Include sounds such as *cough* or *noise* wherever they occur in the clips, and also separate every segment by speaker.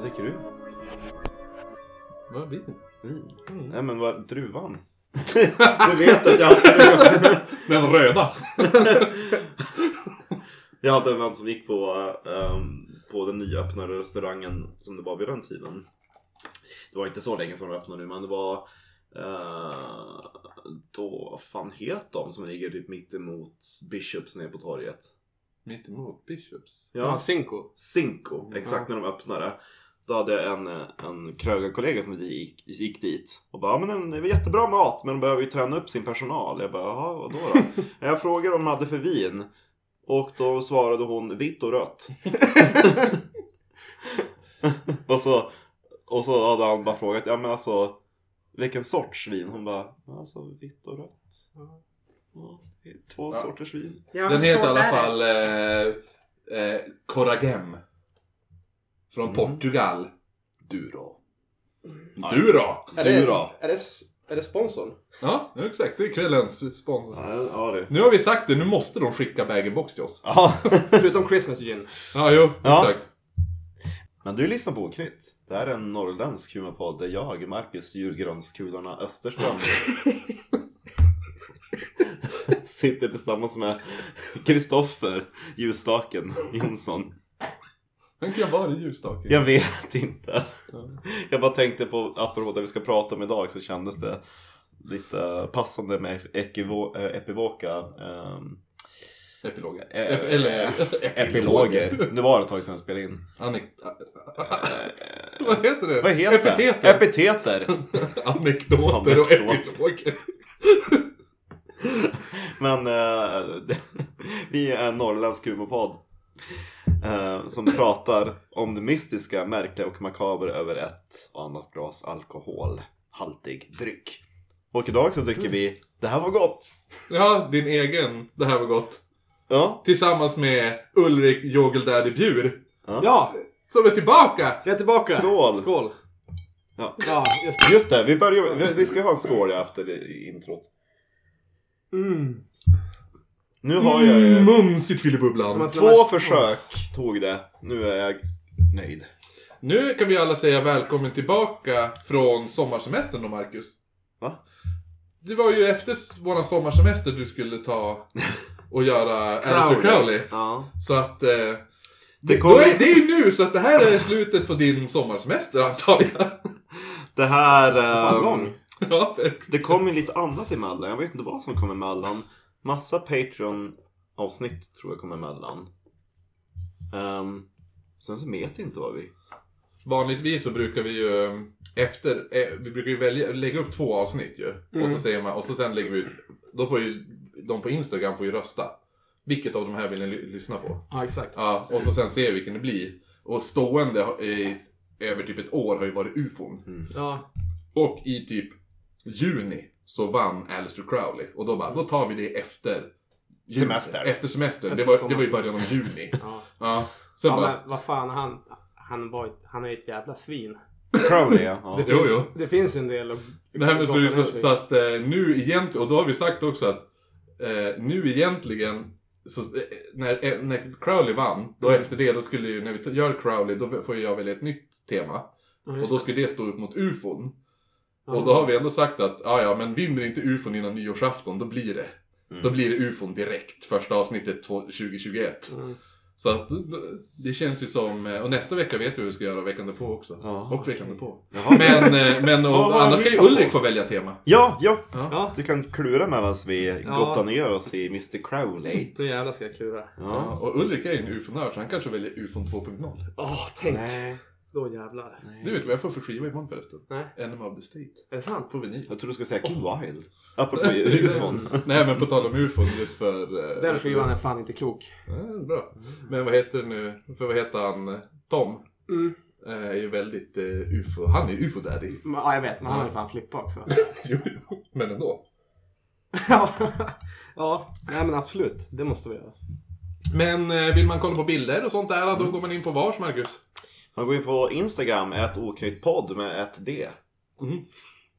Speaker 1: dricker du?
Speaker 2: Vad blir det?
Speaker 1: Vin?
Speaker 2: Mm.
Speaker 1: Nej men vad, druvan? *laughs* du vet att jag hade
Speaker 2: Den röda!
Speaker 1: Jag hade en vän som gick på, ehm, på den nyöppnade restaurangen som det var vid den tiden. Det var inte så länge som de öppnade nu men det var eh, då, vad fan het de som ligger typ mitt emot Bishops nere på torget?
Speaker 2: Mitt emot Bishops.
Speaker 1: Ja.
Speaker 3: Ja, Cinco.
Speaker 1: Cinco, exakt när de öppnade. Då hade jag en, en krögarkollega som gick, gick dit och bara "Ja, men det var jättebra mat men de behöver ju träna upp sin personal. Jag bara jaha vadå då? *laughs* jag frågade om de hade för vin och då svarade hon vitt och *laughs* rött. och, så, och så hade han bara frågat ja men alltså vilken sorts vin? Hon bara "Ja, alltså vitt och rött. Ja, ja, det är två
Speaker 2: Ja.
Speaker 1: sorters vin.
Speaker 4: Ja,
Speaker 2: Den
Speaker 4: så
Speaker 2: heter i alla
Speaker 4: är det.
Speaker 2: fall eh, eh, Coragem. Från
Speaker 1: Mm.
Speaker 2: Portugal.
Speaker 1: Du då?
Speaker 2: Du då?
Speaker 3: Är det,
Speaker 1: Du då?
Speaker 3: är, det, är det sponsorn?
Speaker 2: Ja, exakt. Det är kvällens sponsor.
Speaker 1: Ja, ja du.
Speaker 2: Nu har vi sagt det, nu måste de skicka bag-in-box till oss.
Speaker 1: Ja.
Speaker 3: Förutom Christmas gin.
Speaker 2: Ja, jo,
Speaker 1: Ja.
Speaker 2: exakt.
Speaker 1: Men du lyssnar på Oknytt. Det här är en norrländsk humorpodd där jag, Marcus Djurgranskulorna
Speaker 2: *laughs*
Speaker 1: Österström sitter tillsammans med Kristoffer Ljusstaken Jonsson.
Speaker 2: Han kan vara i ljusstaken.
Speaker 1: Jag vet inte. Jag bara tänkte på, apropå det vi ska prata om idag, så kändes det lite passande med ekivo- eh, epivoka ehm,
Speaker 2: Epiloger.
Speaker 1: Eh,
Speaker 2: Ep- eller eh,
Speaker 1: epiloger. Nu var det ett tag sedan jag spelade in.
Speaker 2: Anek... *laughs* Vad heter det?
Speaker 1: Vad heter det?
Speaker 2: Epiteter.
Speaker 1: Epiteter.
Speaker 2: *laughs* Anekdoter och
Speaker 1: Anekdoter.
Speaker 2: epiloger.
Speaker 1: Men eh, *laughs* vi är en norrländsk humorpodd eh, som pratar om det mystiska, märkliga och makaber över ett och annat glas alkoholhaltig dryck. Och idag så dricker vi Det här var gott!
Speaker 2: Ja, din egen. Det här var gott.
Speaker 1: Ja,
Speaker 2: Tillsammans med Ulrik Jogel Daddy Bjur.
Speaker 3: Ja,
Speaker 2: Som är tillbaka!
Speaker 3: jag är tillbaka.
Speaker 1: Skål.
Speaker 3: Skål.
Speaker 1: Ja.
Speaker 3: Ja, just det.
Speaker 1: just det. Vi, börjar, vi- vi ska ha en skål efter det- introt.
Speaker 3: Mm.
Speaker 1: Nu har jag
Speaker 2: Mm.
Speaker 1: ju
Speaker 2: Mumsigt Filibubblan!
Speaker 1: två försök tog det. Nu är jag nöjd.
Speaker 2: Nu kan vi alla säga välkommen tillbaka från sommarsemestern då, Marcus.
Speaker 1: Va?
Speaker 2: Det var ju efter s- våran sommarsemester du skulle ta och göra Alistair Crowley.
Speaker 1: Ja.
Speaker 2: Så att... Eh,
Speaker 1: Det
Speaker 2: det,
Speaker 1: kom-
Speaker 2: då är, det är ju nu, så att det här är slutet på din sommarsemester antar jag. *laughs*
Speaker 1: Det här...
Speaker 3: Fan,
Speaker 1: ehm,
Speaker 3: lång.
Speaker 2: ja, men-
Speaker 1: Det kom ju lite annat emellan. Jag vet inte vad som kom emellan. Massa Patreon-avsnitt tror jag kom emellan. Um, sen så vet jag inte vad vi...
Speaker 2: Vanligtvis så brukar vi ju eh, efter, eh, vi brukar ju välja, lägga upp två avsnitt ju. Och
Speaker 3: Mm.
Speaker 2: så säger man, och så sen lägger vi ut, då får ju de på Instagram får ju rösta. Vilket av de här vill ni ly- lyssna på?
Speaker 3: Ja, exakt.
Speaker 2: Ja, och så sen ser vi vilken det blir. Och stående har- i över typ ett år har ju varit ufon.
Speaker 3: Mm. Ja.
Speaker 2: Och i typ juni så vann Alistair Crowley. Och då bara, då tar vi det efter juni.
Speaker 1: Semester.
Speaker 2: Efter semester.
Speaker 3: Efter
Speaker 2: det, var, det
Speaker 3: sommaren.
Speaker 2: var i början av juni.
Speaker 3: ja. *laughs*
Speaker 2: Ja. Sen
Speaker 3: ja
Speaker 2: bara,
Speaker 3: men vad fan, han, han, var, ju- han är ju ett jävla svin.
Speaker 1: Crowley, *laughs* ja.
Speaker 3: Det
Speaker 2: Jo,
Speaker 3: finns,
Speaker 2: jo.
Speaker 3: Det finns en del att
Speaker 2: nej men så, det är
Speaker 3: gotta
Speaker 2: så,
Speaker 3: ner sig i.
Speaker 2: så att eh, nu egentligen, och då har vi sagt också att eh, nu egentligen så, eh, när, eh, när Crowley vann,
Speaker 1: Mm.
Speaker 2: då efter det, då skulle ju, när vi t- gör Crowley, då får ju jag välja ett nytt tema.
Speaker 3: Ja, just
Speaker 2: Och då ska det stå upp mot ufon. Och då har vi ändå sagt att ja, ja, men vinner inte ufon innan nyårsafton, då blir det.
Speaker 1: Mm.
Speaker 2: Då blir det ufon direkt, första avsnittet två- 2021.
Speaker 3: Mm.
Speaker 2: Så att det känns ju som, eh, och nästa vecka vet vi hur vi ska göra veckan därpå också.
Speaker 1: Ja,
Speaker 2: och veckan därpå.
Speaker 1: Jaha.
Speaker 2: Men, eh, men
Speaker 1: Vad
Speaker 2: och,
Speaker 1: har
Speaker 2: annars
Speaker 1: vi
Speaker 2: kan ju
Speaker 1: hittat
Speaker 2: Ulrik
Speaker 1: på?
Speaker 2: få välja tema.
Speaker 1: Ja, ja.
Speaker 3: Ja,
Speaker 1: Du kan klura medan vi
Speaker 3: Ja.
Speaker 1: gottar ner oss i Mr Crowley.
Speaker 3: då jävlar ska jag klura.
Speaker 1: Ja.
Speaker 2: Och Ulrik är ju en ufonör så han kanske väljer ufon 2.0.
Speaker 3: Åh, tänk.
Speaker 1: Nej.
Speaker 3: Då jävlar.
Speaker 2: Du vet vad jag får för skiva imorgon förresten?
Speaker 3: Nej.
Speaker 2: Enem of the State.
Speaker 3: Är det sant?
Speaker 1: *laughs*
Speaker 2: På vinyl.
Speaker 1: Jag tror du skulle säga King Wild.
Speaker 3: *laughs*
Speaker 1: Apropå
Speaker 2: *laughs*
Speaker 1: ufon.
Speaker 2: Nej men på tal om ufon just för... eh,
Speaker 3: Den skivan är fan inte klok.
Speaker 2: Ja, bra. Men vad heter det nu? För vad heter han? Tom.
Speaker 3: Mm.
Speaker 2: Eh, Är ju väldigt eh, ufo. Han är ju
Speaker 1: *laughs*
Speaker 2: ufo-daddy.
Speaker 3: Men, Ja, jag vet. Men han har ju fan flippat också.
Speaker 2: Jo, jo. Men ändå.
Speaker 3: ja. *laughs* ja, nej men absolut. Det måste vi göra.
Speaker 2: Men eh, vill man kolla på bilder och sånt där, då går man in på vars, Marcus?
Speaker 1: Man går in på Instagram, ett oknytt podd med ett D.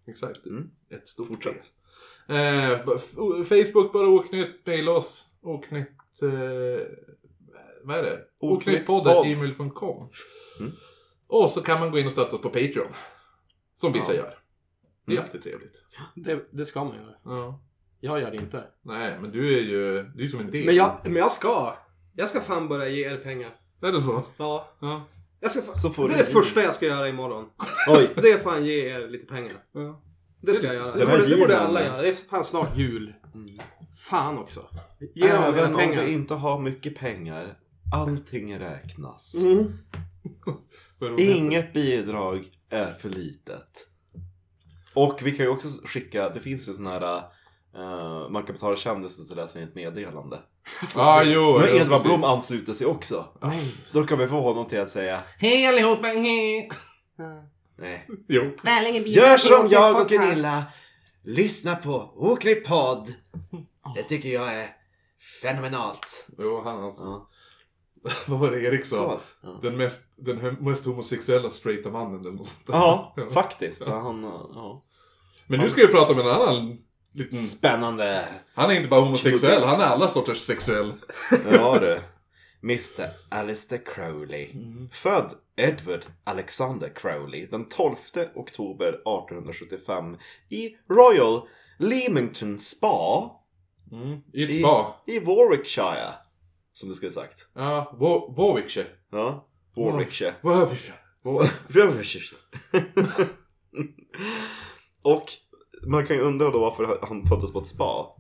Speaker 2: Exakt.
Speaker 1: Mm.
Speaker 2: Ett stort
Speaker 1: Fortsätt.
Speaker 2: Eh, f- o- Facebook, bara oknytt. Mejla oss. Oknytt... Eh, vad är det?
Speaker 1: Oknyttpodd.
Speaker 2: Oknyttpodd.gmail.com
Speaker 1: Mm.
Speaker 2: Och så kan man gå in och stötta oss på Patreon. Som vissa
Speaker 3: Ja.
Speaker 2: gör. Det
Speaker 1: Mm.
Speaker 2: är alltid trevligt.
Speaker 3: Det, det ska man göra.
Speaker 2: Ja.
Speaker 3: Jag gör det inte.
Speaker 2: Nej, men du är ju du är som en del.
Speaker 3: Men jag, men jag ska. Jag ska fan börja ge er pengar.
Speaker 2: Är det så?
Speaker 3: Ja.
Speaker 2: Ja.
Speaker 3: Jag ska fa-
Speaker 1: Så får
Speaker 3: det är
Speaker 1: du-
Speaker 3: det första jag ska göra imorgon. *laughs*
Speaker 1: Oj!
Speaker 3: Det är fan ge er lite pengar.
Speaker 2: ja.
Speaker 3: Det ska jag göra.
Speaker 1: Den
Speaker 3: Det
Speaker 1: här
Speaker 3: borde, det borde
Speaker 1: julen,
Speaker 3: alla
Speaker 1: ja.
Speaker 3: göra. Det är fan snart jul.
Speaker 1: Mm.
Speaker 3: Fan också. Ge dem
Speaker 1: Även
Speaker 3: era
Speaker 1: om du
Speaker 3: pengar.
Speaker 1: inte har mycket pengar, allting räknas.
Speaker 3: Mm.
Speaker 2: Vad roligt.
Speaker 1: Inget bidrag är för litet. Och vi kan ju också skicka, det finns ju sån här eh, man kan betala kändisen till att läsa in ett meddelande.
Speaker 2: Ja, Ah, jo.
Speaker 1: Men
Speaker 2: jo,
Speaker 1: Edvard
Speaker 2: precis. Ah.
Speaker 1: Blom ansluter sig också.
Speaker 2: Nej.
Speaker 1: Då kan vi få honom till att säga
Speaker 2: Hej allihopa, hej!
Speaker 1: Nej.
Speaker 2: Jo.
Speaker 1: Gör som jag och Gunilla. Lyssna på Oklippt podd. Det tycker jag är fenomenalt.
Speaker 2: Jo, han alltså.
Speaker 1: Ja.
Speaker 2: Vad var det Erik sa?
Speaker 1: Skål. Ja.
Speaker 2: Den mest, den hö- mest homosexuella straighta mannen eller något sånt där.
Speaker 1: Ja, faktiskt. Ja, Han, ja.
Speaker 2: Men nu ska vi prata om en annan liten...
Speaker 1: Mm. Spännande.
Speaker 2: Han är inte bara homosexuell,
Speaker 1: Knutist.
Speaker 2: han är alla sorters sexuell.
Speaker 1: Ja du. Mr Alistair Crowley. Född Edward Alexander Crowley den 12 oktober 1875 i Royal Leamington Spa
Speaker 2: Mm. I ett
Speaker 1: I-
Speaker 2: spa.
Speaker 1: i Warwickshire. Som du skulle sagt.
Speaker 2: Ja, Wa- Warwickshire.
Speaker 1: Ja. Warwickshire.
Speaker 2: Warwickshire.
Speaker 1: Warwickshire. *laughs* Och man kan ju undra då varför han föddes på ett spa.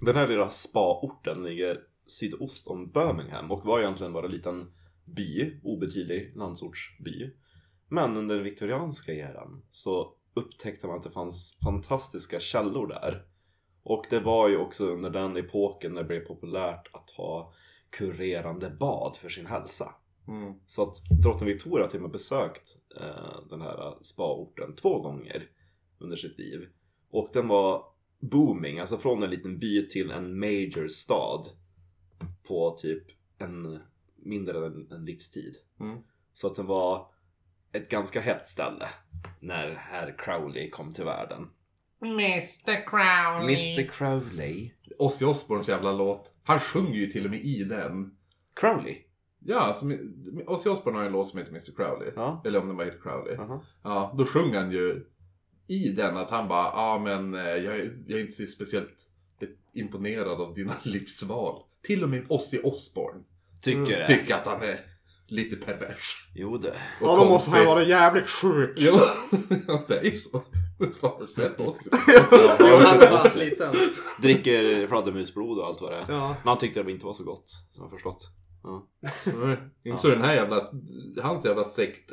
Speaker 1: Den här lilla spaorten ligger sydost om Birmingham och var egentligen bara en liten by, obetydlig landsortsby. Men under den viktorianska eran så upptäckte man att det fanns fantastiska källor där. Och det var ju också under den epoken när det blev populärt att ha kurerande bad för sin hälsa.
Speaker 2: Mm.
Speaker 1: Så att drottning Victoria har till och med besökt eh, den här spaorten två gånger under sitt liv. Och den var booming, alltså från en liten by till en major stad på typ en mindre än en livstid.
Speaker 2: Mm.
Speaker 1: Så att den var ett ganska hett ställe när herr Crowley kom till världen.
Speaker 4: Mr. Crowley.
Speaker 1: Mr Crowley.
Speaker 2: Ozzy Osbournes jävla låt. Han sjunger ju till och med i den.
Speaker 1: Crowley?
Speaker 2: Ja, som, Ozzy Osbourne har ju en låt som heter Mr Crowley.
Speaker 1: Ja.
Speaker 2: Eller om den bara heter Crowley.
Speaker 1: Aha.
Speaker 2: Ja, då sjunger han ju i den att han bara, ja men eh, jag, är- jag är inte så speciellt imponerad av dina *laughs* livsval. Till och med Ozzy Osbourne
Speaker 1: Tycker det?
Speaker 2: tycker att han är lite pervers.
Speaker 1: Jo *laughs* du.
Speaker 2: och
Speaker 3: Ja, då måste
Speaker 2: konstig.
Speaker 3: han vara jävligt sjuk.
Speaker 2: *laughs* Jo, ja, det är ju så. *laughs* Har du sett Ozzy?
Speaker 1: Ja,
Speaker 3: Jo, han *laughs*
Speaker 1: jag
Speaker 3: är
Speaker 1: har
Speaker 3: fast
Speaker 1: sett
Speaker 3: liten.
Speaker 1: Dricker fladdermusblod och allt vad det är.
Speaker 3: Ja.
Speaker 1: Men han tyckte det inte var så gott, som jag förstått.
Speaker 2: Mm.
Speaker 1: Ja,
Speaker 2: Nej, Inte så den här jävla, hans jävla sekt,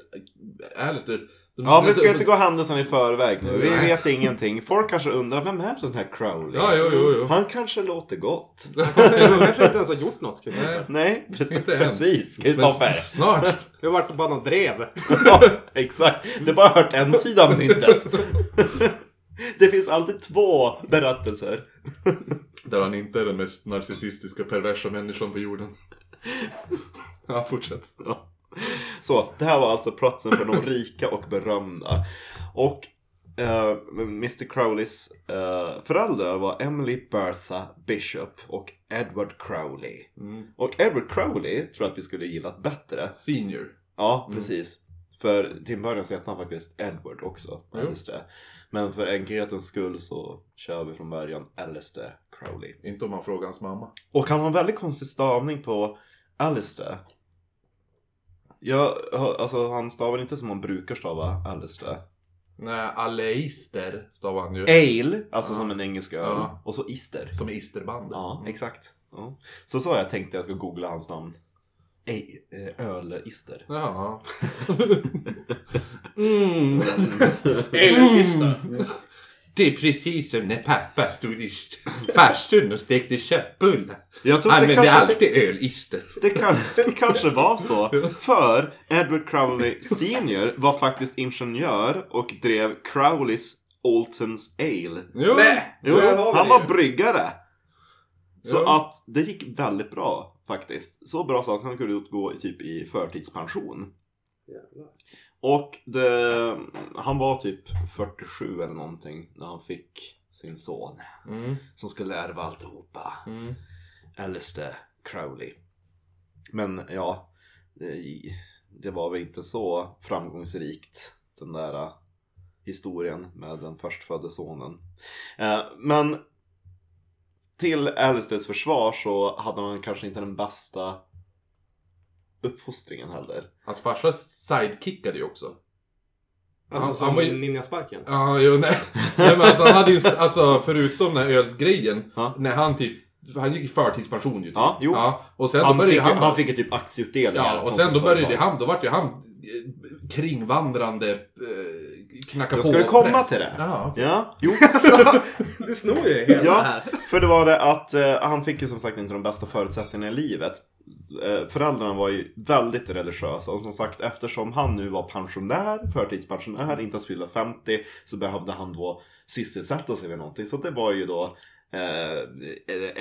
Speaker 2: Alistair.
Speaker 1: ja vi ska inte gå händelsen i förväg nu. Vi
Speaker 2: Nej.
Speaker 1: vet ingenting. Folk kanske undrar, vem är den här Crowley?
Speaker 2: Ja, jo, jo, jo.
Speaker 1: Han kanske låter
Speaker 2: *laughs*
Speaker 1: gott.
Speaker 3: Jag tror inte ens har gjort något. Chris.
Speaker 2: Nej,
Speaker 1: Nej,
Speaker 2: Inte
Speaker 1: precis.
Speaker 2: än.
Speaker 1: precis.
Speaker 2: men
Speaker 1: Kristoffer.
Speaker 2: snart.
Speaker 3: Det har varit bara något drev.
Speaker 1: *laughs* ja, exakt. Du har bara hört en sida av
Speaker 2: *laughs*
Speaker 1: myntet. det finns alltid två berättelser.
Speaker 2: Där han inte är den mest narcissistiska perversa människan på *laughs* jorden. Ja, fortsätt.
Speaker 1: Ja. Så, det här var alltså platsen för de rika och berömda. Och eh, Mr Crowleys eh, föräldrar var Emily Bertha Bishop och Edward Crowley.
Speaker 2: Mm.
Speaker 1: Och Edward Crowley tror jag att vi skulle gillat bättre.
Speaker 2: Senior.
Speaker 1: Ja, precis. För till en början så hette han faktiskt Edward också.
Speaker 2: Jo.
Speaker 1: Alistair. Men för enkelhetens skull så kör vi från början Alistair Crowley.
Speaker 2: Inte om man frågar hans mamma.
Speaker 1: Och han har en väldigt konstig stavning på Alistair. Jag, har- alltså han stavar inte som man brukar stava Alistair.
Speaker 2: Nej, Aleister stavar han ju.
Speaker 1: Ale, alltså
Speaker 2: Ja.
Speaker 1: som en engelsk öl.
Speaker 2: Ja.
Speaker 1: Och så ister.
Speaker 2: Som är isterband. Mm.
Speaker 1: Ja, exakt. Ja. Så sa jag tänkte jag ska googla hans namn. Ej- eh, Ölister.
Speaker 2: Ja.
Speaker 3: Elista.
Speaker 2: Det är precis som när pappa stod i farstun och stekte köttbullar.
Speaker 1: Jag tror att det
Speaker 2: Använde
Speaker 1: kanske,
Speaker 2: alltid ölister.
Speaker 1: det, kan, det kanske var så. För Edward Crowley senior var faktiskt ingenjör och drev Crowleys Alton's Ale.
Speaker 2: Jo.
Speaker 3: Nej!
Speaker 1: Jo,
Speaker 3: Där har vi
Speaker 1: han
Speaker 3: det
Speaker 1: var
Speaker 3: ju.
Speaker 1: bryggare. Så
Speaker 2: Ja.
Speaker 1: att det gick väldigt bra faktiskt. Så bra så att han kunde gå i typ i förtidspension.
Speaker 3: Jävlar.
Speaker 1: Och det, han var typ 47 eller någonting när han fick sin son.
Speaker 2: Mm,
Speaker 1: Som skulle ärva alltihopa.
Speaker 2: mm.
Speaker 1: Alistair Crowley. Men ja, det, det var väl inte så framgångsrikt den där eh, historien med den förstfödde sonen. Eh, men till Alistairs försvar så hade man kanske inte den bästa uppfostringen heller.
Speaker 2: Hans farsa sidekickade ju också.
Speaker 3: Alltså
Speaker 2: Han-
Speaker 3: som
Speaker 2: han var ju- *laughs*
Speaker 3: ninjasparken.
Speaker 2: Ja, jo, nej. nej men alltså, han hade ju, alltså förutom den här ölgrejen,
Speaker 1: Ja.
Speaker 2: när han typ, han gick i förtidspension ju typ.
Speaker 1: Ja, jo.
Speaker 2: och sen då
Speaker 1: Han
Speaker 2: började
Speaker 1: fick,
Speaker 2: han,
Speaker 1: han fick ju typ aktieutdelningar.
Speaker 2: ja, och
Speaker 1: från
Speaker 2: sen
Speaker 1: sitt
Speaker 2: då började
Speaker 1: företag.
Speaker 2: han, då vart ju han eh, kringvandrande eh, knacka
Speaker 1: Jag
Speaker 2: på
Speaker 1: ska du komma
Speaker 2: präst.
Speaker 1: till det.
Speaker 2: Ja, okej.
Speaker 1: Ja, jo.
Speaker 3: Alltså, du snor ju hela
Speaker 1: Ja.
Speaker 3: det här.
Speaker 1: För det var det att eh, han fick ju som sagt inte de bästa förutsättningarna i livet. Eh, föräldrarna var ju väldigt religiösa och som sagt eftersom han nu var pensionär, förtidspensionär, inte ens fyllde 50 så behövde han då sysselsätta sig med någonting. Så det var ju då eh,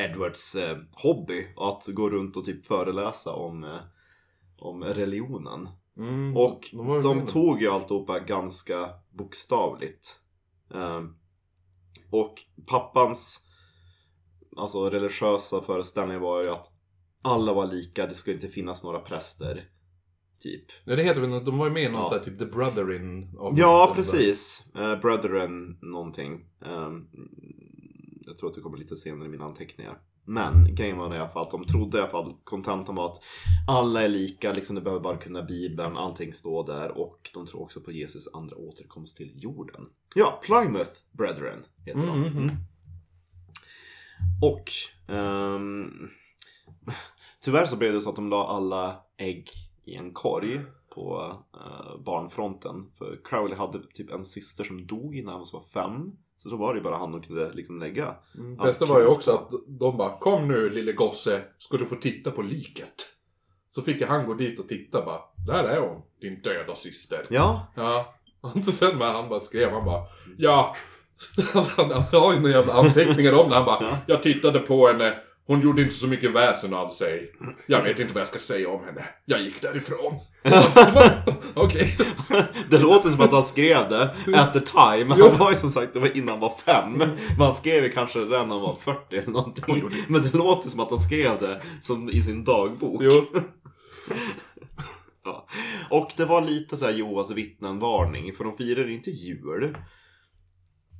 Speaker 1: Edwards eh, hobby att gå runt och typ föreläsa om, eh, om religionen.
Speaker 2: Mm,
Speaker 1: Och
Speaker 2: var ju
Speaker 1: De
Speaker 2: med.
Speaker 1: tog ju alltihopa ganska bokstavligt. Ehm, och pappans alltså, religiösa föreställning var ju att alla var lika, det skulle inte finnas några präster. Typ.
Speaker 2: Nej, det heter väl, något- de var ju med i någon
Speaker 1: Ja.
Speaker 2: sån här typ The Brother-in. av-
Speaker 1: Ja,
Speaker 2: av-
Speaker 1: precis. Eh, Brethren någonting. Ehm, jag tror att det kommer lite senare i mina anteckningar. Men grejen var i alla fall att de trodde i alla fall, kontentan var att alla är lika, liksom du behöver bara kunna bibeln, allting står där och de tror också på Jesus andra återkomst till jorden. Ja, Plymouth Brethren heter de.
Speaker 2: Mm, mm, mm.
Speaker 1: Och ehm, tyvärr så blev det så att de la alla ägg i en korg på eh, barnfronten. För Crowley hade typ en syster som dog när han var fem. Så då var det ju bara han de kunde liksom lägga.
Speaker 2: Mm,
Speaker 1: Ja,
Speaker 2: Bästa var ju
Speaker 1: klart.
Speaker 2: också att de bara Kom nu lille gosse, ska du få titta på liket? Så fick ju han gå dit och titta bara Där är hon, din döda syster.
Speaker 1: Ja,
Speaker 2: Ja. Och så sen när han bara skrev, han bara Ja. *laughs* Alltså, han har ju några jävla anteckningar om det. Han bara Jag tittade på henne, hon gjorde inte så mycket väsen av sig. Jag vet inte vad jag ska säga om henne. Jag gick
Speaker 1: *laughs*
Speaker 2: därifrån. *laughs* Okej.
Speaker 1: *laughs* det låter som att han skrev det at the time. Han var ju som sagt, det var innan han var fem. Men han skrev ju kanske det när han var 40 eller någonting. Men det låter som att han skrev det som i sin dagbok.
Speaker 2: Jo.
Speaker 1: Ja. Och det var lite så här Jehovas vittnen-varning, för de firade inte jul.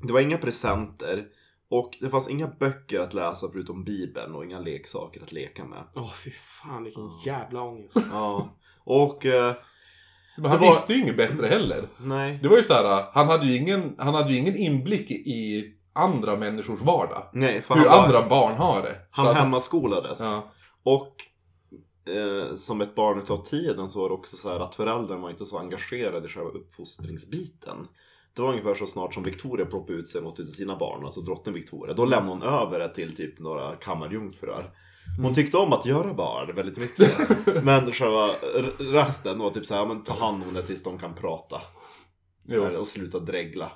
Speaker 1: Det var inga presenter. Och det fanns inga böcker att läsa förutom Bibeln och inga leksaker att leka med.
Speaker 3: Åh fy fan vilken
Speaker 1: Ja.
Speaker 3: jävla ångest.
Speaker 1: Ja. Och eh,
Speaker 2: Men han
Speaker 1: Det var-
Speaker 2: visste ju inget bättre heller.
Speaker 1: nej.
Speaker 2: Det var ju så här, äh, han hade ju ingen, han hade ju ingen inblick i andra människors vardag.
Speaker 1: Nej, för
Speaker 2: Hur
Speaker 1: han, var-
Speaker 2: andra barn har det. Så
Speaker 1: han
Speaker 2: att-
Speaker 1: hemmaskolades.
Speaker 2: Ja.
Speaker 1: Och eh, som ett barn utav tiden så var det också så här att föräldrarna var inte så engagerade i själva uppfostringsbiten. Det var ungefär så snart som Victoria ploppade ut sig något utav sina barn, alltså drottning Victoria. Då lämnade hon över det till typ några kammarjungfrur. Hon tyckte om att göra barn väldigt mycket. Men själva r- resten var typ såhär, men ta hand om det tills de kan prata. Eller,
Speaker 2: Jo.
Speaker 1: och sluta dregla.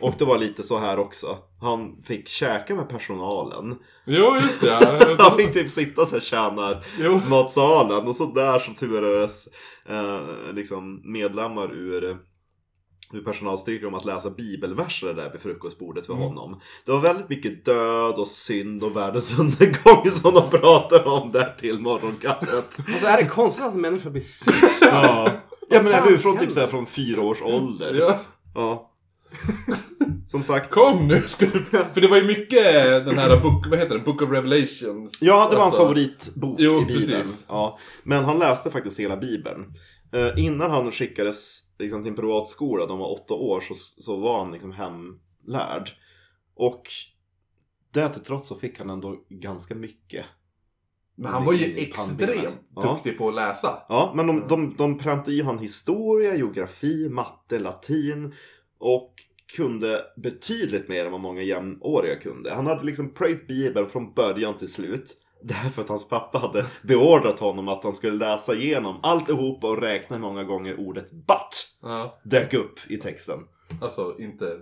Speaker 1: Och det var lite så här också. Han fick käka med personalen.
Speaker 2: jo, just det.
Speaker 1: *laughs* Han
Speaker 2: ja.
Speaker 1: fick typ sitta såhär tjänar
Speaker 2: Jo.
Speaker 1: matsalen och så där så turades eh, liksom medlemmar ur, ur personalstyrkan om att läsa bibelverser där vid frukostbordet för honom. Det var väldigt mycket död och synd och världens *laughs* undergång som de pratade om där till morgonkaffet.
Speaker 3: Alltså är det konstigt att människor blir
Speaker 2: *laughs*
Speaker 3: psykiskt
Speaker 1: *laughs* ja. ja men
Speaker 3: fan
Speaker 1: även från typ
Speaker 3: händer?
Speaker 1: så här från fyra års ålder.
Speaker 2: Ja.
Speaker 1: Ja. Som sagt.
Speaker 2: Kom nu ska du... För det var ju mycket den här book, vad heter den? Book of Revelations.
Speaker 1: Ja, det var hans
Speaker 2: Alltså,
Speaker 1: favoritbok
Speaker 2: Jo,
Speaker 1: i Bibeln.
Speaker 2: precis.
Speaker 1: Ja. Men han läste faktiskt hela Bibeln. Eh, innan han skickades liksom, till en privatskola, de var åtta år, så, så var han liksom hemlärd. Och det till trots så fick han ändå ganska mycket.
Speaker 2: Men han var ju
Speaker 1: I pannbenet.
Speaker 2: extremt
Speaker 1: Ja.
Speaker 2: duktig på att läsa.
Speaker 1: Ja, men de, de, de präntade i honom historia, geografi, matte, latin och kunde betydligt mer än vad många jämnåriga kunde. Han hade liksom pröjt Bibeln från början till slut. *laughs* Därför att hans pappa hade beordrat honom att han skulle läsa igenom alltihopa och räkna hur många gånger ordet but
Speaker 2: Ja.
Speaker 1: dök upp i texten.
Speaker 2: Alltså, inte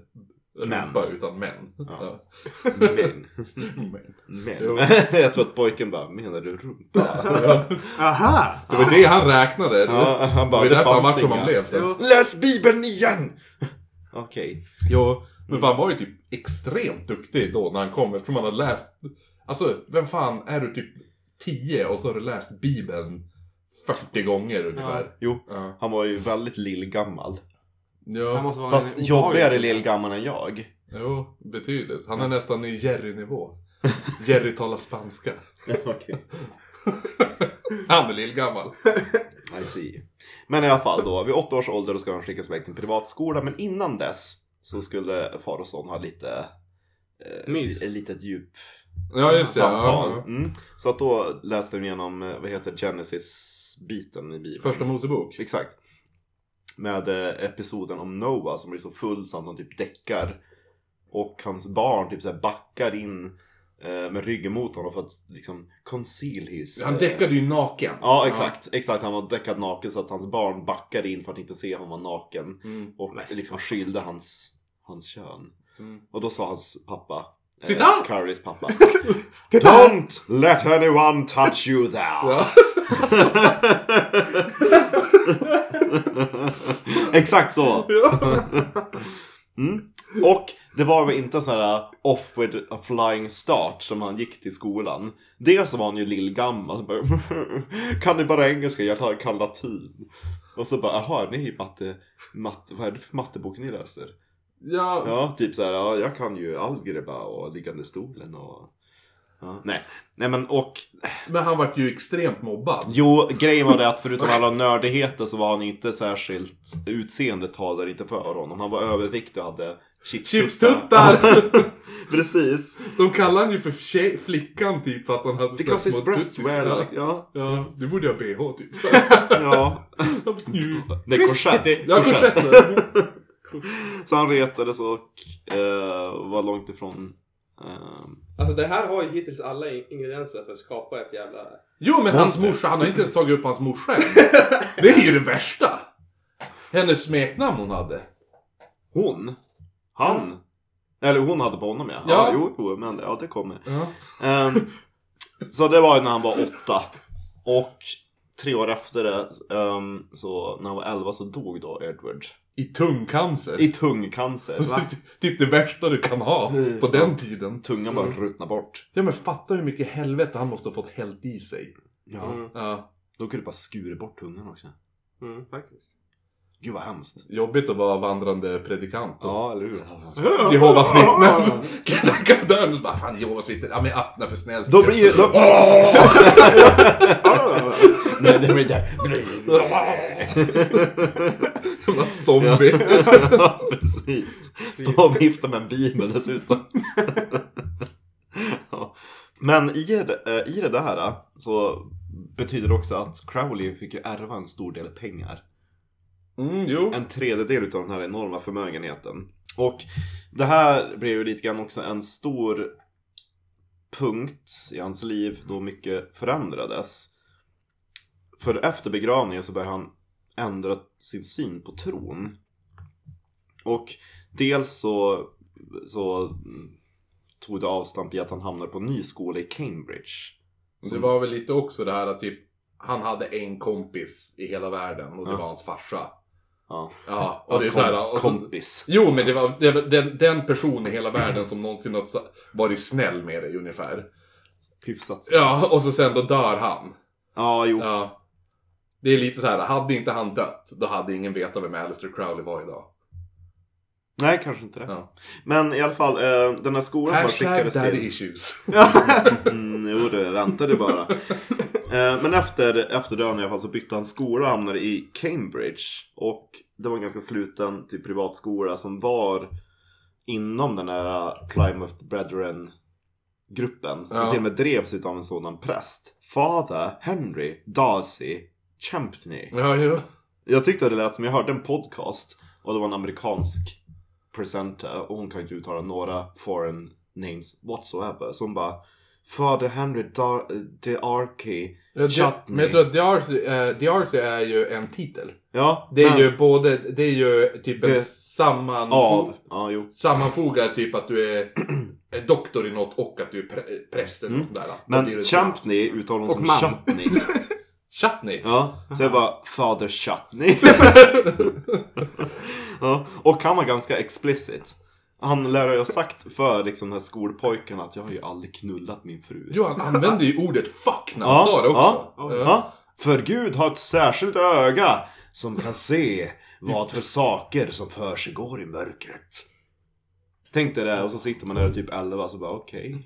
Speaker 1: Men.
Speaker 2: rumpa utan män.
Speaker 1: Ja.
Speaker 2: Ja.
Speaker 1: Men,
Speaker 2: Men.
Speaker 1: *laughs* men.
Speaker 2: Jo.
Speaker 1: *laughs* Jag tror att pojken bara, menar du rumpa?
Speaker 2: Ja.
Speaker 3: Aha!
Speaker 2: Det var det han räknade.
Speaker 1: Ja, *laughs* han
Speaker 2: Det
Speaker 1: bara,
Speaker 2: var ju därför han
Speaker 1: fanns
Speaker 2: vart som
Speaker 1: inga."
Speaker 2: han blev sen.
Speaker 3: Jo.
Speaker 1: Läs Bibeln igen! *laughs* Okej.
Speaker 2: Jo,
Speaker 1: Mm.
Speaker 2: men han var ju typ extremt duktig då när han kom eftersom han hade läst... Alltså, vem fan är du typ 10 och så har du läst Bibeln 40 gånger ungefär.
Speaker 1: Jo,
Speaker 2: Ja.
Speaker 1: han var ju väldigt lillgammal.
Speaker 3: Han
Speaker 2: ja.
Speaker 3: måste vara
Speaker 1: Fast
Speaker 3: en obehaglig-
Speaker 1: jobbigare lillgammal än jag.
Speaker 2: Jo, betydligt. Han är nästan i Jerry-nivå. Jerry talar spanska.
Speaker 1: Okej.
Speaker 2: Han är lillgammal.
Speaker 1: I see. Men i alla fall då, vid åtta års ålder då ska han skickas iväg till en privatskola. Men innan dess så skulle far och son ha lite... Eh,
Speaker 3: Mys.
Speaker 1: Ett litet djup
Speaker 2: Ja, just det.
Speaker 1: samtal.
Speaker 2: Ja.
Speaker 1: Mm. Så att då läste de igenom, eh, vad heter Genesis-biten i Bibeln.
Speaker 2: Första Mosebok.
Speaker 1: Exakt. Med eh, episoden om Noah som blir så full så att han typ däckar. Och hans barn typ så här backar in eh, med ryggen mot honom för att liksom conceal his...
Speaker 2: Han
Speaker 1: eh,
Speaker 2: däckade ju naken.
Speaker 1: Ja, exakt. Exakt, han var däckad naken så att hans barn backade in för att inte se honom vara naken.
Speaker 2: Ja. Mm.
Speaker 1: Och liksom skylde hans, hans kön.
Speaker 2: Mm.
Speaker 1: Och då sa hans pappa, eh,
Speaker 2: Titta!
Speaker 1: Currys
Speaker 2: *laughs*
Speaker 1: pappa.
Speaker 3: Titta!
Speaker 1: Don't let anyone touch you there!
Speaker 2: Ja.
Speaker 1: *laughs* Exakt så!
Speaker 2: Ja.
Speaker 1: Mm. Och det var väl inte en sån här off with a flying start som han gick till skolan. Dels var han ju lillgammal. så bara, *laughs* Kan ni bara engelska? Jag kan- kan latin. Och så bara, jaha, ni är matte, matte, vad är det för mattebok ni läser?
Speaker 2: ja.
Speaker 1: Ja, typ så här, ja, jag kan ju algebra och liggande stolen och... Ja, nej. nej, men och
Speaker 2: Men han vart ju extremt mobbad.
Speaker 1: Jo, grejen var det att förutom alla nördigheter så var han inte särskilt utseendet talade inte för honom. Han var överviktig och hade chipstuttar.
Speaker 2: Chipstuttar!
Speaker 1: *laughs* Precis.
Speaker 2: De kallar han ju för tjej, flickan typ för att han hade
Speaker 1: Because
Speaker 2: små
Speaker 1: his breast
Speaker 2: tuttis.
Speaker 1: were
Speaker 2: Ja.
Speaker 1: like... Ja.
Speaker 2: Ja, du borde ha bh
Speaker 1: *laughs*
Speaker 2: typ.
Speaker 1: ja. Nej, korsett.
Speaker 2: Ja,
Speaker 1: Korsett.
Speaker 2: korsett.
Speaker 1: Så han retades och eh, var långt ifrån... eh,
Speaker 5: Alltså det här har ju hittills alla in- ingredienser för att skapa ett jävla...
Speaker 2: Jo, men hans
Speaker 1: Monster.
Speaker 2: morsa, han har inte ens tagit upp hans morsa
Speaker 1: *laughs*
Speaker 2: än. Det är ju det värsta! Hennes smeknamn hon hade.
Speaker 1: hon? Han? Eller hon hade på honom ja. Ja,
Speaker 2: Ja.
Speaker 1: jo, jo, men ja, det kommer.
Speaker 2: Ja.
Speaker 1: Ehm, så det var ju när han var åtta. Och tre år efter det, ehm, så när han var elva så dog då Edward.
Speaker 2: I tungcancer. *laughs*
Speaker 1: I tungcancer.
Speaker 2: typ det värsta du kan ha på den tiden.
Speaker 1: Tungan bara ruttnade bort.
Speaker 2: Ja men fatta hur mycket helvete han måste ha fått hällt i sig.
Speaker 1: Ja.
Speaker 2: Ja.
Speaker 1: Mm. Då kunde du bara skurit bort tungan också.
Speaker 3: Mm, faktiskt.
Speaker 1: Gud vad hemskt.
Speaker 2: Jobbigt att vara vandrande predikant. och
Speaker 1: Ja, eller hur?
Speaker 2: Jehovas
Speaker 3: Ah.
Speaker 2: *laughs* vittnen. Knackar dörren och bara fan Jehovas vittnen. Ja men öppna för snäll
Speaker 1: Då blir ju... Då...
Speaker 3: Ah,
Speaker 1: *laughs* Nej, det blir där.
Speaker 2: *laughs*
Speaker 1: *laughs*
Speaker 2: Jävla zombie.
Speaker 1: Ja, precis. Stå och vifta med en bibel dessutom. ja. Men i det, eh, i det där eh, så betyder det också att Crowley fick ju ärva en stor del pengar.
Speaker 2: Mm, jo.
Speaker 1: En tredjedel utav den här enorma förmögenheten. Och det här blev ju lite grann också en stor punkt i hans liv då mycket förändrades. För efter begravningen så började han ändra sin syn på tron. Och dels så, så tog det avstamp i att han hamnade på en ny skola i Cambridge.
Speaker 2: Det var väl lite också det här att typ han hade en kompis i hela världen och det
Speaker 1: Ja.
Speaker 2: var hans farsa.
Speaker 1: Ja.
Speaker 2: Ja, och det är så här, och så,
Speaker 1: kompis.
Speaker 2: Jo, men det var, det var den, den person i hela världen som någonsin har sa- varit snäll med dig ungefär.
Speaker 1: Hyfsat.
Speaker 2: Ja, och så sen då dör han.
Speaker 1: Ja, jo.
Speaker 2: Ja. Det är lite så här, hade inte han dött, då hade ingen vetat vem Alistair Crowley var idag.
Speaker 1: Nej, kanske inte det.
Speaker 2: Ja.
Speaker 1: Men i alla fall, eh, den här skolan som han
Speaker 2: Hashtag
Speaker 1: skickades
Speaker 2: daddy
Speaker 1: till. *laughs*
Speaker 2: issues.
Speaker 1: Mm, jo, det väntar du
Speaker 2: *laughs*
Speaker 1: bara. Eh, men efter, efter döden i alla fall så bytte han skola och hamnade i Cambridge. Och det var en ganska sluten typ, privatskola som var inom den här Plymouth Brethren-gruppen. Som
Speaker 2: Ja.
Speaker 1: till och med drevs av en sådan präst. Father Henry Darcy Champney.
Speaker 2: ja, jo.
Speaker 1: Jag tyckte det lät som, jag hörde en podcast och det var en amerikansk presenter och hon kan inte uttala några foreign names whatsoever. Så hon bara Father Henry Dar- eh, DeArkey
Speaker 2: Ja, det-
Speaker 1: Chutney.
Speaker 2: Men jag tror att The Arthur, eh, The Arthur är ju en titel.
Speaker 1: Ja,
Speaker 2: Det är
Speaker 1: men-
Speaker 2: ju både, det är ju typ en
Speaker 1: Det-
Speaker 2: sammanfo-
Speaker 1: Av. Ja, jo.
Speaker 2: sammanfogar typ att du är är doktor i något och att du är pre- präst eller något sånt där. Då blir
Speaker 1: Mm. Men
Speaker 2: det-
Speaker 1: Champney uttalar hon
Speaker 3: Och
Speaker 1: som
Speaker 3: man.
Speaker 1: Chutney.
Speaker 2: Chutney.
Speaker 1: Ja, så jag bara Father
Speaker 2: *laughs*
Speaker 1: Chutney. ja, och han var ganska explicit. Han lär ju ha sagt för liksom den här skolpojken att jag har ju aldrig knullat min fru.
Speaker 2: Jo, han använde ju ordet fuck när han
Speaker 1: Ja,
Speaker 2: sa det också.
Speaker 1: ja,
Speaker 2: Eh,
Speaker 1: Ja, För Gud har ett särskilt öga som kan se vad för saker som försiggår i mörkret. Tänk dig det och så sitter man där och typ 11 så bara okej.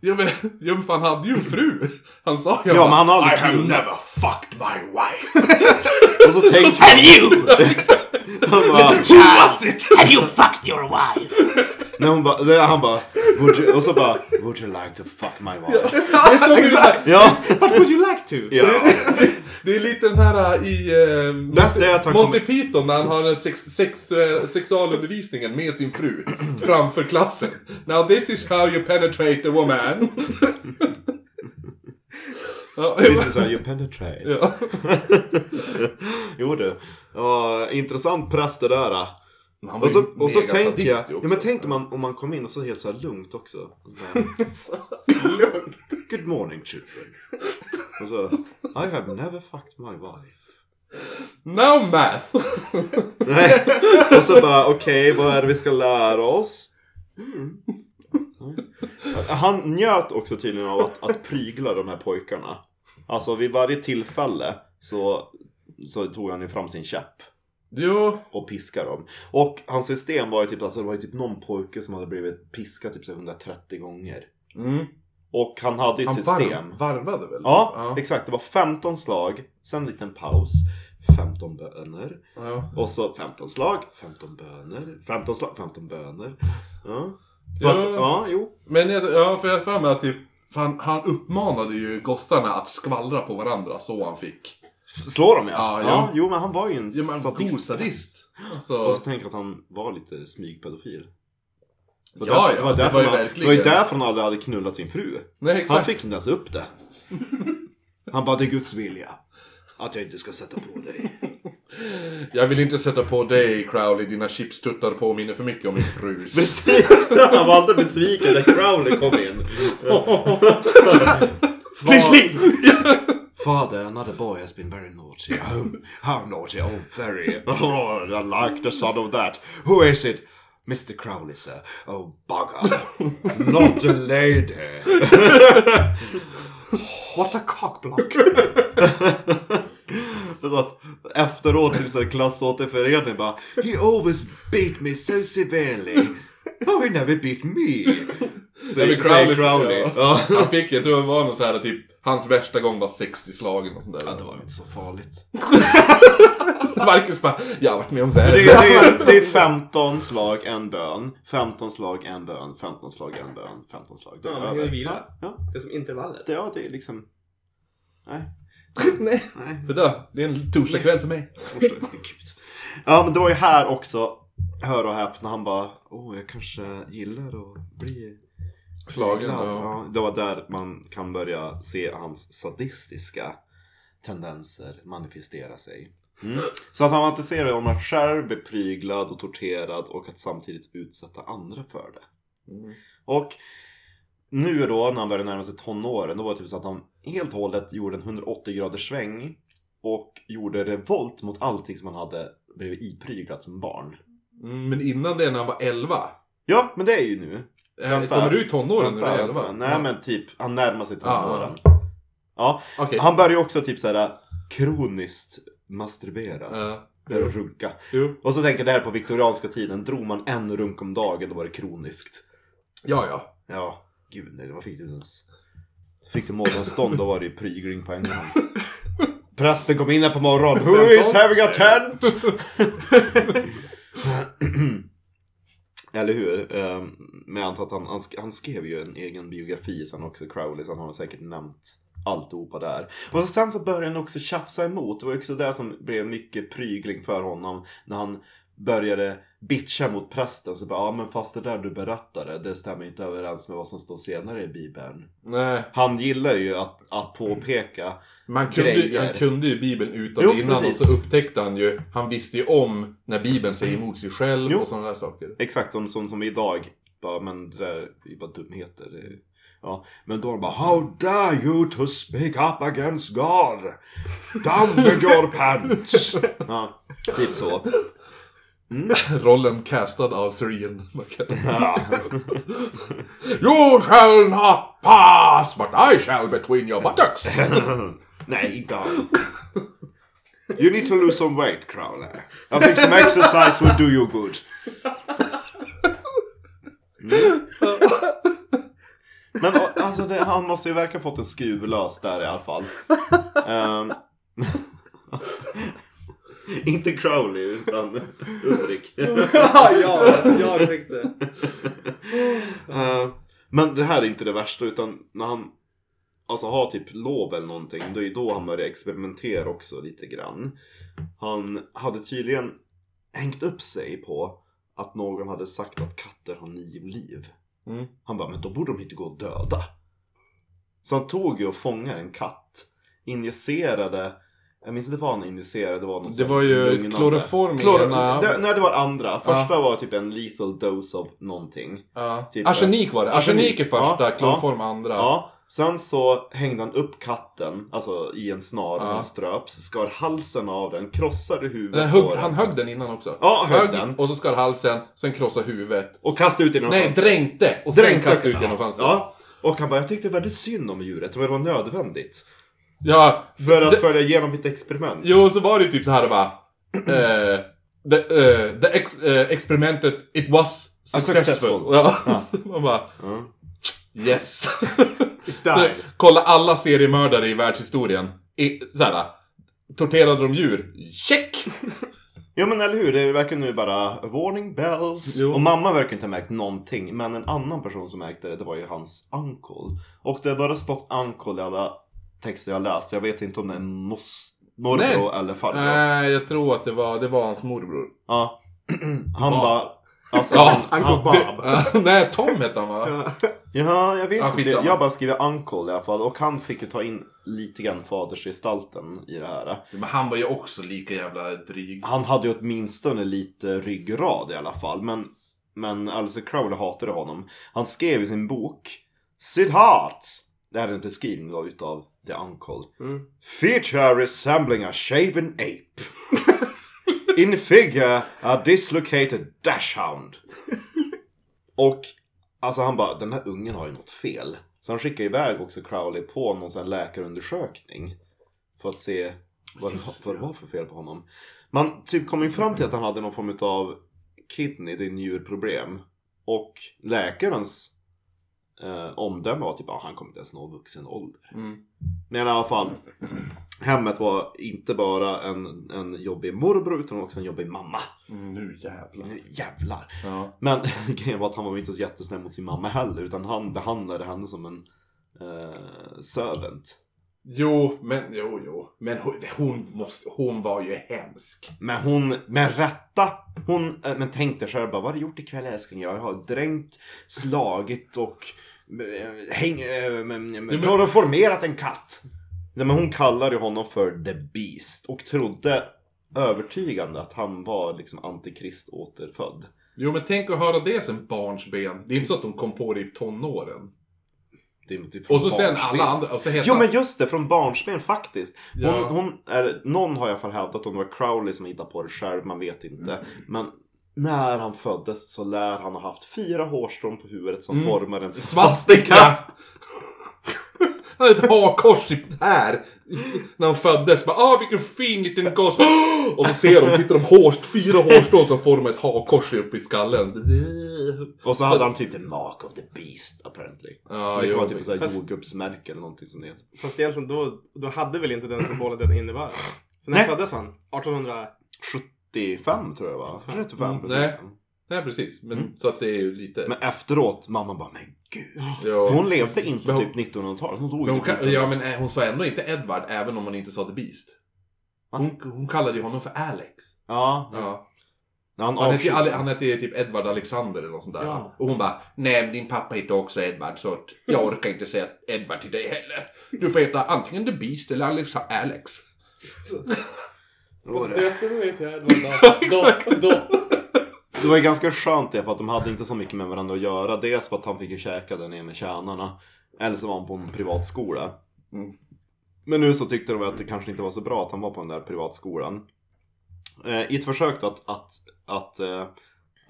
Speaker 2: Ja men, ja, men fan, han hade ju en fru. Han sa ju
Speaker 1: Ja, men han har aldrig
Speaker 2: I have
Speaker 1: knullat."
Speaker 2: never fucked my
Speaker 1: *laughs*
Speaker 2: wife.
Speaker 1: Och så tänker man...
Speaker 4: you?
Speaker 1: *laughs* Han bara,
Speaker 4: Have you fucked your wife?
Speaker 1: när hon bara, när han bara... Would you, och så bara... Would you like to fuck my wife?
Speaker 2: Det är, som i den här,
Speaker 1: Ja.
Speaker 3: But would you like to?
Speaker 1: ja.
Speaker 2: det är lite den här äh, i eh,
Speaker 1: Bäst är att han
Speaker 2: Monty
Speaker 1: kommer...
Speaker 2: Python när han har den sex, sex, eh, sexualundervisningen med sin fru framför klassen. Now this is how you penetrate
Speaker 1: *laughs*
Speaker 2: a woman. ja,
Speaker 1: This is how you penetrate.
Speaker 2: ja.
Speaker 1: Jo du. Ja, intressant präst det där. ah.
Speaker 2: Han var
Speaker 1: Och så,
Speaker 2: ju
Speaker 1: och så
Speaker 2: mega
Speaker 1: tänker jag,
Speaker 2: sadist ju
Speaker 1: ja,
Speaker 2: också.
Speaker 1: men tänk om man, om man kom in och så helt så här lugnt också.
Speaker 2: *laughs*
Speaker 1: Men, Good morning children. Och så, I have never fucked my
Speaker 2: *laughs*
Speaker 1: wife.
Speaker 2: No math!
Speaker 1: Nej. Och så bara, okej vad är det vi ska lära oss? Mm. Han njöt också tydligen av att, att prygla de här pojkarna. Alltså vid varje tillfälle så, så tog han ju fram sin käpp.
Speaker 2: jo,
Speaker 1: och piska dem. Och hans system var ju typ, alltså det var ju typ någon pojke som hade blivit piskad typ så 130 gånger.
Speaker 2: mm.
Speaker 1: Och han hade ju ett
Speaker 2: han
Speaker 1: system.
Speaker 2: varv, varvade väl?
Speaker 1: Ja,
Speaker 2: ja.
Speaker 1: exakt. Det var 15 slag, sen en liten paus. 15 böner.
Speaker 2: ja.
Speaker 1: Och så 15 slag, 15 böner, 15 slag, 15 böner. Ja,
Speaker 2: Ja.
Speaker 1: ja. Att, ja jo.
Speaker 2: Men jag, ja, för jag har för mig att typ, fan, han uppmanade ju gossarna att skvallra på varandra så han fick.
Speaker 1: S- Slår dem ja.
Speaker 2: Ja,
Speaker 1: Ja,
Speaker 2: ja.
Speaker 1: Jo men han var ju en
Speaker 2: Ja, men god sadist.
Speaker 1: Och
Speaker 2: Alltså,
Speaker 1: så tänker jag att han var lite smygpedofil. Det var
Speaker 2: Ja,
Speaker 1: därför-
Speaker 2: ja,
Speaker 1: var
Speaker 2: det
Speaker 1: därför
Speaker 2: var ju
Speaker 1: han- Det var ju
Speaker 2: verkligen.
Speaker 1: därför han aldrig hade knullat sin fru.
Speaker 2: nej
Speaker 1: Han
Speaker 2: exakt.
Speaker 1: fick inte ens upp det. Han bara, det är Guds vilja. Att jag inte ska sätta på dig.
Speaker 2: Jag vill inte sätta på dig Crowley, dina chips tuttar påminner för mycket om min
Speaker 1: *laughs*
Speaker 2: frus.
Speaker 1: Precis! *laughs* Han var alltid besviken när Crowley kom in. *laughs* Far, Father, another boy has been very naughty. Oh, how naughty? Oh, very. Oh, I like the sound of that. Who is it? Mr Crowley, sir. Oh, *laughs* bugger. Not a lady.
Speaker 3: What a cockblock.
Speaker 1: Så att efteråt, typ såhär klassåterförening bara He always beat me so severely But he never
Speaker 5: *laughs*
Speaker 1: beat me
Speaker 2: Nej,
Speaker 1: Säger
Speaker 2: men
Speaker 1: Crowley, Crowley.
Speaker 2: Ja.
Speaker 1: Ja.
Speaker 2: *laughs* Han fick, jag tror det var någon så här typ, hans värsta gång var 60 slag eller något sånt där.
Speaker 1: Ja, det var inte så farligt
Speaker 2: *laughs* Marcus bara, jag har varit med om
Speaker 1: det
Speaker 2: värre.
Speaker 1: är, det, är, det är 15 slag, en bön 15 slag, en bön 15 slag, en bön 15 slag
Speaker 5: Ja,
Speaker 1: är
Speaker 5: men det är
Speaker 1: över.
Speaker 5: ju vila.
Speaker 1: Ja,
Speaker 5: Det är som intervaller.
Speaker 1: det, ja, det är liksom Nej,
Speaker 2: *laughs* Nej.
Speaker 1: nej
Speaker 2: För då, det är en torsdagkväll för mig.
Speaker 1: Förstår inte, gud. Ja men det var ju här också Hör och häpna, han bara Åh, jag kanske gillar att bli
Speaker 2: Slagen
Speaker 1: Glad,
Speaker 2: och...
Speaker 1: ja. Det var där man kan börja se hans sadistiska tendenser manifestera sig. Mm. Så att han fantiserade om att själv bli pryglad och torterad och att samtidigt utsätta andra för det.
Speaker 2: Mm.
Speaker 1: Och nu då när han började närma sig tonåren, då var det typ så att han helt och hållet gjorde en 180 graders sväng och gjorde revolt mot allting som han hade blivit ipryglad som barn.
Speaker 2: Mm, Men innan det, när han var 11.
Speaker 1: Ja, men det är ju nu.
Speaker 2: Eh,
Speaker 1: Vänta.
Speaker 2: Kommer du i tonåren när du
Speaker 1: Vänta,
Speaker 2: är
Speaker 1: vänta.
Speaker 2: 11?
Speaker 1: Nej
Speaker 2: Ja.
Speaker 1: men typ, han närmar sig tonåren. Ja, *laughs*
Speaker 2: Okej.
Speaker 1: Han börjar ju också typ såhär kroniskt masturbera.
Speaker 2: Eh,
Speaker 1: Eller runka.
Speaker 2: Jo.
Speaker 1: Och så tänker jag det här på viktorianska tiden. Drog man en runk om dagen då var det kroniskt.
Speaker 2: Ja, ja.
Speaker 1: Ja, gud nej, vad fick du ens? Fick du morgonstånd då var det ju prygling på en gång. Prästen kom in här på morgonen. Who is having a tent? *laughs* Eller hur? Ehm, Men jag antar att han, han, sk- han skrev ju en egen biografi sen också, Crowley, så han har säkert nämnt alltihopa där. Och så sen så började han också tjafsa emot. Det var ju också det som blev mycket prygling för honom när han började bitcha mot prästen. Så bara, ja men fast det där du berättade, det stämmer ju inte överens med vad som står senare i Bibeln.
Speaker 2: Nej.
Speaker 1: Han gillar ju att, att påpeka.
Speaker 2: Man kunde,
Speaker 1: Grejer.
Speaker 2: han kunde ju Bibeln utan
Speaker 1: Jo,
Speaker 2: och innan
Speaker 1: precis.
Speaker 2: och så upptäckte han ju, han visste ju om när Bibeln säger emot sig själv
Speaker 1: Jo.
Speaker 2: och sådana där saker.
Speaker 1: Exakt som, som, som idag. Bara, men det där är ju bara dumheter. Det är- Ja. Men då är de bara How dare you to speak up against God? Down with your pants! ja, typ så.
Speaker 2: Rollen castad av Sir Ian McKellen. *laughs*
Speaker 1: Ja. *laughs* typ
Speaker 2: You shall not pass, but I shall between your buttocks!
Speaker 1: Nej, inte han.
Speaker 6: You need to lose some weight, Crowler. I think some exercise will do you good. Mm.
Speaker 1: Men å- alltså, det, han måste ju verkligen fått en skruv lös där i alla fall. Ehm, *laughs* inte Crowley, utan Ulrik.
Speaker 5: *laughs* ja, ja, jag fick det.
Speaker 1: *laughs* Eh, men det här är inte det värsta utan när han alltså, har typ lov eller någonting då är ju då han börjar experimentera också lite grann. Han hade tydligen hängt upp sig på att någon hade sagt att katter har nio liv.
Speaker 2: Mm.
Speaker 1: Han bara, men då borde de inte gå och döda. Så han tog ju och fångade en katt. Injicerade, jag minns inte vad han injicerade. Det var, något
Speaker 2: Det
Speaker 1: sånt
Speaker 2: var ju
Speaker 1: lugnande.
Speaker 2: kloroform i
Speaker 1: Klor-
Speaker 2: ena...
Speaker 1: det, nej, det var det andra. Första var typ en lethal dose av någonting.
Speaker 2: Ja.
Speaker 1: typ-
Speaker 2: arsenik var det. Arsenik är
Speaker 1: Arsenik, ja,
Speaker 2: första,
Speaker 1: ja.
Speaker 2: kloroform andra.
Speaker 1: Ja, sen så hängde han upp katten, alltså i en snar,
Speaker 2: Ja.
Speaker 1: han ströps, skar halsen av den, krossade huvudet
Speaker 2: Den
Speaker 1: på
Speaker 2: högg,
Speaker 1: den.
Speaker 2: han högg den innan också.
Speaker 1: Ja, högg den.
Speaker 2: Och så skar halsen, sen krossade huvudet.
Speaker 1: Och kastade ut genom
Speaker 2: Nej,
Speaker 1: fönstret.
Speaker 2: dränkte! Och sen
Speaker 1: Dränkte-
Speaker 2: kastade ut genom fönstret.
Speaker 1: Ja, och han bara, jag tyckte väldigt synd om djuret, men det var nödvändigt.
Speaker 2: Ja,
Speaker 1: För att
Speaker 2: Det-
Speaker 1: följa igenom mitt experiment.
Speaker 2: Jo, så var det ju typ så här bara... Eh, the, eh, the ex, eh, experimentet, it was successful.
Speaker 1: successful.
Speaker 2: Ja. Så *laughs* man bara,
Speaker 1: Ja.
Speaker 2: *laughs* yes. så,
Speaker 3: Där.
Speaker 2: kolla alla seriemördare i världshistorien. I, så här, torterade de djur? Check!
Speaker 1: Ja men eller hur, det verkar nu bara warning bells.
Speaker 2: Jo.
Speaker 1: Och mamma verkar inte ha märkt någonting. Men en annan person som märkte det, det var ju hans uncle. Och det har bara stått uncle i alla texter jag läst. Jag vet inte om det är mos- morbror eller farbror.
Speaker 2: Nej, jag tror att det var, det var hans morbror.
Speaker 1: Ja. *clears throat* Han
Speaker 2: Bob.
Speaker 1: bara...
Speaker 2: *laughs*
Speaker 1: Alltså,
Speaker 2: Ja,
Speaker 1: han,
Speaker 3: Uncle
Speaker 1: han,
Speaker 3: Bob.
Speaker 2: Det- *laughs* Nej, Tom hette han va?
Speaker 3: Ja.
Speaker 1: ja, jag vet
Speaker 2: Ja,
Speaker 1: inte.
Speaker 2: skitsamma.
Speaker 1: Jag bara skriver uncle i alla fall. Och han fick ju ta in lite grann fadersgestalten i det här.
Speaker 2: Men han var ju också lika jävla dryg.
Speaker 1: Han hade ju åtminstone lite ryggrad i alla fall. Men, men Alice Crowley hatade honom. Han skrev i sin bok Siddharth! Det här är en beskrivning då utav The Uncle.
Speaker 3: Mm.
Speaker 6: Feature resembling a shaven ape. In figure, a dislocated dashhound.
Speaker 1: Och alltså han bara, den här ungen har ju något fel. Så han skickar iväg också Crowley på någon sån här läkarundersökning. För att se vad det, var- vad det var för fel på honom. Man typ kom ju fram till att han hade någon form av kidney, det är njurproblem. Och läkarens eh, omdöme var typ att han kommer inte ens nå vuxen ålder.
Speaker 2: Mm.
Speaker 1: Men i alla fall, hemmet var inte bara en, en jobbig morbror utan också en jobbig mamma.
Speaker 2: Nu jävlar.
Speaker 1: Jävlar!
Speaker 2: Ja.
Speaker 1: Men *laughs* grejen var att han var inte så jättesnäll mot sin mamma heller utan han behandlade henne som en eh, servant.
Speaker 2: Jo, men jo, jo. Men hon, hon, måste, hon var ju hemsk.
Speaker 1: Men hon, med rätta, hon eh, men tänkte själv bara vad har du gjort ikväll älskling? Jag har dränkt, slagit och eh, häng, eh, men- men-
Speaker 2: men-
Speaker 1: kloroformerat en katt. Nej men hon kallade ju honom för the beast och trodde övertygande att han var liksom antikrist återfödd.
Speaker 2: Jo, men tänk att höra det sen barnsben. Det är inte så att de kom på det i tonåren.
Speaker 1: Det är typ
Speaker 2: Och så sen
Speaker 1: barnsben.
Speaker 2: alla andra. Och så heter
Speaker 1: Jo
Speaker 2: han-
Speaker 1: men just det, från barnsben faktiskt. Hon,
Speaker 2: Ja.
Speaker 1: hon är, någon har i alla fall hävdat om det var Crowley som hittade på det själv, man vet
Speaker 2: Mm.
Speaker 1: inte. Men när han föddes så lär han ha haft fyra hårstrån på huvudet som
Speaker 2: Mm.
Speaker 1: formar en
Speaker 2: Svastika! Han hade ett hakkors typ här. När han föddes. Bara, ah vilken fin liten gosse. Och så ser de, tittar de hårst, fyra hårstrån som formar ett hakkors uppe i skallen.
Speaker 1: Och så hade han typ the mark of the beast apparently.
Speaker 2: Ja,
Speaker 1: det
Speaker 2: jo,
Speaker 1: var typ såhär
Speaker 3: Fast-
Speaker 1: jordgubbsmärke eller någonting som det heter.
Speaker 3: Fast egentligen då, då hade väl inte den symbolen den innebar. För när
Speaker 1: Nej.
Speaker 3: föddes han? 1800?
Speaker 1: 75 tror jag va? 35
Speaker 2: Mm,
Speaker 1: precis.
Speaker 2: nej. Nej precis, men så att det är ju lite...
Speaker 1: Mm. Men efteråt, mamma bara men gud.
Speaker 2: jo.
Speaker 1: För hon levde inte
Speaker 2: Men hon-
Speaker 1: typ 1900-talet, hon dog
Speaker 2: Men
Speaker 1: ju
Speaker 2: hon,
Speaker 1: typ
Speaker 2: kan- ja, men eh, hon sa ändå inte Edward, även om hon inte sa The Beast.
Speaker 1: Va?
Speaker 2: Hon, hon kallade ju honom för Alex.
Speaker 1: Ja,
Speaker 2: Ja.
Speaker 1: han,
Speaker 2: Han, hette ju,
Speaker 1: avskydde-
Speaker 2: Ale- han hette ju typ Edward Alexander eller något sånt där.
Speaker 1: Ja.
Speaker 2: va? Och hon bara, nej men din pappa heter också Edward så att
Speaker 1: *laughs*
Speaker 2: jag orkar inte säga Edward till dig heller. Du får heta antingen The Beast eller Alex. Alex.
Speaker 5: Döpte mig till
Speaker 3: *laughs*
Speaker 5: Edvard Dopp. Dopp.
Speaker 1: Det var ju ganska skönt det för att de hade inte så mycket med varandra att göra. Dels för att han fick ju käka där nere med tjänarna. Eller så var han på en privatskola.
Speaker 2: Mm.
Speaker 1: Men nu så tyckte de att det kanske inte var så bra att han var på den där privatskolan. Eh, I ett försök då att, att, att eh,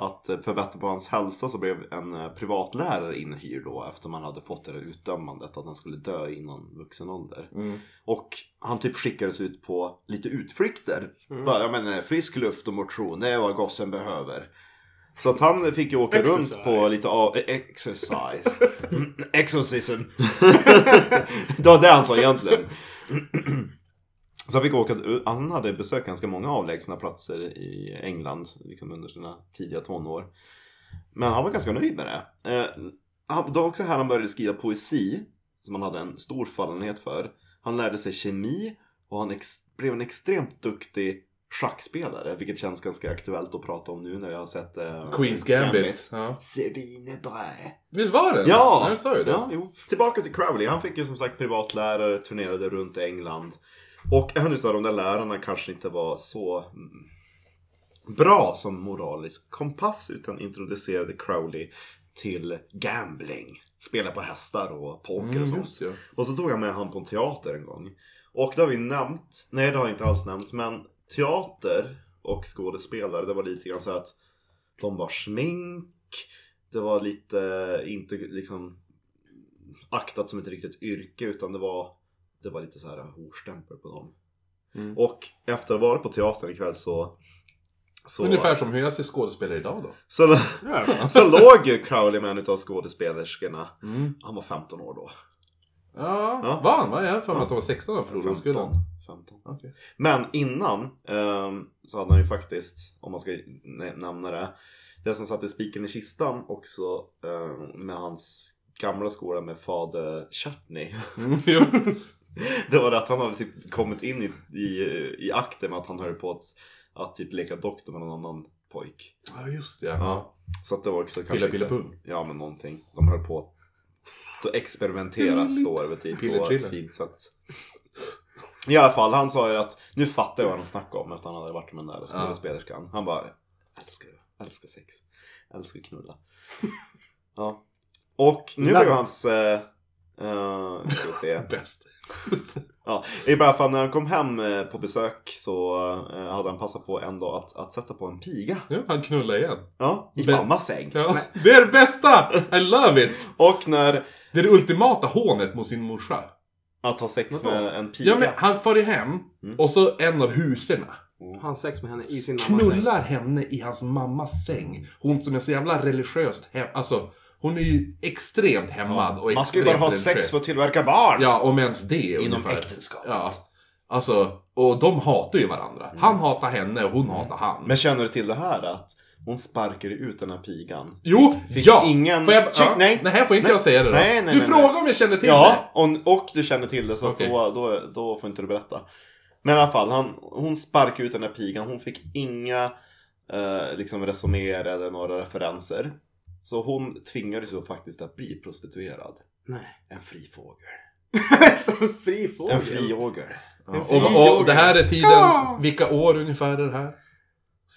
Speaker 1: att eh, förbättra på hans hälsa så blev en eh, privatlärare inhyrd då efter man hade fått det där utdömandet att han skulle dö innan vuxen ålder.
Speaker 2: Mm.
Speaker 1: Och han typ skickades ut på lite utflykter.
Speaker 2: Mm.
Speaker 1: Bara, ja men eh, frisk luft och motion, det är vad gossen behöver. Så att han fick ju åka runt på
Speaker 3: Exercise.
Speaker 1: lite av... eh, Exercise. Mm, Exorcism. *laughs* det var det han sa egentligen. Så han fick åka... Han hade besökt ganska många avlägsna platser i England. Liksom under sina tidiga tonår. Men han var ganska nöjd med det. Eh, han- Det var också här han började skriva poesi. Som han hade en stor fallenhet för. Han lärde sig kemi. Och han ex- blev en extremt duktig schackspelare. Vilket känns ganska aktuellt att prata om nu när jag har sett... eh,
Speaker 2: Queens Gambit. Ja.
Speaker 1: Svinebra.
Speaker 2: Visst var det?
Speaker 1: Ja!
Speaker 2: Jag sa ju det.
Speaker 1: Ja, jo. Tillbaka till Crowley. Han fick ju som sagt privatlärare, turnerade runt i England. Och en utav de där lärarna kanske inte var så mm, bra som moralisk kompass utan introducerade Crowley till gambling. Spela på hästar och poker
Speaker 2: Mm,
Speaker 1: och sånt.
Speaker 2: just ja.
Speaker 1: Och så tog jag med han på en teater en gång. Och det har vi nämnt, nej det har jag inte alls nämnt, men teater och skådespelare det var lite grann så att de var smink, det var lite inte liksom aktat som ett riktigt yrke utan det var, det var lite så här horstämpel på dem.
Speaker 2: Mm.
Speaker 1: Och efter att ha varit på teatern ikväll så så,
Speaker 2: Ungefär som hur jag ser skådespelare idag då.
Speaker 1: så, så låg ju Crowley med en utav skådespelerskorna.
Speaker 2: Mm.
Speaker 1: Han var 15 år då.
Speaker 2: Ja,
Speaker 1: Ja.
Speaker 2: vann va? Jag har för mig att de var 16 då för Olovskullen.
Speaker 1: 15.
Speaker 2: Okej.
Speaker 1: Men innan ehm, så hade han ju faktiskt, om man ska nä- nämna det, det som satte spiken i kistan också ehm, med hans gamla skola med fader Chutney. *laughs*
Speaker 2: Mm, jo.
Speaker 1: Det var det att han hade typ kommit in i, i, i akten med att han höll på att, att typ leka doktor med någon annan pojk.
Speaker 2: *laughs* Ja, just det. Ja.
Speaker 1: Ja. Så att det var också kanske
Speaker 2: Pilla
Speaker 1: inte-
Speaker 2: pilla pung.
Speaker 1: Ja men någonting. De höll på att experimentera står det väl typ
Speaker 2: Piller
Speaker 1: på
Speaker 2: triller.
Speaker 1: ett fint sätt. I alla fall, han sa ju att nu fattar jag vad de snackar om efter han hade varit med den där skådespelerskan. Han bara älskar det, älskar sex, älskar att knulla.
Speaker 2: *laughs*
Speaker 1: Ja. Och nu blev hans... Eh, eh, ska vi se.
Speaker 2: Bäst.
Speaker 1: Ja, i alla fall när han kom hem eh, på besök så eh, hade han passat på en dag att, att sätta på en piga.
Speaker 2: *laughs* Ja, han knullar igen.
Speaker 1: Ja, i
Speaker 2: Men-
Speaker 1: mammas säng.
Speaker 2: Ja. Det är det bästa! I love it!
Speaker 1: Och när
Speaker 2: Det är det ultimata hånet mot sin morsa.
Speaker 1: Att ha sex
Speaker 3: Vadå?
Speaker 1: med en piga?
Speaker 2: Ja, men han far ju hem
Speaker 1: Typ, Mm.
Speaker 2: och så en av huserna
Speaker 3: Han sex med henne i sin mammas säng. *laughs*
Speaker 2: knullar henne i hans mammas säng. Hon som är så jävla religiöst hem... Alltså, hon är ju extremt hämmad och extremt
Speaker 1: Man ska ju bara ha sex
Speaker 2: religiös.
Speaker 1: för att tillverka barn!
Speaker 2: Ja, om ens det
Speaker 1: Inom
Speaker 2: ungefär.
Speaker 1: äktenskapet.
Speaker 2: Ja. Alltså, och de hatar ju varandra. Han hatar henne och hon hatar han.
Speaker 1: Mm. Men känner du till det här att hon sparkade ut den här pigan?
Speaker 2: jo,
Speaker 1: Fick
Speaker 2: ja!
Speaker 1: ingen-
Speaker 2: Får jag...
Speaker 1: Shit,
Speaker 2: ja.
Speaker 1: nej.
Speaker 2: Nej, här får inte
Speaker 1: Nej.
Speaker 2: jag säga det då.
Speaker 1: Nej, nej,
Speaker 2: du
Speaker 1: nej,
Speaker 2: frågade om jag kände till
Speaker 1: Ja, och, och du känner till det så att
Speaker 2: Okej.
Speaker 1: då, då, då får inte du berätta. Men i alla fall, han, hon sparkade ut den här pigan. Hon fick inga eh, liksom resonéer eller några referenser. Så hon tvingades ju faktiskt att bli prostituerad.
Speaker 3: Nej.
Speaker 1: En fri fågel.
Speaker 3: Som fri fågel.
Speaker 1: En fri åger.
Speaker 2: det.
Speaker 3: En
Speaker 2: Ja. Och, och det här är tiden... Vilka år ungefär är det här?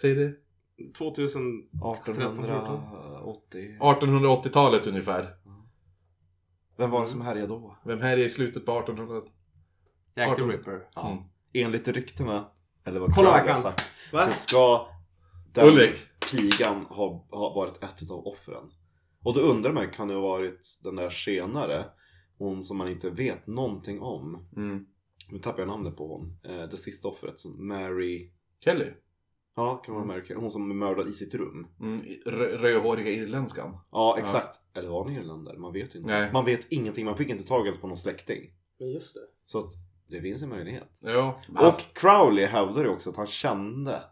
Speaker 2: Säg det.
Speaker 3: 2000...
Speaker 1: 1880.
Speaker 2: 1880-talet ungefär.
Speaker 1: Vem var det som härjade då?
Speaker 2: Vem här är i slutet på 1800-talet?
Speaker 3: Jack the
Speaker 2: 18.
Speaker 3: Ripper.
Speaker 1: Ja.
Speaker 2: Mm.
Speaker 1: Enligt ryktena, eller vad
Speaker 3: Kolla vad
Speaker 1: Crowley
Speaker 3: jag
Speaker 1: har
Speaker 3: kan.
Speaker 1: sagt,
Speaker 3: Va?
Speaker 1: så ska den
Speaker 2: Ulrik.
Speaker 1: pigan ha, ha varit ett av offren. Och då undrar man, kan det ha varit den där senare? Hon som man inte vet någonting om.
Speaker 2: Mm.
Speaker 1: Nu tappar jag namnet på hon. Eh, det sista offret, som Mary...
Speaker 2: Kelly.
Speaker 1: Ja, kan
Speaker 3: Mm.
Speaker 1: vara Mary Kay. Hon som är mördad i sitt rum.
Speaker 2: Mm. rö- Rödhåriga irländskan.
Speaker 1: Ja, exakt. Eller var hon irländare? Man vet ju inte.
Speaker 2: Nej.
Speaker 1: Man vet ingenting. Man fick inte tag ens på någon släkting.
Speaker 5: Men just det.
Speaker 1: Så att det finns en möjlighet.
Speaker 2: Ja. Alltså,
Speaker 1: Och Crowley hävdar ju också att han kände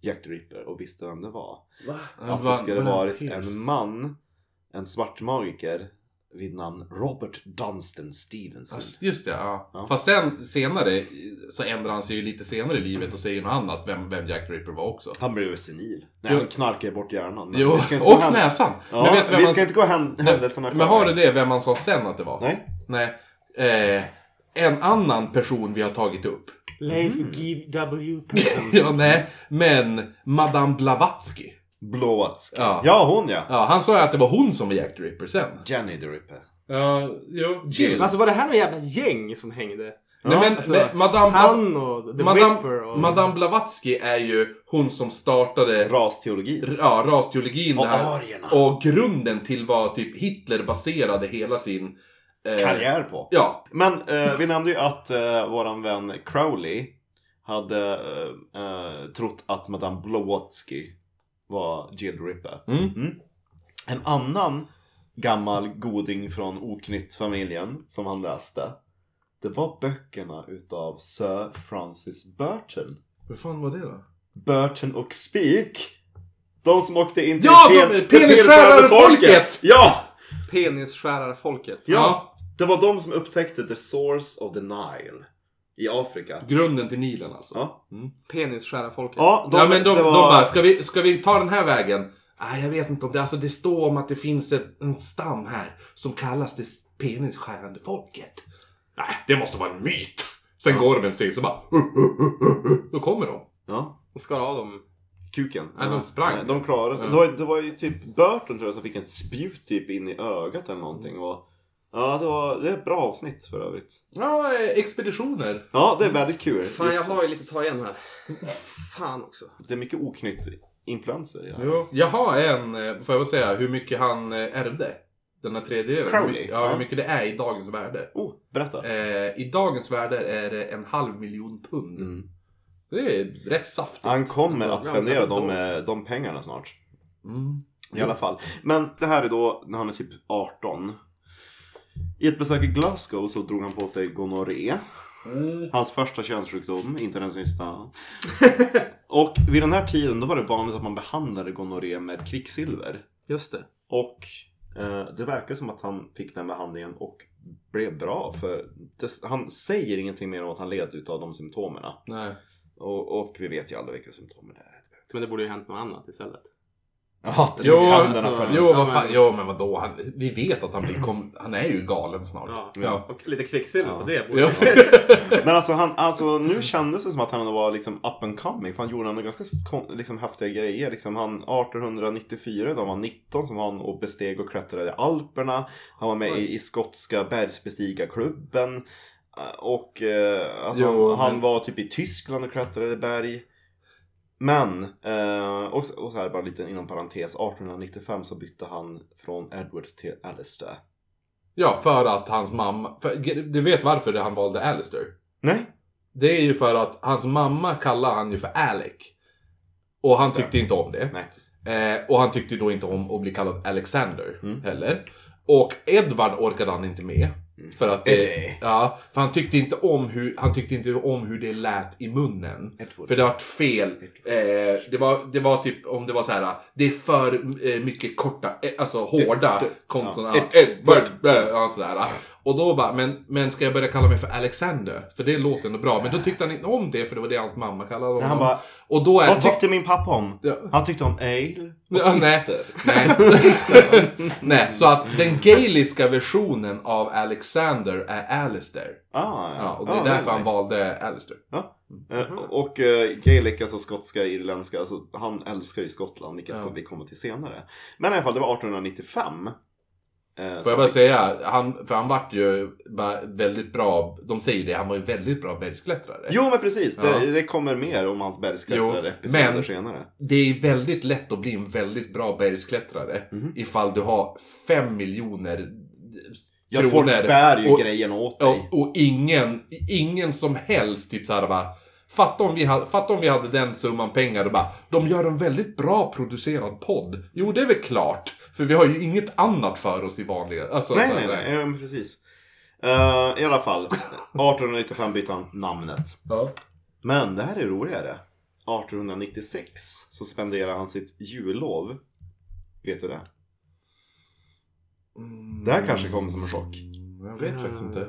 Speaker 1: Jack the Ripper och visste vem det var.
Speaker 5: Va?
Speaker 1: Att det skulle varit en man, en svart magiker vid namn Robert Dunstan Stevenson.
Speaker 2: Alltså, Just det, ja.
Speaker 1: Ja.
Speaker 2: Fast sen senare så ändrar han sig ju lite senare i livet och säger något annat vem, vem Jack the Ripper var också.
Speaker 1: Han blev ju senil. Nej,
Speaker 2: Jo.
Speaker 1: han knarkade bort hjärnan. men
Speaker 2: Jo,
Speaker 1: vi ska inte gå
Speaker 2: och
Speaker 1: hän-
Speaker 2: näsan!
Speaker 1: Ja,
Speaker 2: men vet du vem
Speaker 1: vi
Speaker 2: han...
Speaker 1: ska inte gå hän- händelserna
Speaker 2: Men har du
Speaker 1: själva.
Speaker 2: det vem man sa sen att det var?
Speaker 1: Nej.
Speaker 2: Nej. Eh, en annan person vi har tagit upp. *laughs*
Speaker 3: Leif G. W. Persson.
Speaker 2: ja, nej. Men Madame Blavatsky.
Speaker 1: Blåvatsk.
Speaker 2: Ja.
Speaker 1: Ja. hon ja.
Speaker 2: Ja, han sa ju att det var hon som var Jack the Ripper sen.
Speaker 1: Jenny the Ripper.
Speaker 2: Ja, jo. Jill.
Speaker 3: Alltså var det här någon jävla gäng som hängde?
Speaker 2: Nej, men,
Speaker 3: alltså,
Speaker 2: men Madame,
Speaker 3: Han och The Whipper
Speaker 2: Madame,
Speaker 3: och...
Speaker 2: Madame Blavatsky är ju hon som startade
Speaker 1: Rasteologi.
Speaker 2: ja, rasteologin.
Speaker 7: Och
Speaker 2: det här.
Speaker 7: arierna.
Speaker 2: Och grunden till vad typ Hitler baserade hela sin... eh,
Speaker 1: Karriär på.
Speaker 2: Ja,
Speaker 1: Men eh, vi nämnde ju att eh, våran vän Crowley hade eh, eh, trott att Madame Blavatsky var Jill Ripper.
Speaker 2: Mm.
Speaker 1: En annan gammal goding från Oknytt-familjen som han läste. Det var böckerna utav Sir Francis Burton.
Speaker 2: hur fan var det då?
Speaker 1: Burton och Speak. De som åkte in till
Speaker 2: Ja, de-
Speaker 1: pen- till
Speaker 2: penisskärande
Speaker 1: penisskärande
Speaker 2: folket!
Speaker 1: Ja!
Speaker 3: Penisskärarfolket.
Speaker 1: Ja, det var de som upptäckte the source of the Nile i Afrika.
Speaker 2: Grunden till Nilen alltså.
Speaker 1: Ja,
Speaker 3: Penisskärarfolket.
Speaker 1: ja, de,
Speaker 2: ja men de,
Speaker 1: det var...
Speaker 2: de bara, ska vi, ska vi ta den här vägen? Ah, jag vet inte om det, alltså det står om att det finns ett, en stam här som kallas det penisskärande folket. Nej, det måste vara en myt. Sen går de en steg så bara... Då kommer de.
Speaker 1: Ja,
Speaker 3: Och skar av dem.
Speaker 1: kuken.
Speaker 2: Nej, de sprang.
Speaker 1: Nej, De klarade sig.
Speaker 2: Ja.
Speaker 1: Det, var, det var ju typ Burton tror jag som fick en spjut typ in i ögat eller någonting. Och, ja, det, var, det är ett bra avsnitt för övrigt.
Speaker 2: Ja, eh, expeditioner.
Speaker 1: Ja, det är väldigt kul.
Speaker 8: Fan,
Speaker 1: Just-
Speaker 8: jag har ju lite att ta igen här. Fan också.
Speaker 1: Det är mycket oknytt influenser i det här.
Speaker 2: Jo. Jag har en, eh, får jag väl säga, hur mycket han eh, ärvde. Den här tredjedelen.
Speaker 1: Crowley?
Speaker 2: Ja,
Speaker 1: Ja.
Speaker 2: hur mycket det är i dagens värde.
Speaker 1: Oh, berätta.
Speaker 2: Eh, I dagens värde är det en halv miljon pund.
Speaker 1: Mm.
Speaker 2: Det är rätt saftigt.
Speaker 1: Han kommer att spendera de,
Speaker 2: Mm.
Speaker 1: eh, de pengarna snart. I alla fall. Men det här är då när han är typ 18. I ett besök i Glasgow så drog han på sig gonorré. Hans första könssjukdom, inte den sista. *laughs* Och vid den här tiden då var det vanligt att man behandlade gonorré med kvicksilver.
Speaker 3: Just det.
Speaker 1: Och eh, det verkar som att han fick den behandlingen och blev bra. För det, han säger ingenting mer om att han led utav de symptomerna.
Speaker 2: Nej.
Speaker 1: Och, och vi vet ju aldrig vilka symptom det är.
Speaker 3: Men det borde ju hänt något annat istället.
Speaker 1: Ja,
Speaker 2: Jo,
Speaker 1: tänderna
Speaker 2: alltså,
Speaker 1: föll ut.
Speaker 2: jo, vad
Speaker 3: Ja,
Speaker 2: fan,
Speaker 3: men-
Speaker 2: jo, men vadå? Han, vi vet att han blir kom, Han är ju galen snart.
Speaker 3: Ja.
Speaker 2: Ja.
Speaker 3: Och lite kvicksilver
Speaker 1: Ja.
Speaker 3: på det borde
Speaker 2: Ja.
Speaker 1: Men alltså, han, alltså nu kändes det som att han var liksom up and coming. För han gjorde ändå ganska kon- liksom, häftiga grejer. Liksom, han, 1894, då var han 19, som han och besteg och klättrade i Alperna. Han var med i, i skotska bergsbestigarklubben. Eh, Och eh, alltså,
Speaker 2: Jo,
Speaker 1: han, han
Speaker 2: men-
Speaker 1: var typ i Tyskland och klättrade berg. Men, eh, och, så- och så här bara en liten inom parentes, 1895 så bytte han från Edward till Alistair.
Speaker 2: Ja, för att hans mamma... För, du vet varför det han valde Alistair?
Speaker 1: Nej,
Speaker 2: Det är ju för att hans mamma kallade han ju för Alec. Och han tyckte inte om det.
Speaker 1: nej.
Speaker 2: Eh, och han tyckte ju då inte om att bli kallad Alexander
Speaker 1: Mm.
Speaker 2: heller. Och Edvard orkade han inte med. För att det,
Speaker 1: Eddie.
Speaker 2: ja, för han tyckte inte om hur, han tyckte inte om hur det lät i munnen.
Speaker 1: Edward.
Speaker 2: För det var fel. Eh, det, var, det var typ om det var så här. Det är för eh, mycket korta, eh, alltså hårda konton. Ja. Edward. blö, Ja, sådär. Och då bara, men, men ska jag börja kalla mig för Alexander? För det låter ändå bra. Men då tyckte han inte om det för det var det hans mamma kallade honom.
Speaker 1: Nej, han bara,
Speaker 2: och då är
Speaker 1: Vad tyckte min pappa om?
Speaker 2: Ja.
Speaker 1: Han tyckte
Speaker 2: Ah,
Speaker 1: om ale och
Speaker 2: Ja, nej.
Speaker 1: ister.
Speaker 2: Nej.
Speaker 1: *laughs*
Speaker 2: Nej, så att den gaeliska versionen av Alexander är Alistair.
Speaker 1: Ah,
Speaker 2: Ja, och det är därför han valde Alistair.
Speaker 1: Eh, Och eh, Gaelic, alltså skotska, irländska, alltså, han älskar ju Skottland, vilket
Speaker 2: Ja.
Speaker 1: vi kommer till senare. Men i alla fall, det var 1895. Eh,
Speaker 2: Får jag bara säga, han, för han vart ju bara väldigt bra, de säger det, han var ju väldigt bra bergsklättrare.
Speaker 1: Jo men precis, det,
Speaker 2: Ja.
Speaker 1: det kommer mer om hans bergsklättrare-episoder
Speaker 2: Jo, men-
Speaker 1: senare.
Speaker 2: Det är väldigt lätt att bli en väldigt bra bergsklättrare
Speaker 1: Mhm.
Speaker 2: ifall du har fem miljoner
Speaker 1: Ja, folk
Speaker 2: kronor.
Speaker 1: bär ju
Speaker 2: och-
Speaker 1: grejen åt dig.
Speaker 2: Och, och ingen, ingen som helst typ såhär bara Fatta om, vi hade, fatta om vi hade den summan pengar och bara De gör en väldigt bra producerad podd. Jo, det är väl klart. För vi har ju inget annat för oss i vanliga... Alltså,
Speaker 1: nej,
Speaker 2: så här,
Speaker 1: nej, nej, Ja, men precis. Eh, I alla fall, 1895 bytte han namnet.
Speaker 2: Ja.
Speaker 1: Men det här är roligare. 1896 så spenderar han sitt jullov. Vet du det? Det här kanske kommer som en chock.
Speaker 2: Mm. Jag vet faktiskt inte.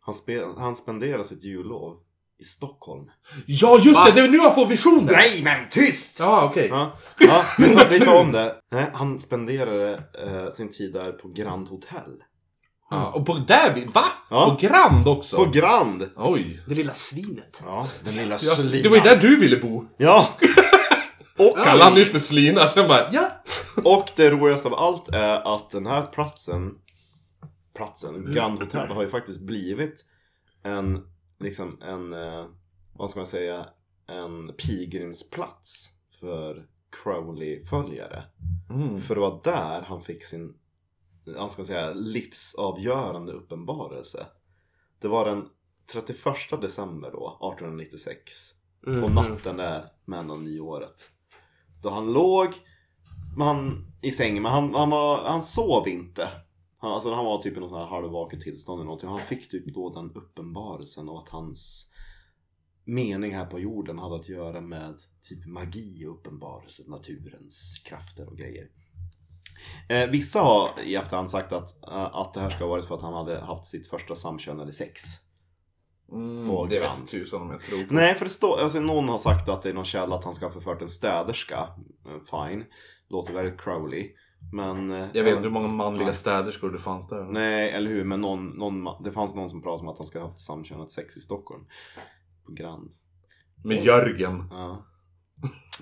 Speaker 1: Han, spe- han spenderar sitt jullov i Stockholm.
Speaker 2: Ja, just det! Det är nu jag får visioner! Nej, men tyst! Ja, okej.
Speaker 1: Ja, ja vi tar, vi tar om det. Nej, han spenderade eh, sin tid där på Grand Hotel.
Speaker 2: Ja, Ah, och på där vi... Va?
Speaker 1: Ja.
Speaker 2: På Grand också?
Speaker 1: På Grand!
Speaker 2: Oj.
Speaker 8: Det lilla svinet.
Speaker 1: Ja, den lilla
Speaker 2: Ja,
Speaker 1: slinan.
Speaker 2: det var ju där du ville bo.
Speaker 1: Ja! Och,
Speaker 2: Kallade han nyss för slina, sen bara ja.
Speaker 1: och det roligaste av allt är att den här platsen, platsen, Grand Hotel, har ju faktiskt blivit en liksom en, eh, vad ska man säga, en pilgrimsplats för Crowley-följare.
Speaker 2: Mm.
Speaker 1: För det var där han fick sin, vad ska man säga, livsavgörande uppenbarelse. Det var den 31 december då, 1896. På
Speaker 3: Mm.
Speaker 1: natten där med om nyåret. Då han låg men han, i sängen, men han, han, var, han sov inte. Han, alltså, han var typ i någon sån här halvvaket tillstånd eller någonting. Och Han fick typ då den uppenbarelsen av att hans mening här på jorden hade att göra med typ magi och uppenbarelse, naturens krafter och grejer. Eh, vissa har i efterhand sagt att, eh, att det här ska ha varit för att han hade haft sitt första samkönade sex.
Speaker 2: Mm, det vet tusan om jag tror på.
Speaker 1: Nej, för det står, alltså någon har sagt att det är någon källa att han ska ha förfört en städerska. Eh, Fine. Låter väldigt Crowley. Men... eh,
Speaker 2: Jag vet inte hur många manliga städerskor det fanns där.
Speaker 1: Nej, eller hur. Men någon, någon, ma- det fanns någon som pratade om att han ska ha haft samkönat sex i Stockholm. På Grand.
Speaker 2: Med Jörgen. *laughs*
Speaker 1: Ja.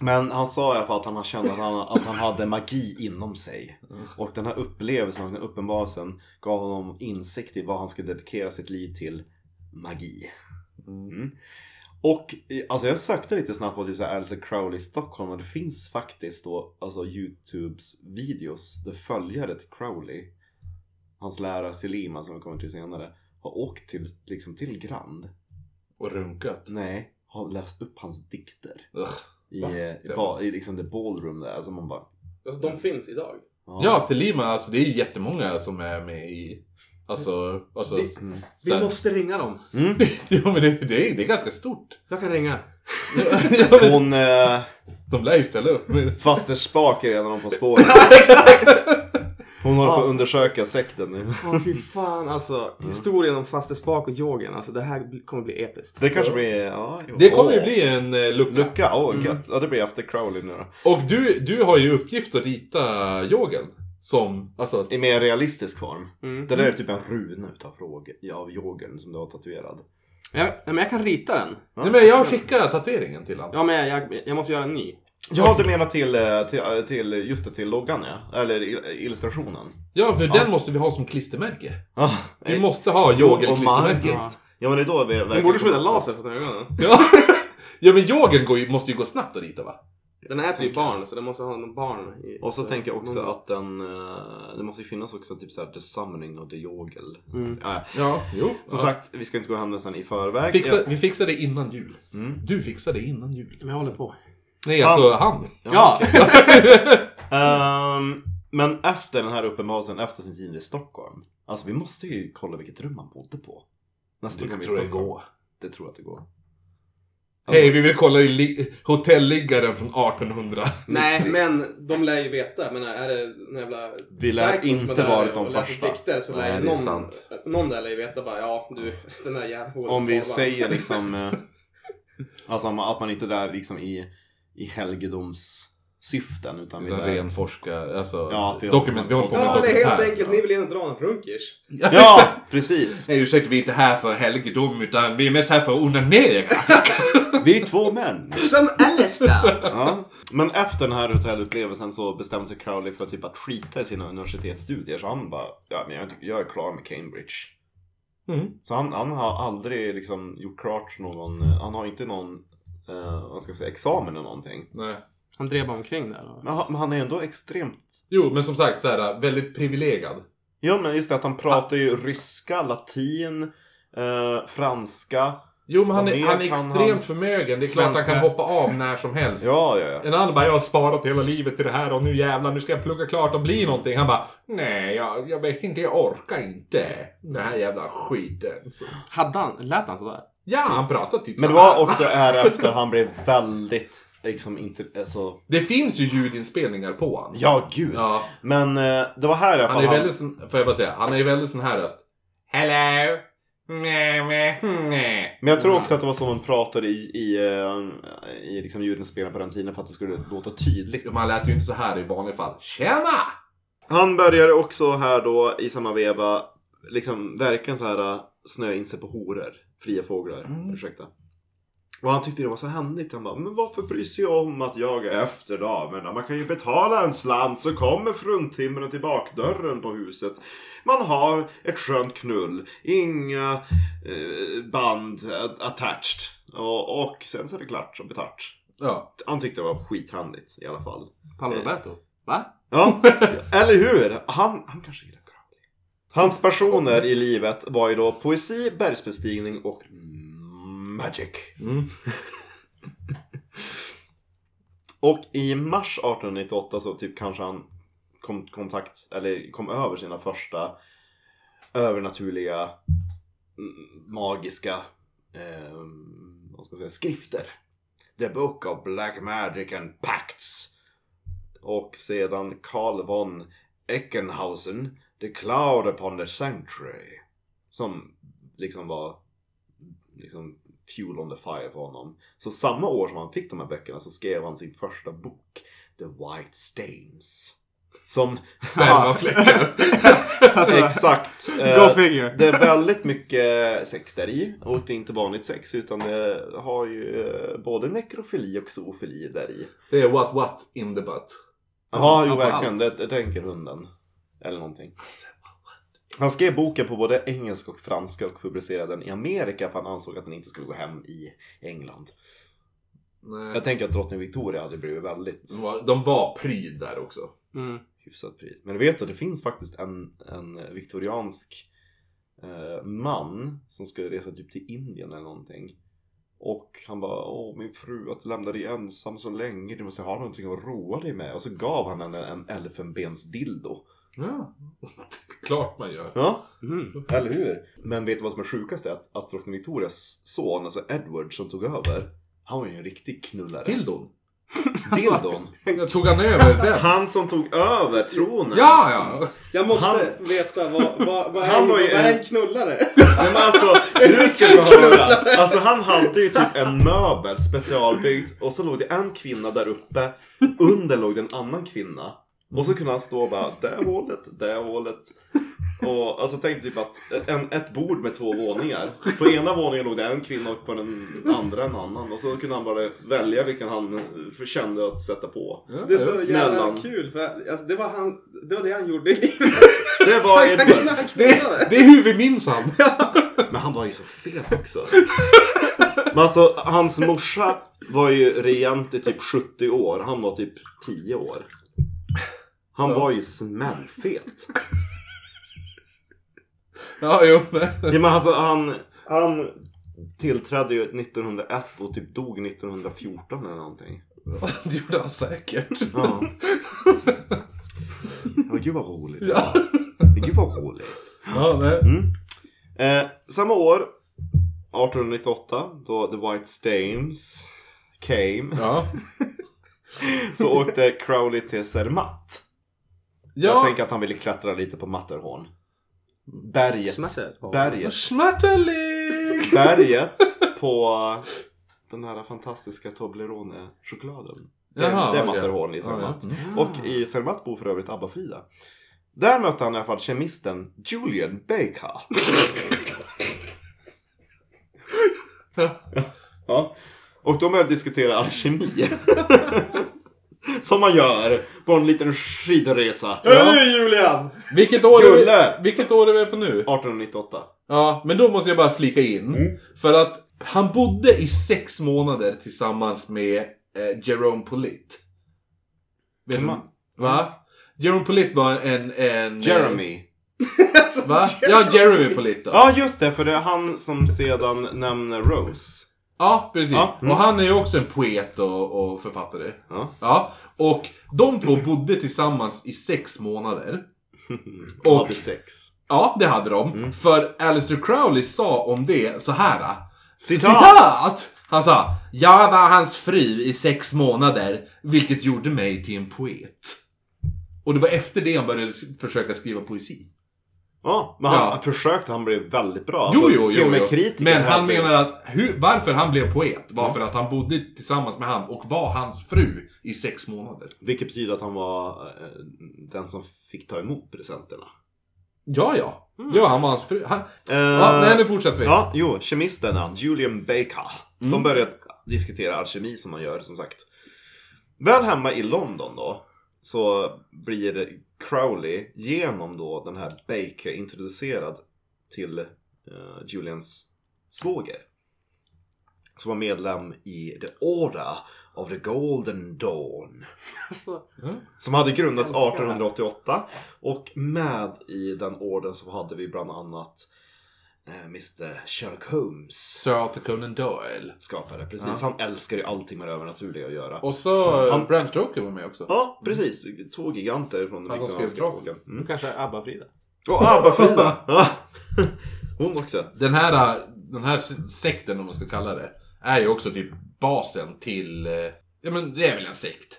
Speaker 1: Men han sa i alla fall att han kände att han, att han hade magi inom sig. Och den här upplevelsen och den här uppenbarelsen gav honom insikt i vad han skulle dedikera sitt liv till. Magi. Mm. Och eh, alltså jag sökte lite snabbt på typ så här Alice Crowley i Stockholm och det finns faktiskt då alltså Youtubes videos där följare till Crowley, hans lärare Selima som vi kommer till senare, har åkt till, liksom till Grand.
Speaker 2: Och runkat.
Speaker 1: Nej, har läst upp hans dikter
Speaker 2: Ugh.
Speaker 1: i, eh, ba, i liksom the ballroom där. Alltså man bara...
Speaker 9: Alltså de finns idag.
Speaker 2: Ja, till Lima. Alltså det är jättemånga som är med i... Alltså... alltså
Speaker 3: Det-
Speaker 2: mm. *laughs*
Speaker 3: Vi måste ringa dem.
Speaker 2: jo, men det, det, är, det är ganska stort.
Speaker 3: Jag kan ringa.
Speaker 1: *laughs* Hon... Eh,
Speaker 2: De lär ju ställa upp.
Speaker 1: faster Spak är redan på
Speaker 2: *laughs*
Speaker 1: spåret. Hon håller på att undersöka sekten nu.
Speaker 3: Åh fy fan alltså.
Speaker 1: Mm.
Speaker 3: Historien om faste spak och yogen. Alltså det här bli- kommer bli episkt.
Speaker 1: Det kanske blir... Ja, jo.
Speaker 2: Det kommer ju
Speaker 1: Åh.
Speaker 2: bli en eh, lucka.
Speaker 1: Lucka, åh gött.
Speaker 3: Mm.
Speaker 1: Ja det blir efter Crowley nu då.
Speaker 2: Och du, du har ju uppgift att rita yogen. Som, alltså...
Speaker 1: I mer realistisk form.
Speaker 3: Mm.
Speaker 1: Det där är typ en runa utav fråge, ja, av yoghurten som du har tatuerad.
Speaker 3: Jag, nej, men jag kan rita den.
Speaker 2: Nej men jag skickar tatueringen till honom.
Speaker 3: Ja men jag, jag, jag måste göra en ny.
Speaker 1: Ja du menar till, eh, till, eh, till just det, till loggan ja. Eller i- illustrationen.
Speaker 2: Ja, för den måste vi ha som klistermärke.
Speaker 3: Ah.
Speaker 1: Ja.
Speaker 2: Vi måste ha yoghurt-klistermärket.
Speaker 3: Ja.
Speaker 1: Ja men det är då vi verkligen...
Speaker 3: Den borde skjuta laser från ögonen.
Speaker 2: Ja. *laughs* ja, men yoghurt går ju, måste ju gå snabbt att rita va?
Speaker 3: Den äter ju barn så den måste ha någon barn. I,
Speaker 1: Och så tänker jag också
Speaker 3: någon-
Speaker 1: att den, eh, det måste ju finnas också typ såhär the summoning of the yogel.
Speaker 3: Mm.
Speaker 1: Ja, ja.
Speaker 2: Ja, jo.
Speaker 1: som sagt, vi ska inte gå händelsen i förväg.
Speaker 2: Fixa, vi fixar det innan jul.
Speaker 1: Mm.
Speaker 2: Du fixar det innan jul.
Speaker 3: Men jag håller på.
Speaker 2: Nej, alltså han.
Speaker 3: Ja!
Speaker 1: Ja, *laughs* ehm, men efter den här uppenbarelsen, efter sin tid i Stockholm. Alltså vi måste ju kolla vilket rum han bodde på. Nästa gång vi är i Stockholm. Det tror jag att det går.
Speaker 2: Hej, vi vill kolla i li- hotelliggaren från 1800.
Speaker 9: Nej, men de lär ju veta. Men är det den jävla
Speaker 1: Vi lär
Speaker 9: psykon som
Speaker 1: inte
Speaker 9: är där
Speaker 1: varit de
Speaker 9: och läser
Speaker 1: första.
Speaker 9: dikter så
Speaker 2: Nej,
Speaker 9: lär ju
Speaker 2: det är
Speaker 9: någon,
Speaker 2: sant.
Speaker 9: någon där lär ju veta bara ja, du, den där jävla
Speaker 1: Om vi
Speaker 9: korvan.
Speaker 1: säger *laughs* liksom eh, Alltså om- att man inte är där liksom i, i helgedomssyften utan vi är där
Speaker 2: Renforska, alltså
Speaker 1: Ja, att vi
Speaker 2: dokument. Vi håller på med
Speaker 9: Ja, det är helt
Speaker 2: dokumentär.
Speaker 9: enkelt. Ni vill ju dra en runkers.
Speaker 2: *laughs* Ja,
Speaker 1: *laughs*
Speaker 2: exakt.
Speaker 1: Ja, precis!
Speaker 2: Nej, ursäkta, vi är inte här för helgedom utan vi är mest här för att onanera.
Speaker 1: Vi är två män!
Speaker 3: Som Alistair!
Speaker 1: Ja. Men efter den här hotellupplevelsen så bestämde sig Crowley för typ att skita i sina universitetsstudier. Så han bara, ja men jag, jag är klar med Cambridge.
Speaker 2: Mm.
Speaker 1: Så han, han har aldrig liksom gjort klart någon, han har inte någon, eh, vad ska jag säga, examen eller någonting.
Speaker 2: Nej.
Speaker 3: Han drev bara omkring där. och-
Speaker 1: Men han, men han är ändå extremt,
Speaker 2: Jo, men som sagt, så här, väldigt privilegierad.
Speaker 1: ja men just det att han pratar ju ryska, latin, eh, franska.
Speaker 2: Jo, men han
Speaker 1: Och
Speaker 2: är,
Speaker 1: mer
Speaker 2: han är
Speaker 1: kan
Speaker 2: extremt
Speaker 1: han-
Speaker 2: förmögen. Det är klart att han kan
Speaker 1: Svenska.
Speaker 2: hoppa av när som helst.
Speaker 1: Ja, ja, ja.
Speaker 2: En annan bara, jag har sparat hela livet till det här och nu jävlar, nu ska jag plugga klart och bli någonting. Han bara, nej, jag, jag vet inte, jag orkar inte. Den här jävla skiten. Så.
Speaker 3: Hade han, lät han sådär?
Speaker 2: Ja, han pratar typ
Speaker 1: Men det
Speaker 2: så här.
Speaker 1: var också här efter han blev väldigt, liksom inte, alltså,
Speaker 2: Det finns ju ljudinspelningar på han.
Speaker 1: ja gud.
Speaker 2: Ja,
Speaker 1: Men eh, det var här i alla fall
Speaker 2: han är väldigt, sån- får jag bara säga, han är väldigt sån här röst. Hello! Meh, meh, hm, meh.
Speaker 1: Men jag tror också att det var så man pratade i, i, eh, i liksom ljudinspelningar på den tiden för att det skulle låta tydligt.
Speaker 2: Jo, men Han lät ju inte så här i vanliga fall. Tjena!
Speaker 1: Han började också här då i samma veva, äh, liksom verkligen så här eh, snöa in sig på horor. Fria fåglar, ursäkta. Och han tyckte det var så händigt. Han bara, men varför bryr sig jag om att jag är efter damerna? Man kan ju betala en slant så kommer fruntimren till bakdörren på huset. Man har ett skönt knull. Inga eh, band a- attached. Och, och sen så är det klart som betart.
Speaker 2: Ja.
Speaker 1: Han tyckte det var skithändigt i alla fall.
Speaker 3: Paolo Roberto. Va?
Speaker 1: Ja, eller hur? Han, han kanske gillar Crowley. Hans personer i livet var ju då poesi, bergsbestigning och magic. *laughs* och i mars 1898 så typ kanske han kom, kontakt, eller kom över sina första övernaturliga, mm, magiska eh, vad ska jag säga, skrifter. The Book of Black Magic and Pacts. Och sedan Carl von Eckenhausen, The Cloud upon the Sanctuary. Som liksom var liksom fuel on the fire för honom. Så samma år som han fick de här böckerna så skrev han sin första bok, The White Stains. Som... *laughs*
Speaker 5: *laughs*
Speaker 2: Spermafläckar.
Speaker 5: Alltså.
Speaker 1: Alltså, Exakt.
Speaker 3: Go figure.
Speaker 1: Det är väldigt mycket sex där i och det är inte vanligt sex utan det har ju eh, både nekrofili och zoofili där i.
Speaker 2: Det är what what in the butt.
Speaker 1: Ja, jo
Speaker 3: Ja, på
Speaker 1: verkligen. Det, det tänker hunden. Eller någonting. Han skrev boken på både engelska och franska och publicerade den i Amerika för han ansåg att den inte skulle gå hem i England.
Speaker 2: Nej.
Speaker 1: Jag tänker att drottning Victoria hade blivit väldigt
Speaker 2: De var, de var pryd där också.
Speaker 3: Mm.
Speaker 1: hyfsat pris. Men du vet att det finns faktiskt en, en viktoriansk eh, man som skulle resa typ till Indien eller någonting. Och han bara Åh min fru, att du lämnade dig ensam så länge. Du måste ha någonting att roa dig med. Och så gav han henne en elfenbensdildo.
Speaker 2: Ja. *laughs* Klart man gör.
Speaker 1: Ja,
Speaker 3: Mm.
Speaker 1: eller hur? Mm-hmm. Men vet du vad som är sjukast? Är att, att drottning Victorias son, alltså Edward som tog över. Han var ju en riktig knullare.
Speaker 2: Dildon.
Speaker 1: Dildon.
Speaker 2: Jag tog han
Speaker 5: *laughs*
Speaker 2: över den?
Speaker 1: Alltså- Han som tog över tronen.
Speaker 2: Ja, ja.
Speaker 5: Jag måste veta vad, vad, vad,
Speaker 1: Han
Speaker 5: är,
Speaker 1: var
Speaker 5: vad
Speaker 1: ju
Speaker 5: är
Speaker 1: en-
Speaker 5: en
Speaker 1: *laughs*
Speaker 5: knullare?
Speaker 1: Nej men alltså, nu ska du höra. Alltså han hade ju typ en möbel specialbyggd och så låg det en kvinna där uppe. Under låg det en annan kvinna. Och så kunde han stå och bara, det hålet, det hålet. Och alltså tänk typ att en, ett bord med två våningar. På ena våningen låg det en kvinna och på den andra en annan. Och så kunde han bara välja vilken han kände att sätta på.
Speaker 5: Det är så jävla
Speaker 1: Mellan.
Speaker 5: kul för alltså, det, var han, det var det han gjorde i livet.
Speaker 1: Det var
Speaker 5: Han
Speaker 1: Edward.
Speaker 5: knullade.
Speaker 2: Det är hur vi
Speaker 5: *laughs*
Speaker 2: minns han.
Speaker 1: Men han var ju så fel också. Men alltså, hans morsa var ju regent i typ 70 år. Han var typ 10 år. Han var ju smällfet.
Speaker 2: Ja, jo. nej.
Speaker 1: Ja, men alltså, han, han tillträdde ju 1901 och typ dog 1914 eller någonting.
Speaker 2: *laughs* Det gjorde han säkert.
Speaker 1: Ja. Ja, gud vad roligt.
Speaker 2: Ja.
Speaker 1: Gud vad roligt.
Speaker 2: Ja, nej.
Speaker 1: Eh, samma år, 1898, då The White Stains came.
Speaker 2: Ja.
Speaker 1: Så åkte Crowley till Zermatt. Jag
Speaker 2: Ja.
Speaker 1: tänker att han ville klättra lite på Matterhorn. Berget.
Speaker 3: Smärtor.
Speaker 1: Berget.
Speaker 2: Smärtelig!
Speaker 1: Berget på den här fantastiska Toblerone-chokladen. Det är-
Speaker 2: Jaha,
Speaker 1: det är liksom,
Speaker 2: okej.
Speaker 1: Matterhorn i Zermatt.
Speaker 2: Ja, Mm. ja.
Speaker 1: Och i Zermatt bor för övrigt Abba-Frida. Där mötte han i alla fall kemisten Julian Baker. ja. Och de började diskutera alkemi. Som man gör på en liten skidresa.
Speaker 5: Hörru du Julian!
Speaker 2: Vilket år, är
Speaker 1: Julle!
Speaker 2: vi, vilket år är vi på nu?
Speaker 1: 1898.
Speaker 2: Ja, men då måste jag bara flika in.
Speaker 1: Mm.
Speaker 2: För att han bodde i sex månader tillsammans med eh, Jerome Pollitt. Vet du?
Speaker 1: Man.
Speaker 2: Va? Jerome Pollitt var en... en
Speaker 1: Jeremy. *laughs*
Speaker 2: eh, Va? Ja, Jeremy Pollitt då.
Speaker 1: Ja, just det. För det är han som sedan nämner Rose.
Speaker 2: Ja, precis.
Speaker 1: Ja. Mm.
Speaker 2: Och han är ju också en poet och, och författare.
Speaker 1: Ja.
Speaker 2: Och de två bodde tillsammans i
Speaker 1: *laughs*
Speaker 2: sex månader.
Speaker 1: Och
Speaker 2: Och
Speaker 1: hade sex.
Speaker 2: ja, det hade de.
Speaker 1: Mm.
Speaker 2: För Alistair Crowley sa om det så här. äh,
Speaker 1: Citat!
Speaker 2: Han sa Jag var hans fru i sex månader, vilket gjorde mig till en poet. Och det var efter det han började s- försöka skriva poesi.
Speaker 1: Ja, men han
Speaker 2: Ja.
Speaker 1: försökte. Han blev väldigt bra.
Speaker 2: Jo,
Speaker 1: Alltså,
Speaker 2: jo,
Speaker 1: till och
Speaker 2: jo.
Speaker 1: med
Speaker 2: jo.
Speaker 1: kritiker
Speaker 2: Men han
Speaker 1: hade-
Speaker 2: menar att hur, varför han blev poet
Speaker 1: Mm.
Speaker 2: var för att han bodde tillsammans med han och var hans fru i sex månader.
Speaker 1: Vilket betyder att han var eh, den som fick ta emot presenterna.
Speaker 2: Ja, ja. Ja, han var hans fru. Han,
Speaker 1: Mm. Eh,
Speaker 2: ja, nej, nu fortsätter vi.
Speaker 3: Mm.
Speaker 1: ja, jo, kemisten han, Julian Baker. De började diskutera alkemi som man gör som sagt. Väl hemma i London då så blir Crowley genom då den här Baker introducerad till eh, Julians svåger. Som var medlem i The Order of the Golden Dawn.
Speaker 3: Alltså,
Speaker 1: Som hade grundats
Speaker 3: Älskar det.
Speaker 1: 1888 och med i den orden så hade vi bland annat eh, Mr Sherlock Holmes
Speaker 2: Sir Arthur Conan Doyle.
Speaker 1: skapare. Precis, han älskar ju allting med det övernaturliga att göra.
Speaker 2: Och så eh,
Speaker 1: Mm. Han-
Speaker 2: Bram Stoker var med också.
Speaker 1: Ja, precis. Två giganter från den
Speaker 2: Han som
Speaker 1: viktorianska
Speaker 2: skrev Draken.
Speaker 1: epoken. Mm. ah,
Speaker 3: då kanske ABBA-Frida.
Speaker 1: Och
Speaker 2: *laughs*
Speaker 1: ABBA-Frida! Ja. *laughs* Hon också.
Speaker 2: Den här, eh, den här se- sekten, om man ska kalla det, är ju också typ basen till... eh, Ja men det är väl en sekt?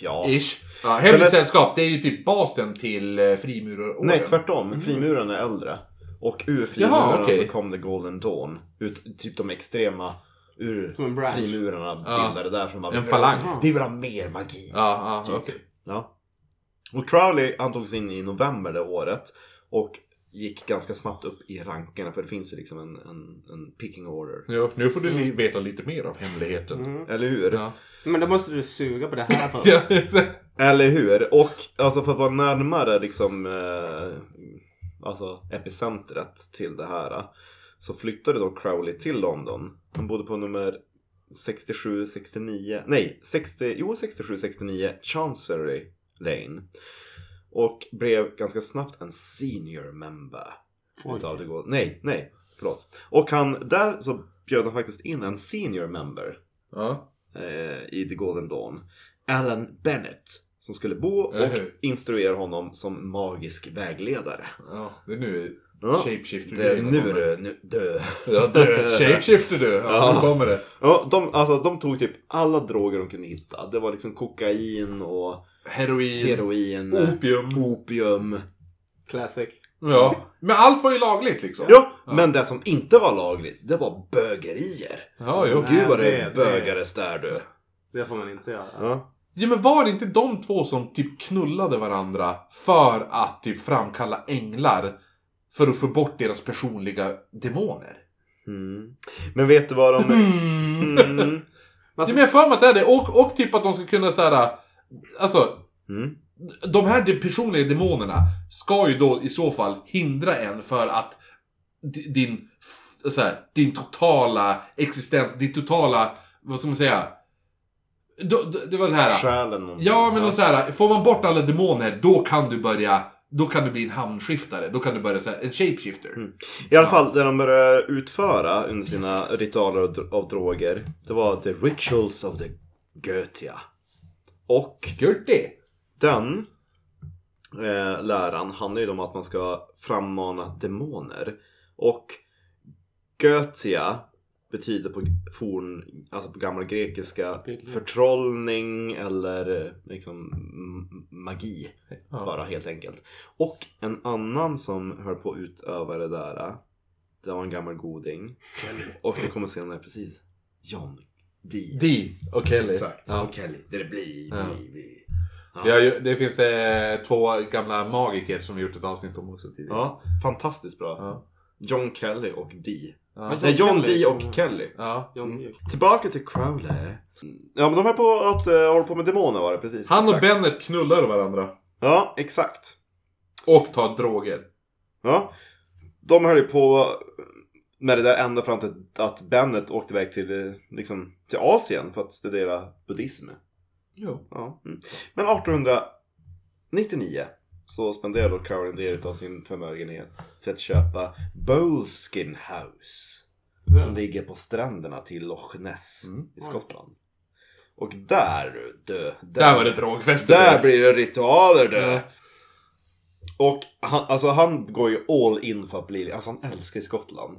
Speaker 1: Ja.
Speaker 2: Ish. Ja, Hemligt
Speaker 1: Eller-
Speaker 2: sällskap, det är ju typ basen till eh, frimurarorden.
Speaker 1: Nej, tvärtom. Frimurarna är äldre. Och ur
Speaker 2: Mm. Jaha,
Speaker 1: frimurarna
Speaker 2: okej.
Speaker 1: så kom The Golden Dawn. Ut, typ de extrema ur
Speaker 3: Som en bransch.
Speaker 1: frimurarna
Speaker 2: Ja.
Speaker 1: bildade där. Som bara,
Speaker 2: En falang.
Speaker 1: Vi vill ha mer magi.
Speaker 2: Ja,
Speaker 1: Typ.
Speaker 2: ja, okej.
Speaker 1: Ja. Och Crowley han togs in i november det året och gick ganska snabbt upp i rankerna för det finns ju liksom en, en, en picking order.
Speaker 2: Ja, nu får du li- veta lite mer av hemligheten.
Speaker 3: Mm.
Speaker 1: Eller hur?
Speaker 2: Ja. *laughs*
Speaker 3: Men då måste du suga på det här först.
Speaker 2: Ja,
Speaker 1: Eller hur? Och alltså för att vara närmare liksom eh, alltså epicentret till det här eh, så flyttade då Crowley till London. Han bodde på nummer 67, 69, nej 60, jo 67, 69 Chancery Lane. Och blev ganska snabbt en senior member.
Speaker 3: Oj.
Speaker 1: Utav det går, nej, nej, förlåt. Och han, där så bjöd han faktiskt in en senior member
Speaker 2: ja.
Speaker 1: eh, i The Golden Dawn. Alan Bennett som skulle bo och
Speaker 2: Eller hur?
Speaker 1: instruera honom som magisk vägledare.
Speaker 2: ja, det är nu
Speaker 1: Ja,
Speaker 2: shapeshifter
Speaker 1: det är nu du, nu du.
Speaker 2: Ja, du.
Speaker 1: *laughs*
Speaker 2: Shapeshifter du. Ja,
Speaker 1: Ja.
Speaker 2: nu kommer det.
Speaker 1: Ja, de, alltså, de tog typ alla droger de kunde hitta. Det var liksom kokain och
Speaker 2: Heroin.
Speaker 1: heroin,
Speaker 2: Opium.
Speaker 1: opium.
Speaker 3: Classic.
Speaker 2: Ja. Men allt var ju lagligt liksom.
Speaker 1: Ja, men det som inte var lagligt, det var bögerier.
Speaker 2: Ja, jo.
Speaker 3: Nej.
Speaker 1: Gud vad
Speaker 3: det-
Speaker 1: det
Speaker 3: det-
Speaker 1: bögades där du.
Speaker 3: Det får man inte göra.
Speaker 1: Ja.
Speaker 2: Ja, men var det inte de två som typ knullade varandra för att typ framkalla änglar för att få bort deras personliga demoner?
Speaker 1: Mm. Men vet du vad de... Mm.
Speaker 2: Ja, men jag har för mig att det är det. Och, och typ att de ska kunna såhär... Alltså,
Speaker 1: Mm.
Speaker 2: de här de- personliga demonerna ska ju då i så fall hindra en för att di- din, f- så här, din totala existens, din totala, vad ska man säga? Då- då- Det var det här.
Speaker 1: Själen. någonting.
Speaker 2: Ja, men alltså- så här, får man bort alla demoner, då kan du börja, då kan du bli en hamnskiftare. Då kan du börja så här, en shapeshifter.
Speaker 1: Mm. I alla fall det de började utföra under sina ritualer av dro- av droger. Det var the rituals of the Goetia. Och
Speaker 2: Gör det!
Speaker 1: den eh, läran handlar ju om att man ska frammana demoner. Och Goetia betyder på forn, alltså på gammal grekiska förtrollning eller eh, liksom m- magi.
Speaker 2: Ja.
Speaker 1: Bara helt enkelt. Och en annan som höll på att utöva det där. eh, Det var en gammal goding. Och det kommer senare precis. John D.
Speaker 2: Dee och Kelly.
Speaker 1: Exakt.
Speaker 2: Ja.
Speaker 1: Och Kelly. Det är bli,
Speaker 2: Ja.
Speaker 1: bli, bli.
Speaker 2: Vi har ju, det finns eh, två gamla magiker som vi gjort ett avsnitt om också tidigare.
Speaker 1: Ja, fantastiskt bra.
Speaker 2: Ja.
Speaker 1: John Kelly och D.
Speaker 2: Ja.
Speaker 1: Nej, John
Speaker 3: Kelly.
Speaker 1: D och Kelly.
Speaker 2: Ja.
Speaker 3: John Duke.
Speaker 1: Tillbaka till Crowley. Ja, men de höll på att uh, hålla på med demoner var det precis.
Speaker 2: Han och
Speaker 1: exakt.
Speaker 2: Bennet knullar varandra.
Speaker 1: Ja, exakt.
Speaker 2: Och tar droger.
Speaker 1: Ja. De höll ju på med det där ända fram till att Bennet åkte iväg till, eh, liksom, till Asien för att studera buddhism.
Speaker 2: Jo.
Speaker 1: Ja. Mm. Men 1899 så spenderade då Crowley en del av sin förmögenhet till att köpa Bolskin House. Som ligger på stränderna till Loch Ness i Skottland. Och där du, dö,
Speaker 2: Där, var det drogfester.
Speaker 1: där blir det ritualer du! Och han, alltså, han går ju all in för att bli, alltså han älskar ju Skottland.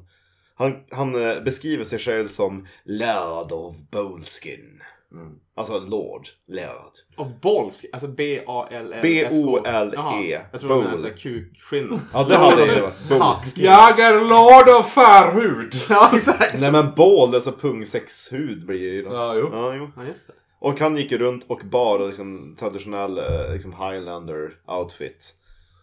Speaker 1: Han, han eh, beskriver sig själv som Lord of Boleskin.
Speaker 2: Mm.
Speaker 1: Alltså Lord, Lord.
Speaker 3: Och Bolsk, alltså B-A-L-L-S-K.
Speaker 2: E.
Speaker 1: B-O-L-E.
Speaker 3: Jaha, Jag tror det var
Speaker 1: Bol.
Speaker 3: sån här kukskinn.
Speaker 1: Ja det hade *laughs* jag ju varit. Bol.
Speaker 2: Jag är lord of förhud!
Speaker 3: *laughs* Ja, exakt.
Speaker 1: Nej men bål, alltså pungsexhud blir det ju då.
Speaker 2: Ja, jo.
Speaker 1: Ja, jo.
Speaker 3: Ja, just det.
Speaker 1: Och han gick ju runt och bar liksom, traditionell eh, liksom, highlander outfit.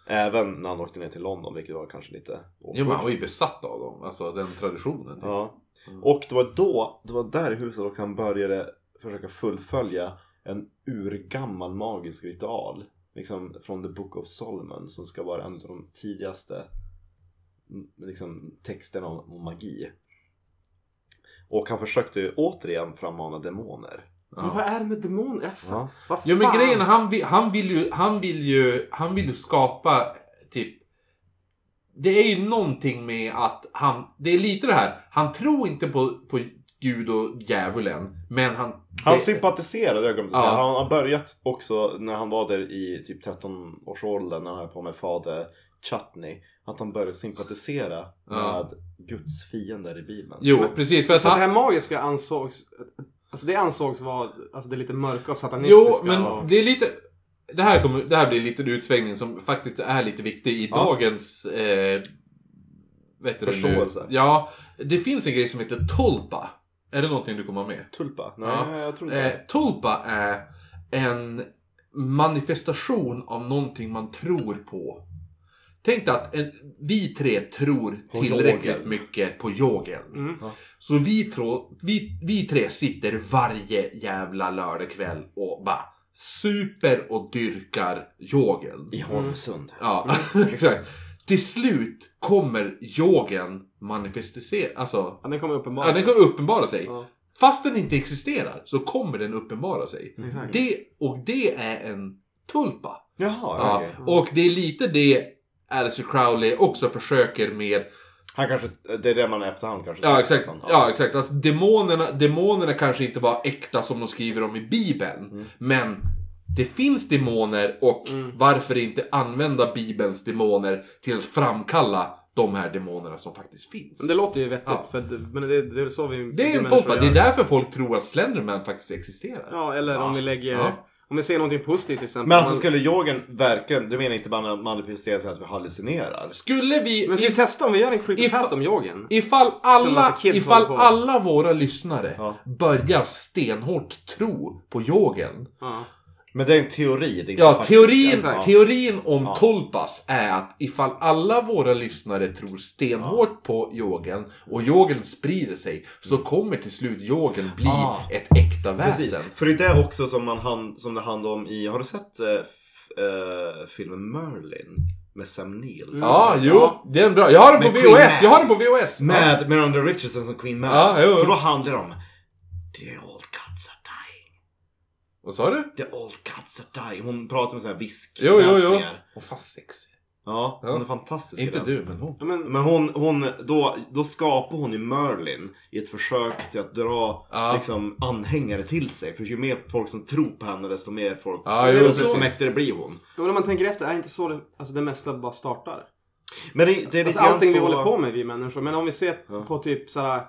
Speaker 1: Även när han åkte ner till London vilket var kanske lite
Speaker 2: jo men han var ju besatt av dem. Alltså den traditionen.
Speaker 1: Ja. Och det var då, det var där i huset också han började försöka fullfölja en urgammal magisk ritual. Liksom från The Book of Solomon som ska vara en av de tidigaste mm, liksom, texterna om, om magi. Och han försökte ju återigen frammana demoner.
Speaker 3: Men vad är det med demoner? Jag fa-
Speaker 1: Ja.
Speaker 3: Vad
Speaker 2: Ja men
Speaker 3: fan?
Speaker 2: grejen är, han vill, han vill ju, han vill ju, han vill ju skapa typ Det är ju någonting med att han, det är lite det här, han tror inte på, på Gud och djävulen men han
Speaker 1: Han
Speaker 2: det-
Speaker 1: sympatiserade jag glömde säga.
Speaker 2: Ja.
Speaker 1: Han har börjat också när han var där i typ 13-årsåldern när han höll på med fader Chutney. Att han började sympatisera
Speaker 2: Ja.
Speaker 1: med Guds fiender i Bibeln.
Speaker 2: Jo precis för att
Speaker 3: För att det
Speaker 2: han,
Speaker 3: här magiska ansågs... Alltså det ansågs vara alltså det lite mörka och satanistiska.
Speaker 2: Jo men
Speaker 3: och...
Speaker 2: det är lite det här, kommer, det här blir lite en utsvängning som faktiskt är lite viktig i dagens eh, vet du det nu?
Speaker 1: Förståelse.
Speaker 2: Ja, det finns en grej som heter tulpa. Är det någonting du kommer ha med?
Speaker 1: Tulpa? Nej,
Speaker 2: Ja.
Speaker 1: jag tror inte
Speaker 2: Eh, tulpa är en manifestation av någonting man tror på. Tänk dig att en, vi tre tror
Speaker 1: På
Speaker 2: tillräckligt
Speaker 1: yogeln.
Speaker 2: mycket på yogeln.
Speaker 3: Mm.
Speaker 1: Ja.
Speaker 2: Så vi, tro, vi, vi tre sitter varje jävla lördagkväll och bara super och dyrkar yogeln.
Speaker 1: I Holmsund.
Speaker 2: mm. Ja, *laughs* exakt. Till slut kommer yogeln manifestisera, alltså,
Speaker 3: Ja, den kommer uppenbart.
Speaker 2: ja, den kommer uppenbara sig.
Speaker 3: Ja.
Speaker 2: Fast den inte existerar så kommer den uppenbara sig. Det, och det är en tulpa.
Speaker 1: Jaha,
Speaker 2: Ja,
Speaker 1: okej.
Speaker 2: Och det är lite det Alistair Crowley också försöker med.
Speaker 1: Han kanske, det är det man i efterhand kanske
Speaker 2: Ja
Speaker 1: säger
Speaker 2: exakt.
Speaker 1: att han-
Speaker 2: Ja, exakt. Att demonerna, demonerna kanske inte var äkta som de skriver om i Bibeln. Men det finns demoner och varför inte använda Bibelns demoner till att framkalla de här demonerna som faktiskt finns.
Speaker 3: Men det låter ju vettigt.
Speaker 2: Ja.
Speaker 3: För att, men det, det är så vi...
Speaker 2: Det
Speaker 3: vi
Speaker 2: är en
Speaker 3: människor
Speaker 2: tulpa.
Speaker 3: gör.
Speaker 2: Det är därför folk tror att Slenderman faktiskt existerar.
Speaker 3: Ja, eller om vi lägger...
Speaker 2: Ja.
Speaker 3: Om vi ser någonting positivt till exempel.
Speaker 1: Men alltså
Speaker 3: Man-
Speaker 1: skulle yogen verkligen, du menar inte bara manifestera sig att vi hallucinerar?
Speaker 2: Skulle vi...
Speaker 3: Men ska vi testa om vi gör en
Speaker 2: If-
Speaker 3: creepypasta om yogen?
Speaker 2: Ifall
Speaker 3: en
Speaker 2: alla,
Speaker 3: massa kids
Speaker 2: ifall
Speaker 3: håller på.
Speaker 2: alla våra lyssnare
Speaker 1: Ja.
Speaker 2: börjar stenhårt tro på yogen.
Speaker 3: Ja.
Speaker 1: Men det är en teori. Det är inte
Speaker 2: Ja,
Speaker 1: faktiskt
Speaker 2: teorin,
Speaker 1: en- ja.
Speaker 2: teorin om
Speaker 1: Ja.
Speaker 2: Tolpas är att ifall alla våra lyssnare tror stenhårt på yogen och yogen sprider sig så kommer till slut yogen bli
Speaker 1: Ah.
Speaker 2: ett äkta
Speaker 1: Precis.
Speaker 2: väsen.
Speaker 1: För det är det också som, man hand, som det handlar om i, har du sett eh, f- eh, filmen Merlin? Med Sam Neill?
Speaker 2: Ja, jo, det är en bra. Jag har den på
Speaker 1: Med Queen
Speaker 2: VHS! Jag
Speaker 1: Mab.
Speaker 2: har den på VHS!
Speaker 1: Med Miranda Richardson som Queen Mab.
Speaker 2: Ja, jo, jo.
Speaker 1: För då handlar det om The old cats are dying.
Speaker 2: Vad sa du?
Speaker 1: The old cats are dying. Hon pratar med såna här visk
Speaker 2: Jo, jo, jo.
Speaker 1: läsningar.
Speaker 2: Åh, fan sexig.
Speaker 1: Ja,
Speaker 2: Ja.
Speaker 1: hon är fantastisk i
Speaker 2: Inte
Speaker 1: den.
Speaker 2: du, men hon.
Speaker 3: Ja, men,
Speaker 1: Men hon, hon då, då skapar hon i Merlin i ett försök till att dra
Speaker 2: Ja.
Speaker 1: liksom, anhängare till sig. För ju mer folk som tror på henne desto mer folk,
Speaker 2: Ja, jo,
Speaker 1: desto
Speaker 2: precis.
Speaker 1: mäktigare blir hon.
Speaker 3: men om man tänker efter, är det inte så det, alltså det mesta bara startar?
Speaker 1: Men det, det är lite
Speaker 3: Alltså
Speaker 1: grann
Speaker 3: allting
Speaker 1: så...
Speaker 3: vi håller på med vi människor. Men om vi ser
Speaker 1: Ja.
Speaker 3: på typ såhär.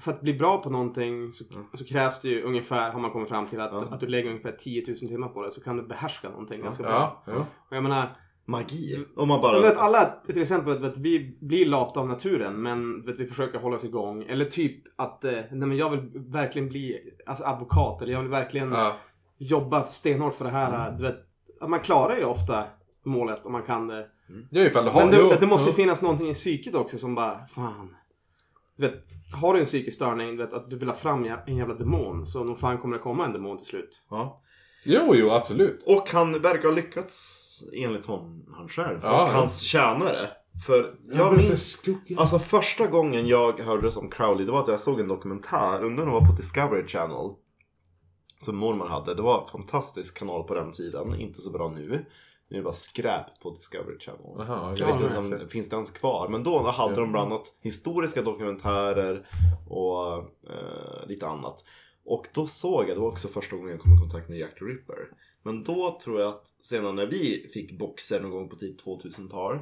Speaker 3: För att bli bra på någonting så, så krävs det ju ungefär, har man kommit fram till, att,
Speaker 1: Ja.
Speaker 3: att du lägger ungefär 10 000 timmar på det. Så kan du behärska någonting ganska bra.
Speaker 2: Ja, ja.
Speaker 3: Och jag menar,
Speaker 1: Magi. Om man
Speaker 3: jag
Speaker 1: bara...
Speaker 3: vet alla till exempel att vi blir lata av naturen men vet, vi försöker hålla oss igång. Eller typ att, eh, nej men jag vill verkligen bli alltså, advokat eller jag vill verkligen
Speaker 2: ja.
Speaker 3: jobba stenhårt för det här. eh, Du vet, att man klarar ju ofta målet om man kan det.
Speaker 2: Ja, ifall du har...
Speaker 3: Men det,
Speaker 2: jo,
Speaker 3: det måste ju
Speaker 2: jo.
Speaker 3: finnas någonting i psyket också som bara, fan. Du vet, har du en psykisk störning, du vet att du vill ha fram jä- en jävla demon. Så nog fan kommer det komma en demon till slut.
Speaker 1: Ja.
Speaker 2: Jo, jo, absolut.
Speaker 1: Och han verkar ha lyckats enligt hon, han själv.
Speaker 2: Ja,
Speaker 1: och
Speaker 2: ja.
Speaker 1: hans tjänare. För jag minns... Alltså första gången jag hörde om Crowley det var att jag såg en dokumentär, undrar om det var på Discovery Channel. Som mormor hade. Det var en fantastisk kanal på den tiden, inte så bra nu. Nu är det bara skräp på Discovery Channel.
Speaker 2: Jaha,
Speaker 1: Jag
Speaker 2: ja,
Speaker 1: vet
Speaker 2: men-
Speaker 1: inte om finns det ens kvar. Men då hade de bland annat historiska dokumentärer och eh, lite annat. Och då såg jag, det var också första gången jag kom i kontakt med Jack the Ripper. Men då tror jag att senare när vi fick boxer någon gång på typ 2000-tal.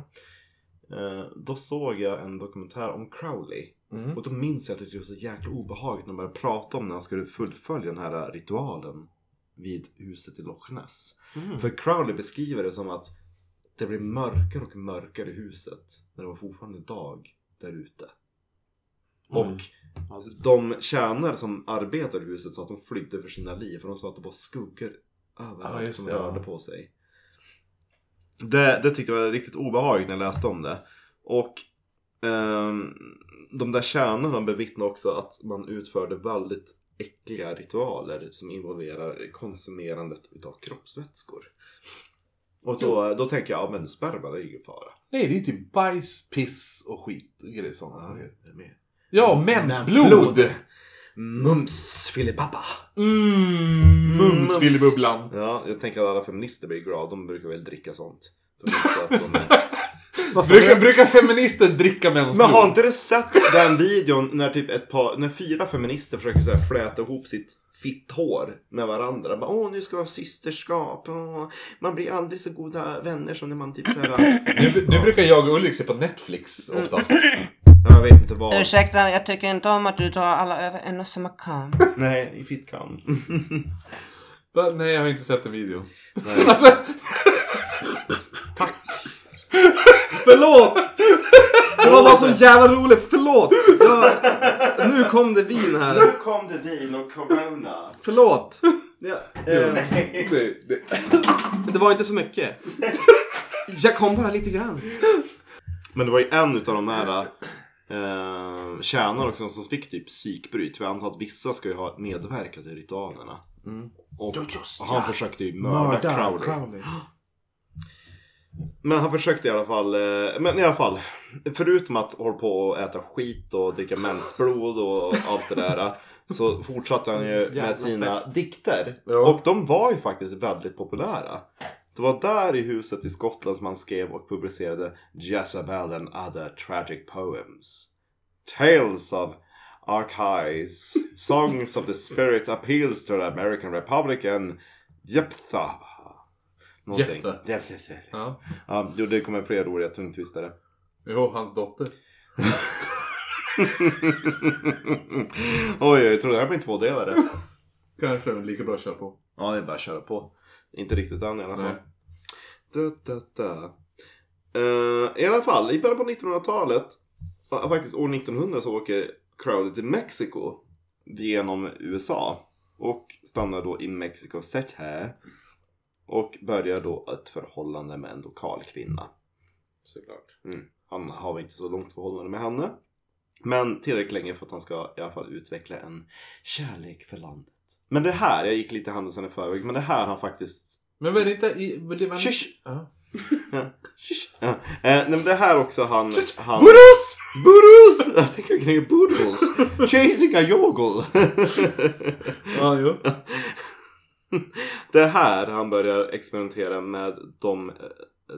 Speaker 1: Eh, då såg jag en dokumentär om Crowley.
Speaker 2: Mm.
Speaker 1: Och då minns jag att jag tyckte det var så jäkla obehagligt när de började prata om när han skulle fullfölja den här ritualen vid huset i Loch Ness.
Speaker 2: Mm.
Speaker 1: För Crowley beskriver det som att det blev mörkare och mörkare i huset när det var fortfarande dag där ute.
Speaker 2: Mm.
Speaker 1: Och de tjänare som arbetade i huset sa att de flydde för sina liv för de sa att det var skuggor
Speaker 2: Ja,
Speaker 1: överallt
Speaker 2: just
Speaker 1: som
Speaker 2: det, ja.
Speaker 1: rörde på sig. Det, det tyckte jag var riktigt obehagligt när jag läste om det. Och ehm, de där tjänarna bevittnar också att man utförde väldigt äckliga ritualer som involverar konsumerandet utav kroppsvätskor. Och då, då tänker jag, ja men sperma det är ju fara.
Speaker 2: Nej, det är ju typ bajs, piss och skit. och Grejer sådana.
Speaker 1: Ja, det är med.
Speaker 2: Ja, Mm. mensblod!
Speaker 1: Mums filipappa!
Speaker 2: Mm, mums, filibubblan.
Speaker 1: Ja, jag tänker att alla feminister blir glada, de brukar väl dricka sånt. De vet att de är-
Speaker 3: Vad sa du?
Speaker 2: Brukar, brukar feminister dricka
Speaker 1: *laughs* Men
Speaker 2: mensblod?
Speaker 1: har inte du sett den videon när typ ett par, när fyra feminister försöker så här fläta ihop sitt fitt hår med varandra. Bara, Åh, nu ska vi ha systerskap. Åh, man blir aldrig så goda vänner som när man typ så här. *laughs*
Speaker 2: nu, nu brukar jag och Ulrik se på Netflix oftast.
Speaker 1: Jag vet inte vad.
Speaker 4: Ursäkta, jag tycker inte om att du drar alla över en och samma
Speaker 3: *laughs*
Speaker 4: kam.
Speaker 1: Nej, i fittkam.
Speaker 2: Va? Nej, jag har inte sett den videon.
Speaker 1: Nej.
Speaker 2: Alltså,
Speaker 3: Förlåt! Det var bara så jävla roligt, förlåt! Jag... Nu kom det vin här.
Speaker 1: kom det vin och corona.
Speaker 3: Förlåt. Jag, eh,
Speaker 2: nej, nej.
Speaker 3: det var inte så mycket. Jag kom bara lite grann.
Speaker 1: Men det var ju en utav de här eh, tjänarna också som fick typ psykbryt. För jag antar att vissa ska ju ha medverkat i ritualerna. Och han försökte ju mörda, Crowley. Men han försökte i alla fall. eh, Men i alla fall. Förutom att hålla på och äta skit och dricka mensblod och allt det där. *laughs* Så fortsatte han ju
Speaker 3: Jävla
Speaker 1: med sina
Speaker 3: fest.
Speaker 1: dikter.
Speaker 2: Ja.
Speaker 1: Och de var ju faktiskt väldigt populära. Det var där i huset i Skottland som han skrev och publicerade Jezebel and other tragic poems. Tales of Archives, Songs of the Spirit Appeals to the American Republic and Jeptha. Någonting.
Speaker 2: Jephtha.
Speaker 1: Jephtha.
Speaker 2: Ja.
Speaker 1: Ja, jo, det kommer fler roliga tungtvistare.
Speaker 2: Jo, hans dotter.
Speaker 1: Oj, jag tror det här blir en tvådelare.
Speaker 2: Kanske, men lika bra att köra på.
Speaker 1: Ja, det är bara att köra på. Inte riktigt än i alla fall.
Speaker 2: Nej.
Speaker 1: Da, da, da. Eh, I alla fall, i början på 1900-talet, ja, faktiskt år 1900 så åker Crowley till Mexiko genom USA och stannar då i Mexico City och börjar då ett förhållande med en lokal kvinna. Mm.
Speaker 5: Såklart.
Speaker 1: Han har väl inte så långt förhållande med henne. Men tillräckligt länge för att han ska i alla fall utveckla en kärlek för landet. Men det här, jag gick lite händelsen i förväg, men det här har faktiskt...
Speaker 2: Men var det inte i... var Det var
Speaker 1: Shush!
Speaker 2: Ja.
Speaker 1: Ja. Eh, nej men det här också han... han...
Speaker 2: Burros!
Speaker 1: Burros! Jag tänker jag kring burros. Chasing a
Speaker 2: *laughs*
Speaker 1: yogel.
Speaker 2: Ja, jo.
Speaker 1: det är här han börjar experimentera med de, eh,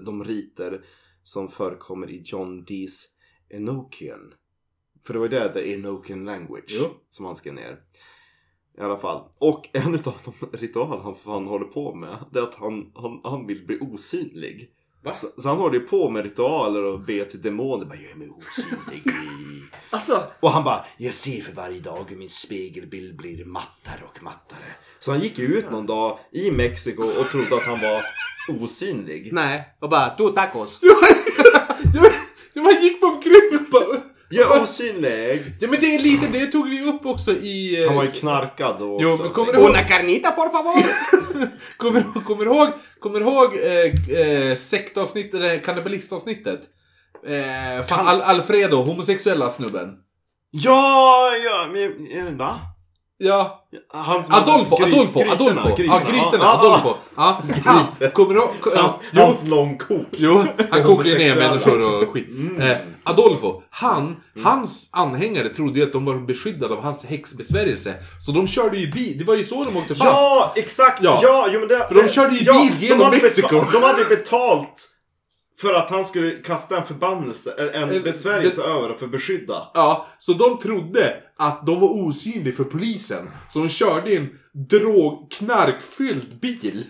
Speaker 1: de riter som förekommer i John Dees Enochian. För det var ju det, the Enochian language,
Speaker 2: Jo.
Speaker 1: som han skrev ner. I alla fall. Och *laughs* en utav de ritualer han, han håller på med, det är att han, han, han vill bli osynlig.
Speaker 5: Va?
Speaker 1: Så, så han håller ju på med ritualer och ber till demoner. Bara, gör mig osynlig.
Speaker 3: Alltså,
Speaker 1: Och han bara, jag ser för varje dag hur min spegelbild blir mattare och mattare. Så han gick ju ut någon dag i Mexiko och trodde att han var osynlig.
Speaker 3: nej. Och bara, du tacos.
Speaker 2: Man gick på *laughs* gruppen bara...
Speaker 1: Jag är osynlig!
Speaker 2: Ja, men det är lite... Det tog vi upp också i... eh,
Speaker 1: Han var ju knarkad då
Speaker 2: Jo,
Speaker 1: också.
Speaker 2: men kommer du ihåg...
Speaker 3: Una carnita por favor!
Speaker 2: Kommer, kommer du ihåg, kommer du ihåg eh, eh, sektavsnittet, eller kannibalistavsnittet? Eh, fan, Al, Alfredo, homosexuella snubben.
Speaker 1: Ja, ja, men eh, va?
Speaker 2: Ja,
Speaker 1: Han som hade
Speaker 2: Adolfo,
Speaker 1: gry-
Speaker 2: Adolfo,
Speaker 1: grytorna,
Speaker 2: Adolfo. Ja, grytorna,
Speaker 1: Ja,
Speaker 2: Adolfo. Ja, gryt. Kommer du ihåg? ko- Ja,
Speaker 1: ja.
Speaker 2: jo,
Speaker 1: Hans långkok.
Speaker 2: jo, han kokade
Speaker 1: homosexuella.
Speaker 2: ner
Speaker 1: Mm.
Speaker 2: människor och skit. Eh, Adolfo, han, hans anhängare trodde ju att de var beskyddade av hans häxbesvärjelse. Så de körde ju bil, det var ju så de åkte fast.
Speaker 1: Ja, exakt!
Speaker 2: Ja.
Speaker 1: Ja, jo, men det,
Speaker 2: För de körde ju bil
Speaker 1: de
Speaker 2: genom
Speaker 1: hade
Speaker 2: Mexiko.
Speaker 1: betalt- De hade betalt för att han skulle kasta en förbannelse, en-
Speaker 2: Eh,
Speaker 1: en besvärjelse över dem för att beskydda.
Speaker 2: *laughs* Ja, så de trodde att de var osynliga för polisen. Så de körde en drog, knarkfylld bil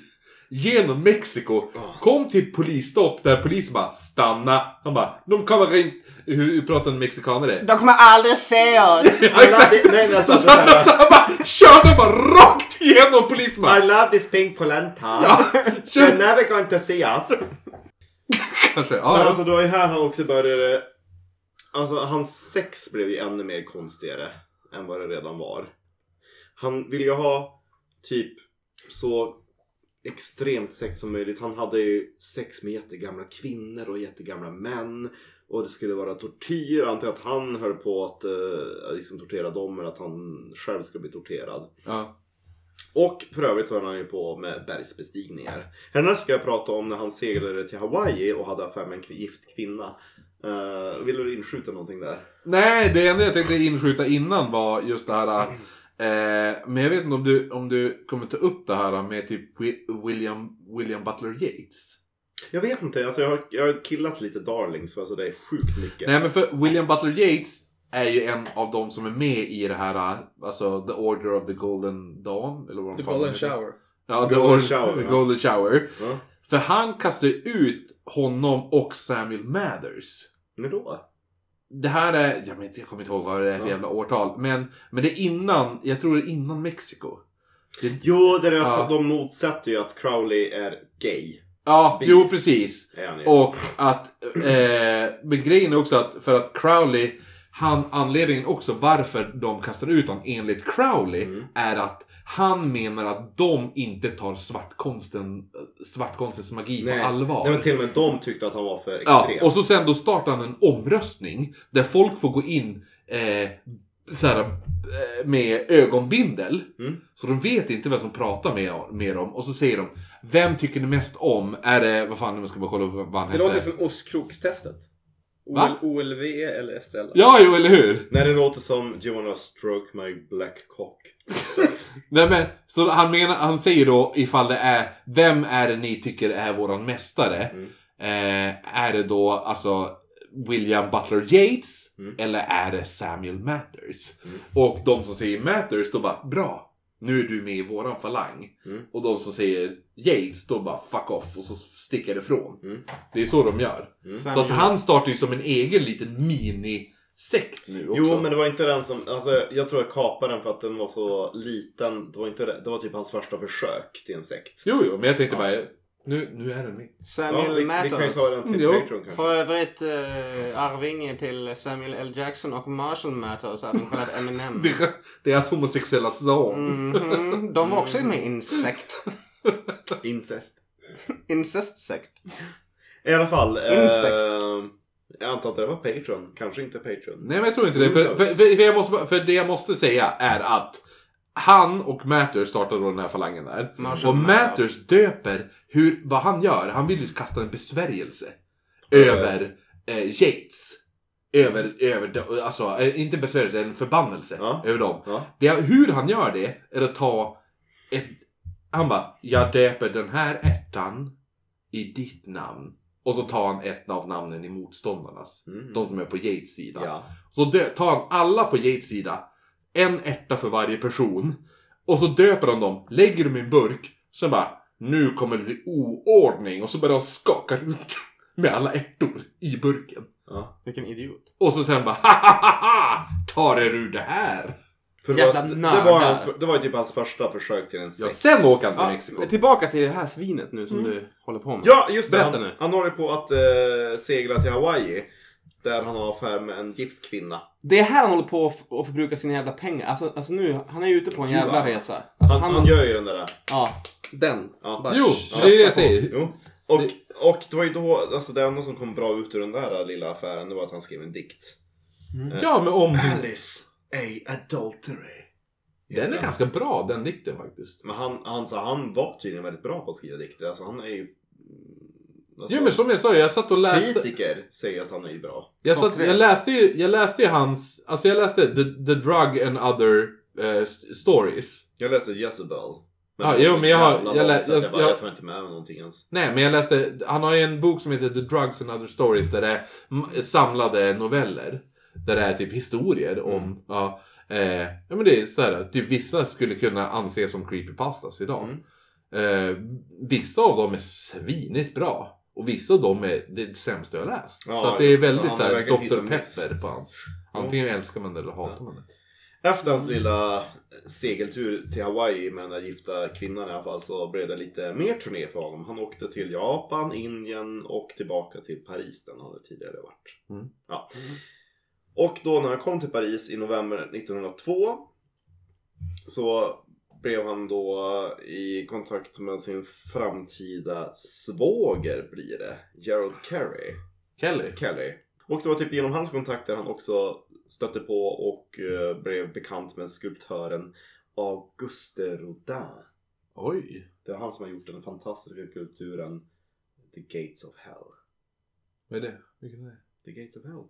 Speaker 2: genom Mexiko. Kom till polisstopp där polisen bara stanna. Han bara, de kommer in... Hur hur pratar en mexikanare?
Speaker 4: De kommer aldrig se oss!
Speaker 2: Ja,
Speaker 1: I
Speaker 2: exakt!
Speaker 1: love thi- nej, nej, alltså,
Speaker 2: Så han,
Speaker 1: det där.
Speaker 2: *laughs* så han bara körde bara rakt igenom polisen bara.
Speaker 1: I love this pink polenta.
Speaker 2: Ja,
Speaker 1: You're
Speaker 2: kör,
Speaker 1: never going to see us.
Speaker 2: kanske.
Speaker 1: Men
Speaker 2: Ja,
Speaker 1: alltså det var ju här han också började... Alltså hans sex blev ju ännu mer konstigare än vad det redan var. Han ville ju ha typ så extremt sex som möjligt. Han hade ju sex med jättegamla kvinnor och jättegamla män. Och det skulle vara tortyr. Antingen att han höll på att eh, liksom tortera dem eller att han själv skulle bli torterad.
Speaker 2: Ja.
Speaker 1: Och för övrigt så höll han ju på med bergsbestigningar. Härnäst ska jag prata om när han seglade till Hawaii och hade affär med en kvi- gift kvinna. Eh, vill du inskjuta någonting där?
Speaker 2: Nej, det enda jag tänkte inskjuta innan var just det här. Eh, men jag vet inte om du, om du kommer ta upp det här med typ Wi- William, William Butler Yeats.
Speaker 1: Jag vet inte, alltså jag har, jag har killat lite darlings för alltså det är sjukt mycket.
Speaker 2: Nej men för William Butler Yeats är ju en av de som är med i det här, alltså The Order of the Golden Dawn. Eller vad
Speaker 5: Du
Speaker 2: de fan
Speaker 5: får en
Speaker 2: heter.
Speaker 5: shower.
Speaker 2: Ja, The
Speaker 1: Golden
Speaker 2: Golden
Speaker 1: Shower,
Speaker 2: Shower.
Speaker 1: ja.
Speaker 2: Golden Shower.
Speaker 1: Ja.
Speaker 2: För han kastar ju ut honom och Samuel Mathers.
Speaker 1: När då?
Speaker 2: Det här är, jag, men, jag kommer inte ihåg vad det är för
Speaker 1: Ja.
Speaker 2: jävla årtal. Men, men det är innan, jag tror det är innan Mexiko.
Speaker 1: Jo, det är att
Speaker 2: Ja.
Speaker 1: de motsätter ju att Crowley är gay.
Speaker 2: Ja,
Speaker 1: Bi.
Speaker 2: jo precis.
Speaker 1: Är han ju.
Speaker 2: Och att, eh, men grejen är också att för att Crowley, han, anledningen också varför de kastar ut honom enligt Crowley
Speaker 1: Mm.
Speaker 2: är att han menar att de inte tar svartkonsten, eh, svartkonstens magi
Speaker 1: Nej.
Speaker 2: på allvar.
Speaker 1: Nej men till och med de tyckte att han var för
Speaker 2: ja,
Speaker 1: extrem.
Speaker 2: och så sen då startar han en omröstning där folk får gå in eh, så här, eh, med ögonbindel.
Speaker 1: Mm.
Speaker 2: Så de vet inte vem som pratar med, med dem. Och så säger de, vem tycker ni mest om? Är det, vad fan, jag ska bara kolla upp vad han
Speaker 5: Det
Speaker 2: hette.
Speaker 5: låter som ostkrokstestet.
Speaker 2: Va?
Speaker 5: OL, OLV eller Estrella.
Speaker 2: Ja, jo, eller hur?
Speaker 1: Nej, det låter som Do you wanna stroke my black cock?
Speaker 2: Nej, men, så han, menar, han säger då ifall det är, vem är det ni tycker är våran mästare?
Speaker 1: Mm.
Speaker 2: Eh, är det då alltså William Butler Yeats
Speaker 1: Mm.
Speaker 2: eller är det Samuel Mathers?
Speaker 1: Mm.
Speaker 2: Och de som säger Mathers, då bara bra, nu är du med i våran falang.
Speaker 1: Mm.
Speaker 2: Och de som säger Yates, då bara fuck off och så sticker det ifrån.
Speaker 1: Mm.
Speaker 2: Det är så de gör. Så att han startar ju som en egen liten mini-sekt nu också.
Speaker 1: Jo, men det var inte den som... Alltså, jag tror jag kapade den för att den var så liten. Det var, inte, det det var typ hans första försök till en sekt.
Speaker 2: Jo, jo, men jag tänkte bara, nu, nu är den med.
Speaker 1: Ja, vi,
Speaker 4: Samuel
Speaker 1: vi kan ju ta
Speaker 4: Matters.
Speaker 1: den till
Speaker 2: Jo.
Speaker 1: Patreon kanske.
Speaker 4: För övrigt eh, arvinge till Samuel L. Jackson och Marshall Matters, även kallad Eminem.
Speaker 2: Deras- Deras homosexuella son.
Speaker 4: Mhm, De var också med i Insect.
Speaker 1: Incest.
Speaker 4: Incest-sekt.
Speaker 1: I alla fall.
Speaker 4: Insekt.
Speaker 1: Eh, jag antar att det var Patreon. Kanske inte Patreon.
Speaker 2: Nej men jag tror inte det. För, för, för, för, jag måste, bara- för det jag måste säga är att han och Matters startade då den här falangen där.
Speaker 4: Marshall
Speaker 2: Och
Speaker 4: Mathers.
Speaker 2: Matters döper hur, vad han gör. Han vill ju kasta en besvärjelse. Över eh, Yates. Över, över, de- alltså eh, inte en besvärjelse, en förbannelse
Speaker 1: Ja.
Speaker 2: över dem.
Speaker 1: Ja.
Speaker 2: Det, hur han gör det är att ta ett... Han bara, jag döper den här ärtan i ditt namn. Och så tar han ett av namnen i motståndarnas.
Speaker 1: Mm.
Speaker 2: De som är på Yates sida.
Speaker 1: Ja.
Speaker 2: Så dö- tar han alla på Yates sida, en ärta för varje person. Och så döper han dem, lägger dem i en burk. Sen bara, nu kommer det bli oordning. Och så börjar han skaka runt *laughs* med alla ärtor i burken.
Speaker 1: Ja.
Speaker 3: *laughs* Vilken idiot.
Speaker 2: Och så sen bara, *laughs* ha ha ha ha! Tar er ur det här!
Speaker 1: För det,
Speaker 3: Jävla
Speaker 1: var, det,
Speaker 3: nördar.
Speaker 1: var hans, det var ju typ hans första försök till en
Speaker 2: Ja,
Speaker 1: sekt.
Speaker 2: sen åker han till
Speaker 3: Ja,
Speaker 2: Mexiko.
Speaker 3: tillbaka till det här svinet nu som du håller på med.
Speaker 1: Ja, just det.
Speaker 3: Berätta
Speaker 1: Han,
Speaker 3: nu.
Speaker 1: han håller på att eh, segla till Hawaii. Där han har affär med en gift kvinna.
Speaker 3: Det är här han håller på att f- att förbruka sina jävla pengar. Alltså, alltså nu, han är ju ute på en
Speaker 1: Gud,
Speaker 3: jävla
Speaker 1: vad-
Speaker 3: resa. Alltså,
Speaker 1: Han, han gör ju den där.
Speaker 3: Ja, den.
Speaker 1: Ja.
Speaker 3: Bara
Speaker 2: Jo,
Speaker 3: kötta
Speaker 2: det är det
Speaker 3: på.
Speaker 2: jag säger.
Speaker 1: Jo. Och, och det var ju då, alltså det enda som kom bra ut ur den där lilla affären, det var att han skrev en dikt.
Speaker 2: Ja, men om...
Speaker 1: Alice, a adultery.
Speaker 2: Den är ganska bra, den dikten faktiskt.
Speaker 1: Men han, han, så han var tydligen väldigt bra på att skriva dikter. Alltså han är ju... mm, Alltså,
Speaker 2: Jo, men som jag sa, jag satt och läste...
Speaker 1: Kritiker säger att han är ju bra.
Speaker 2: Jag,
Speaker 4: Topp
Speaker 2: satt,
Speaker 4: tre.
Speaker 2: jag, läste ju, jag läste ju hans, alltså jag läste The, the Drug and Other eh, st- Stories.
Speaker 1: Jag läste Jezebel.
Speaker 2: Ja,
Speaker 1: det var
Speaker 2: jo,
Speaker 1: så
Speaker 2: men jag har-
Speaker 1: jävla
Speaker 2: jag lä-
Speaker 1: långt så att jag,
Speaker 2: jag-
Speaker 1: bara, jag
Speaker 2: jag-
Speaker 1: tar inte med mig någonting ens.
Speaker 2: Nej, men jag läste, han har ju en bok som heter The Drugs and Other Stories där det är m- samlade noveller. Där det är typ historier om,
Speaker 1: Mm.
Speaker 2: ja, eh, ja men det är så här, typ vissa skulle kunna anses som creepypastas idag.
Speaker 1: Mm.
Speaker 2: Eh, vissa av dem är svinigt bra. Och vissa av dem är det sämsta jag läst.
Speaker 1: Ja,
Speaker 2: så att det är
Speaker 1: så
Speaker 2: väldigt
Speaker 1: han
Speaker 2: så här
Speaker 1: verkar hit
Speaker 2: Dr.
Speaker 1: och miss.
Speaker 2: Pepper på hans. Antingen älskar man det eller hatar man det.
Speaker 1: Efter hans lilla segeltur till Hawaii med den där gifta kvinnan i alla fall så blev det lite mer turné för honom. Han åkte till Japan, Indien och tillbaka till Paris där han hade tidigare varit.
Speaker 2: Mm.
Speaker 1: Ja. Och då när han kom till Paris i november 1902 så blev han då i kontakt med sin framtida svåger blir det. Gerald Carey.
Speaker 2: Kelly.
Speaker 1: Kelly. Och det var typ genom hans kontakter han också stötte på och eh, blev bekant med skulptören Auguste Rodin.
Speaker 2: Oj.
Speaker 1: Det är han som har gjort den fantastiska kulturen The Gates of Hell.
Speaker 2: Vad är det? Vilken är det?
Speaker 1: The Gates of Hell.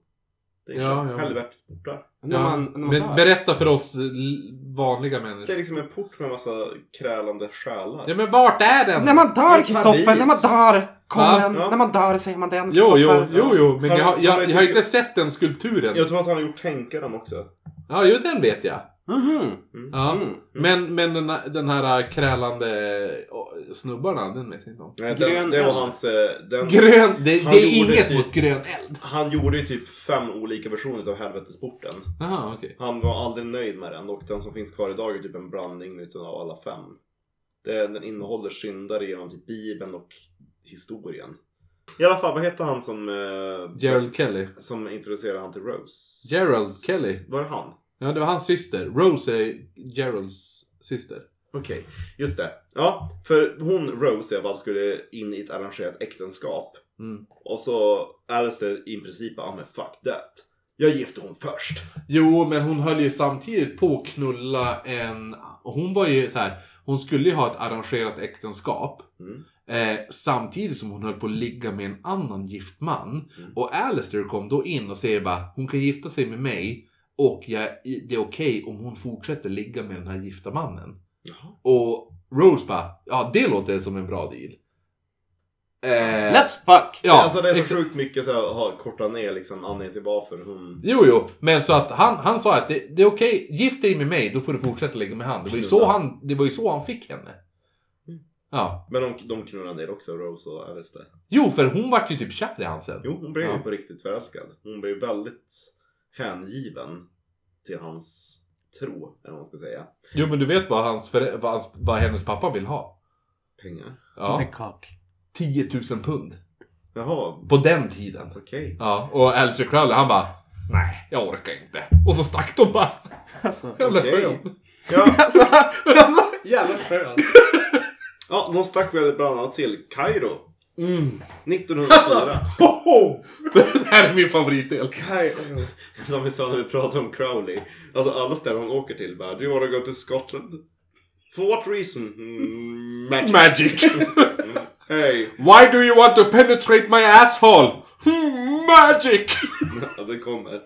Speaker 1: Det är
Speaker 2: Ja, ja.
Speaker 1: helvetets portar.
Speaker 3: När man, när man
Speaker 2: Men
Speaker 3: dör.
Speaker 2: berätta för oss eh, l- vanliga
Speaker 1: Det är
Speaker 2: människor.
Speaker 1: liksom en port med en massa krälande själar.
Speaker 2: Ja men vart är den?
Speaker 3: När man dör
Speaker 1: I
Speaker 3: Kristoffer,
Speaker 1: Paris.
Speaker 3: när man dör kommer
Speaker 2: Ja.
Speaker 3: den.
Speaker 1: Ja.
Speaker 3: När man dör säger man den
Speaker 2: Jo, jo,
Speaker 3: Kristoffer.
Speaker 2: jo, jo, men
Speaker 1: Han-
Speaker 2: jag, har-
Speaker 1: han är
Speaker 2: jag, jag har
Speaker 1: typ-
Speaker 2: inte sett den skulpturen.
Speaker 1: Jag tror att han har gjort tänkaren också. Mm.
Speaker 2: Ja, jo, den vet jag.
Speaker 3: Mhm.
Speaker 2: Ja. Men, men den, här- den här eh, krälande åh, snubbarna, den vet jag inte om.
Speaker 1: Nej,
Speaker 3: Grön
Speaker 1: den, det var
Speaker 3: eld.
Speaker 1: hans... eh, Den,
Speaker 2: Grön, det,
Speaker 1: Han
Speaker 2: det är
Speaker 1: gjorde
Speaker 2: inget
Speaker 1: typ-
Speaker 2: mot grön eld.
Speaker 1: han gjorde ju typ fem olika versioner av helvetesporten.
Speaker 2: Jaha, okej.
Speaker 1: Han var aldrig nöjd med den och den som finns kvar idag är typ en blandning utav alla fem. Det- Den innehåller syndare genom typ bibeln och historien. I alla fall, vad heter han som, eh,
Speaker 2: Gerald Kelly.
Speaker 1: som introducerade han till Rose?
Speaker 2: Gerald Kelly.
Speaker 1: Var det han?
Speaker 2: Ja, det var hans syster. Rose är Geralds syster.
Speaker 1: Okej, just det. Ja, för hon Rose i alla fall skulle in i ett arrangerat äktenskap.
Speaker 2: Mm.
Speaker 1: Och så Alistair i princip bara, ah, men fuck that. Jag gifter hon först.
Speaker 2: Jo, men hon höll ju samtidigt på att knulla en... Hon var ju så här. Hon skulle ju ha ett arrangerat äktenskap.
Speaker 1: Mm.
Speaker 2: Eh, samtidigt som hon höll på att ligga med en annan gift man.
Speaker 1: Mm.
Speaker 2: Och Alistair kom då in och säger bara hon kan gifta sig med mig och jag, det är okej om hon fortsätter ligga med den här gifta mannen.
Speaker 1: Jaha.
Speaker 2: Och Rose bara ja det låter som en bra deal. Eh,
Speaker 3: Let's fuck!
Speaker 2: ja,
Speaker 1: alltså det är så
Speaker 2: exa-
Speaker 1: sjukt mycket så här, ha, korta ner liksom anledningen till varför hon...
Speaker 2: Jo, jo, men så att han, han sa att det, det är okej, gift dig med mig, då får du fortsätta ligga med han. Det var ju så han, det var ju så han fick henne. Ja.
Speaker 1: Men de, de knullar ner också, Rose och Alistair.
Speaker 2: Jo, för hon vart ju typ kär i han sen.
Speaker 1: Jo, hon blev ju
Speaker 2: Ja.
Speaker 1: på riktigt förälskad. Hon blev väldigt hängiven till hans tro, eller vad man ska säga.
Speaker 2: Jo, men du vet vad, hans, förä- vad, hans, vad hennes pappa vill ha?
Speaker 1: Pengar.
Speaker 2: Ja.
Speaker 3: cock.
Speaker 2: 10 000 pund.
Speaker 1: Jaha,
Speaker 2: På den tiden.
Speaker 1: okej.
Speaker 2: Ja, och Alistair Crowley han bara Nej, jag orkar inte. Och så stack de bara.
Speaker 3: Alltså,
Speaker 2: Jävla
Speaker 1: okej.
Speaker 2: skön.
Speaker 1: Ja,
Speaker 2: *laughs*
Speaker 3: alltså, alltså.
Speaker 5: Jävla skön.
Speaker 1: *laughs* ja, de stack väl bland annat till Kairo.
Speaker 2: Mm.
Speaker 1: 1904.
Speaker 2: Alltså, ho, ho. Det här är min favoritdel.
Speaker 1: Som vi sa när vi pratade om Crowley. Alltså alla ställen hon åker till bara, do you wanna go to Scotland? For what reason? Mm, magic. Mm.
Speaker 2: Magic.
Speaker 1: *laughs* Hey.
Speaker 2: Why do you want to penetrate my asshole? Hmm, Magic!
Speaker 1: Ja, det kommer.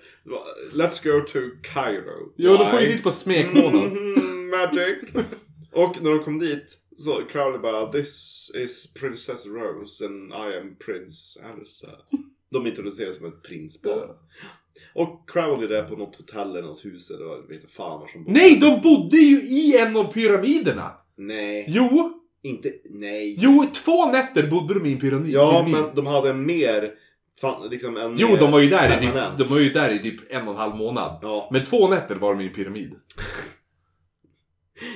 Speaker 1: Let's go to Cairo.
Speaker 2: *laughs* Jo, då får
Speaker 1: Why?
Speaker 2: ju dit på smekmånad.
Speaker 1: Mhm, *laughs* Magic. Och när de kom dit så Crowley bara This is Princess Rose and I am Prince Alistair. De introduceras som ett prinspar. Och Crowley där på något hotell eller något hus eller vad vet inte fan var som bodde.
Speaker 2: Nej, de bodde ju i en av pyramiderna!
Speaker 1: Nej,
Speaker 2: Jo,
Speaker 1: inte, nej.
Speaker 2: jo, två nätter bodde de i en pyramid.
Speaker 1: Ja,
Speaker 2: pyramid.
Speaker 1: men de hade mer, fan, liksom en
Speaker 2: Jo,
Speaker 1: mer
Speaker 2: de var, ju där i
Speaker 1: permanent.
Speaker 2: typ, de var ju där i typ en och en halv månad.
Speaker 1: Ja,
Speaker 2: Men två nätter var de i en pyramid. *laughs*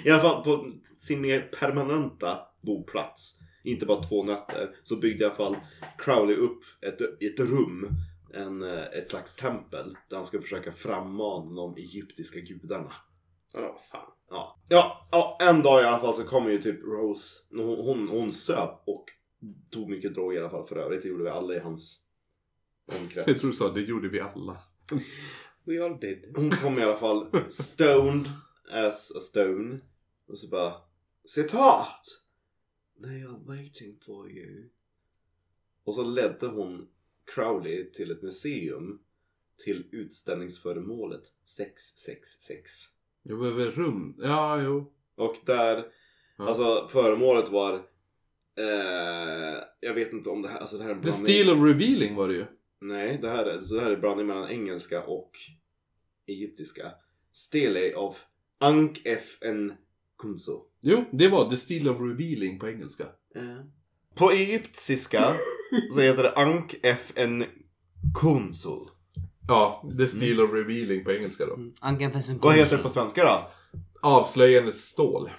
Speaker 1: i alla fall på sin mer permanenta boplats, inte bara två nätter, så byggde i alla fall Crowley upp ett, ett rum, en, eh, ett slags tempel, där han ska försöka frammana de egyptiska gudarna.
Speaker 5: Ja, fan.
Speaker 1: Ja. Ja, ja, en dag i alla fall så kommer ju typ Rose, hon, hon, hon söp och tog mycket drog i alla fall för övrigt, det gjorde vi alla i hans
Speaker 2: Jag
Speaker 1: omkrets.
Speaker 2: tror du sa, det gjorde vi alla.
Speaker 5: We all did.
Speaker 1: Hon kom i alla fall stoned as a stone. Och så bara citat! They are waiting for you. Och så ledde hon Crowley till ett museum till utställningsföremålet 666.
Speaker 2: Jag behöver rum. Ja, jo.
Speaker 1: Och där,
Speaker 2: Ja.
Speaker 1: alltså föremålet var eh, jag vet inte om det här, alltså det här är en
Speaker 2: The
Speaker 1: blandning.
Speaker 2: Steel of Revealing var det ju.
Speaker 1: Nej, det här, är- så det här är blandning mellan engelska och egyptiska. Stele of Ank F. N. Kunso.
Speaker 2: Jo, det var The Steel of Revealing på engelska.
Speaker 1: På egyptiska så heter det Ank F. N. Kunso.
Speaker 2: Ja, The
Speaker 1: Mm.
Speaker 2: Steel of Revealing på engelska då.
Speaker 1: Vad heter det på svenska då?
Speaker 2: Avslöjandets stål.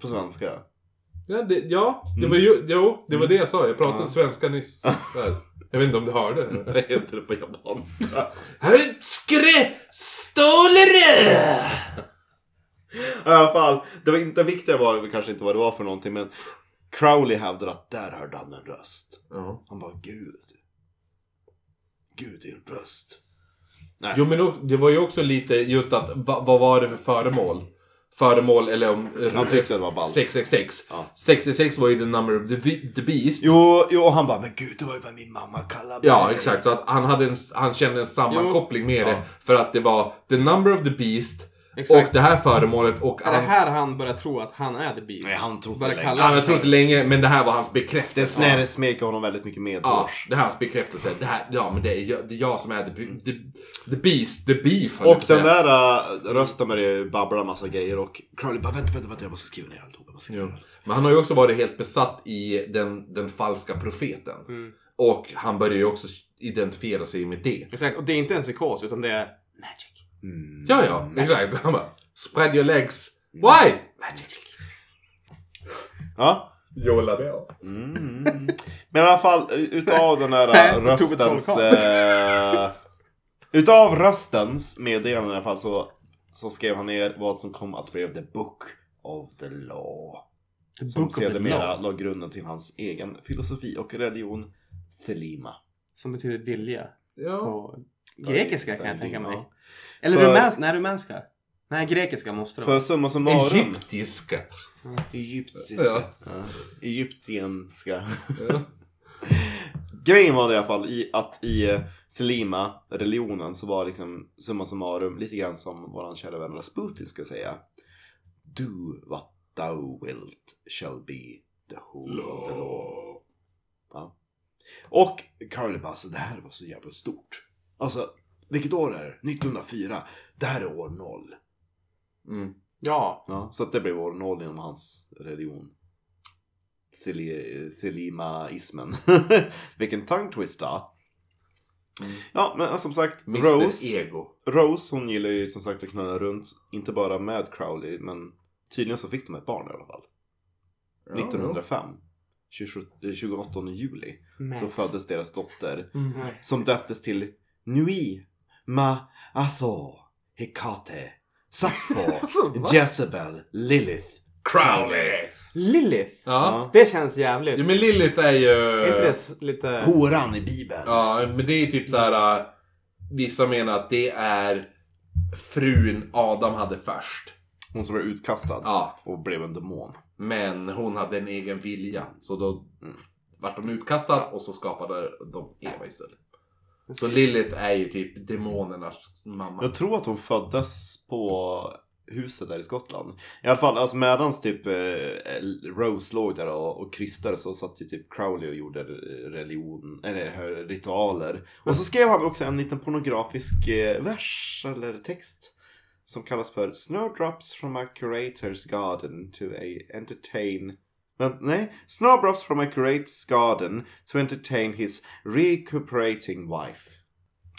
Speaker 1: På svenska?
Speaker 2: Ja, det, ja, det var ju, jo, det var det jag sa. Jag pratade
Speaker 1: Mm. Ja. *laughs*
Speaker 2: svenska nyss. Där. Jag vet inte om du hörde.
Speaker 1: Vad heter *laughs* det på japanska?
Speaker 2: Högskre stålare!
Speaker 1: *laughs* I alla fall, det, var inte, det viktiga var kanske inte vad det var för någonting men Crowley hävdade att där hörde han en röst.
Speaker 2: Ja.
Speaker 1: Han bara Gud. Gud är en röst.
Speaker 2: Jo men o- det var ju också lite just att va, vad var det för föremål? Föremål eller om...
Speaker 1: Han tyckte det var ballt.
Speaker 2: 666.
Speaker 1: Ja.
Speaker 2: 666 var ju the number of the, be- the beast.
Speaker 1: Jo, jo, och han bara men gud det var ju vad min mamma kallade mig.
Speaker 2: Ja, exakt. Så att han, hade en, han kände en sammankoppling med det. För att det var the number of the beast
Speaker 3: Exakt.
Speaker 2: och det här föremålet och
Speaker 3: Är det
Speaker 2: han...
Speaker 3: här han börjar tro att han är the beast?
Speaker 1: Nej, han trodde
Speaker 3: Börjar
Speaker 1: det
Speaker 3: kalla
Speaker 2: Han
Speaker 3: sig
Speaker 2: har trott länge, men det här var hans
Speaker 1: Det
Speaker 2: bekräftelse.
Speaker 1: snäret smeker honom väldigt mycket med
Speaker 2: Ja, det här är hans bekräftelse. Det här, ja, men det är jag, det är jag som är the, be- the, the beast, the beef. höll jag på
Speaker 1: Och
Speaker 2: att
Speaker 1: den
Speaker 2: säga.
Speaker 1: där äh, rösten började ju babbla massa grejer och Crowley bara vänta, vänta, vänta jag måste skriva ner alltihop. jag måste skriva
Speaker 2: Jo.
Speaker 1: ner allt."
Speaker 2: Men han har ju också varit helt besatt i den, den falska profeten. Och han börjar ju också identifiera sig med det.
Speaker 3: Exakt, och det är inte en psykos utan det är magic.
Speaker 1: Mm.
Speaker 2: Ja, ja, exakt. Han bara, spread your legs. Why?
Speaker 1: Ja.
Speaker 2: Jola Bell.
Speaker 1: Mm. Men i alla fall utav den *laughs* där äh, röstens... eh, utav röstens meddelande i alla fall så, så skrev han ner vad som kom att bli the book of the law. Som sedermera la grunden till hans egen filosofi och religion, Thelima.
Speaker 3: Som betyder vilja.
Speaker 2: Ja.
Speaker 3: På grekiska kan jag
Speaker 1: Ja.
Speaker 3: tänka mig. Eller
Speaker 1: För-
Speaker 3: rumänska. Nej, rumänska. Nej, grekiska måste det
Speaker 1: För
Speaker 3: vara.
Speaker 1: summa summarum...
Speaker 2: Egyptiska.
Speaker 1: Egyptiska.
Speaker 2: Ja.
Speaker 1: Ja. Egyptienska.
Speaker 2: Ja.
Speaker 1: Grejen var det i alla fall i att i eh, Thelima, religionen, så var liksom summa summarum lite grann som våran kära vän Rasputin ska säga. Do what thou wilt shall be the whole of the law. Ja. Och Crowley bara, alltså det här var så jävla stort. Alltså, vilket år är det? 1904. Det här är år noll.
Speaker 2: *laughs* Mm.
Speaker 3: Ja.
Speaker 1: Ja, så att det blev år noll inom hans religion. Theli- Thelimaismen. *laughs* Vilken tongue twista. Ja, men eh, som sagt,
Speaker 2: Mr.
Speaker 1: Rose,
Speaker 2: Ego.
Speaker 1: Rose hon gillar ju som sagt att knöla runt. Inte bara med Crowley, men tydligen så fick de ett barn i alla fall. 1905. 27 eh, 28 juli. Så föddes deras dotter.
Speaker 3: Mm.
Speaker 1: Som döptes till Nui Ma Atho Hekate Sappho Jezebel Lilith
Speaker 2: Crowley!
Speaker 3: Lilith.
Speaker 2: Ja.
Speaker 3: Det känns jävligt.
Speaker 2: Jo men Lilith är ju...
Speaker 3: Är inte det s- lite...
Speaker 1: Horan i bibeln.
Speaker 2: Ja, men det är typ så här. äh, Vissa menar att det är frun Adam hade först.
Speaker 1: Hon som blev utkastad
Speaker 2: Ja,
Speaker 1: och blev en demon.
Speaker 2: men hon hade en egen vilja. Så då vart de utkastade och så skapade de Eva istället. Så Lilith är ju typ demonernas mamma.
Speaker 1: Jag tror att hon föddes på huset där i Skottland. I alla fall, alltså medans typ eh, Rose låg där och, och krystade så satt ju typ Crowley och gjorde eh, religion, eller eh, ritualer. Och så skrev han också en liten pornografisk eh, vers eller text. Som kallas för Snowdrops from a curator's garden to a entertain Men, nej, Snowdrops from a curator's garden to entertain his recuperating wife.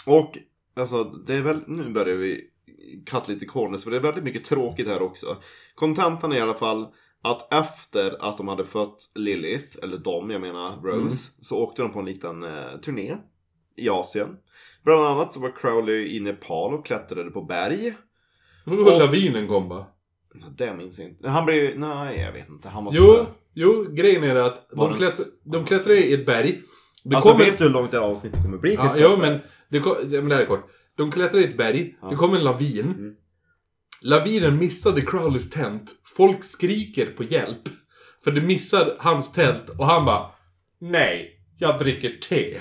Speaker 1: Och Alltså, det är väl, nu börjar vi katta lite corners, för det är väldigt mycket tråkigt här också. Kontentan är i alla fall att efter att de hade fött Lilith, eller de, jag menar Rose,
Speaker 2: Mm.
Speaker 1: så åkte de på en liten eh, turné i Asien. Bland annat så var Crowley i Nepal och klättrade på berg.
Speaker 2: Och lavinen kom bara.
Speaker 1: Det minns jag inte. Han blev nej jag vet inte. Han var
Speaker 2: Jo, jo, grejen är det att
Speaker 1: Var
Speaker 2: de,
Speaker 1: den
Speaker 2: klättrar,
Speaker 1: s-
Speaker 2: de klättrar i ett berg. Det
Speaker 1: Alltså
Speaker 2: kommer-
Speaker 1: vet du hur långt det här avsnittet kommer bli?
Speaker 2: Ja, jo, men det, ko- ja, men det här är kort. De klättrade i ett berg, det kom en lavin.
Speaker 1: Mm.
Speaker 2: Lavinen missade Crowleys tält. Folk skriker på hjälp. För det missar hans tält och han bara Nej, jag dricker te.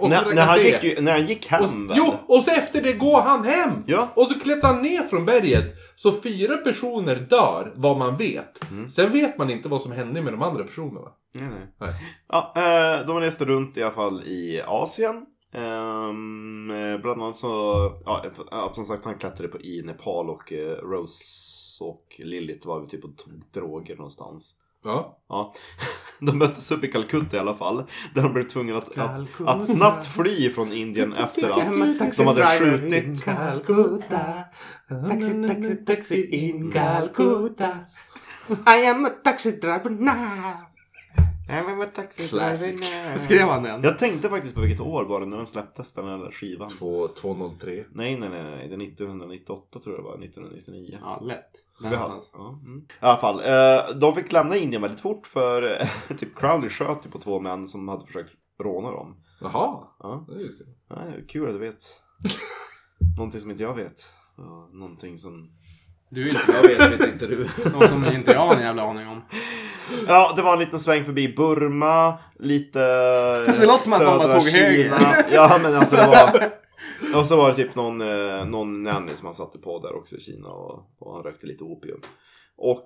Speaker 2: Och drack
Speaker 1: när, när, han
Speaker 2: te.
Speaker 1: gick, ju- när han gick hem
Speaker 2: och, s-
Speaker 1: väl?
Speaker 2: Jo, och så efter det går han hem!
Speaker 1: Ja.
Speaker 2: Och så klättrar han ner från berget. Så fyra personer dör, vad man vet.
Speaker 1: Mm.
Speaker 2: Sen vet man inte vad som hände med de andra personerna.
Speaker 1: Nej, nej.
Speaker 2: Nej.
Speaker 1: Ja, eh, de reste runt i alla fall i Asien. Ehm, eh, bland annat så, ja, eh, ja, som sagt han klättrade på i Nepal och eh, Rose och Lilith var väl typ och tog droger någonstans.
Speaker 2: Ja.
Speaker 1: Ja. *laughs* De möttes upp i Calcutta i alla fall. Där de blev tvungna att, att, att snabbt fly från Indien efter att de hade skjutit.
Speaker 4: Calcutta. Taxi, taxi, taxi in Calcutta. I am a taxi driver now.
Speaker 10: Även med taxi
Speaker 2: Classic.
Speaker 10: driving, eh.
Speaker 3: Skrev han den?
Speaker 1: Jag tänkte faktiskt på vilket år var det när den släpptes, den här skivan?
Speaker 2: 2, 203.
Speaker 1: Nej, nej, nej, nej. Det är 1998 tror jag det var, 1999.
Speaker 3: Ja, lätt.
Speaker 1: Vi har- ja, mm. I alla fall, eh, de fick lämna Indien väldigt fort för eh, *laughs* typ Crowley sköt ju på två män som hade försökt råna dem.
Speaker 2: Jaha.
Speaker 1: Ja.
Speaker 2: det är just det.
Speaker 1: Nej, kul att du *laughs* vet. Någonting som inte jag vet. Ja, någonting som
Speaker 3: Du är inte
Speaker 11: Jag vet vet inte du.
Speaker 3: någon som inte jag har en jävla aning om.
Speaker 1: Ja, det var en liten sväng förbi Burma, lite
Speaker 3: Fast det låter som att man bara
Speaker 1: södra
Speaker 3: tog höger.
Speaker 1: Kina. Ja, men alltså det var... Och så var det typ någon, eh, någon nanny som han satte på där också i Kina och, och han rökte lite opium. Och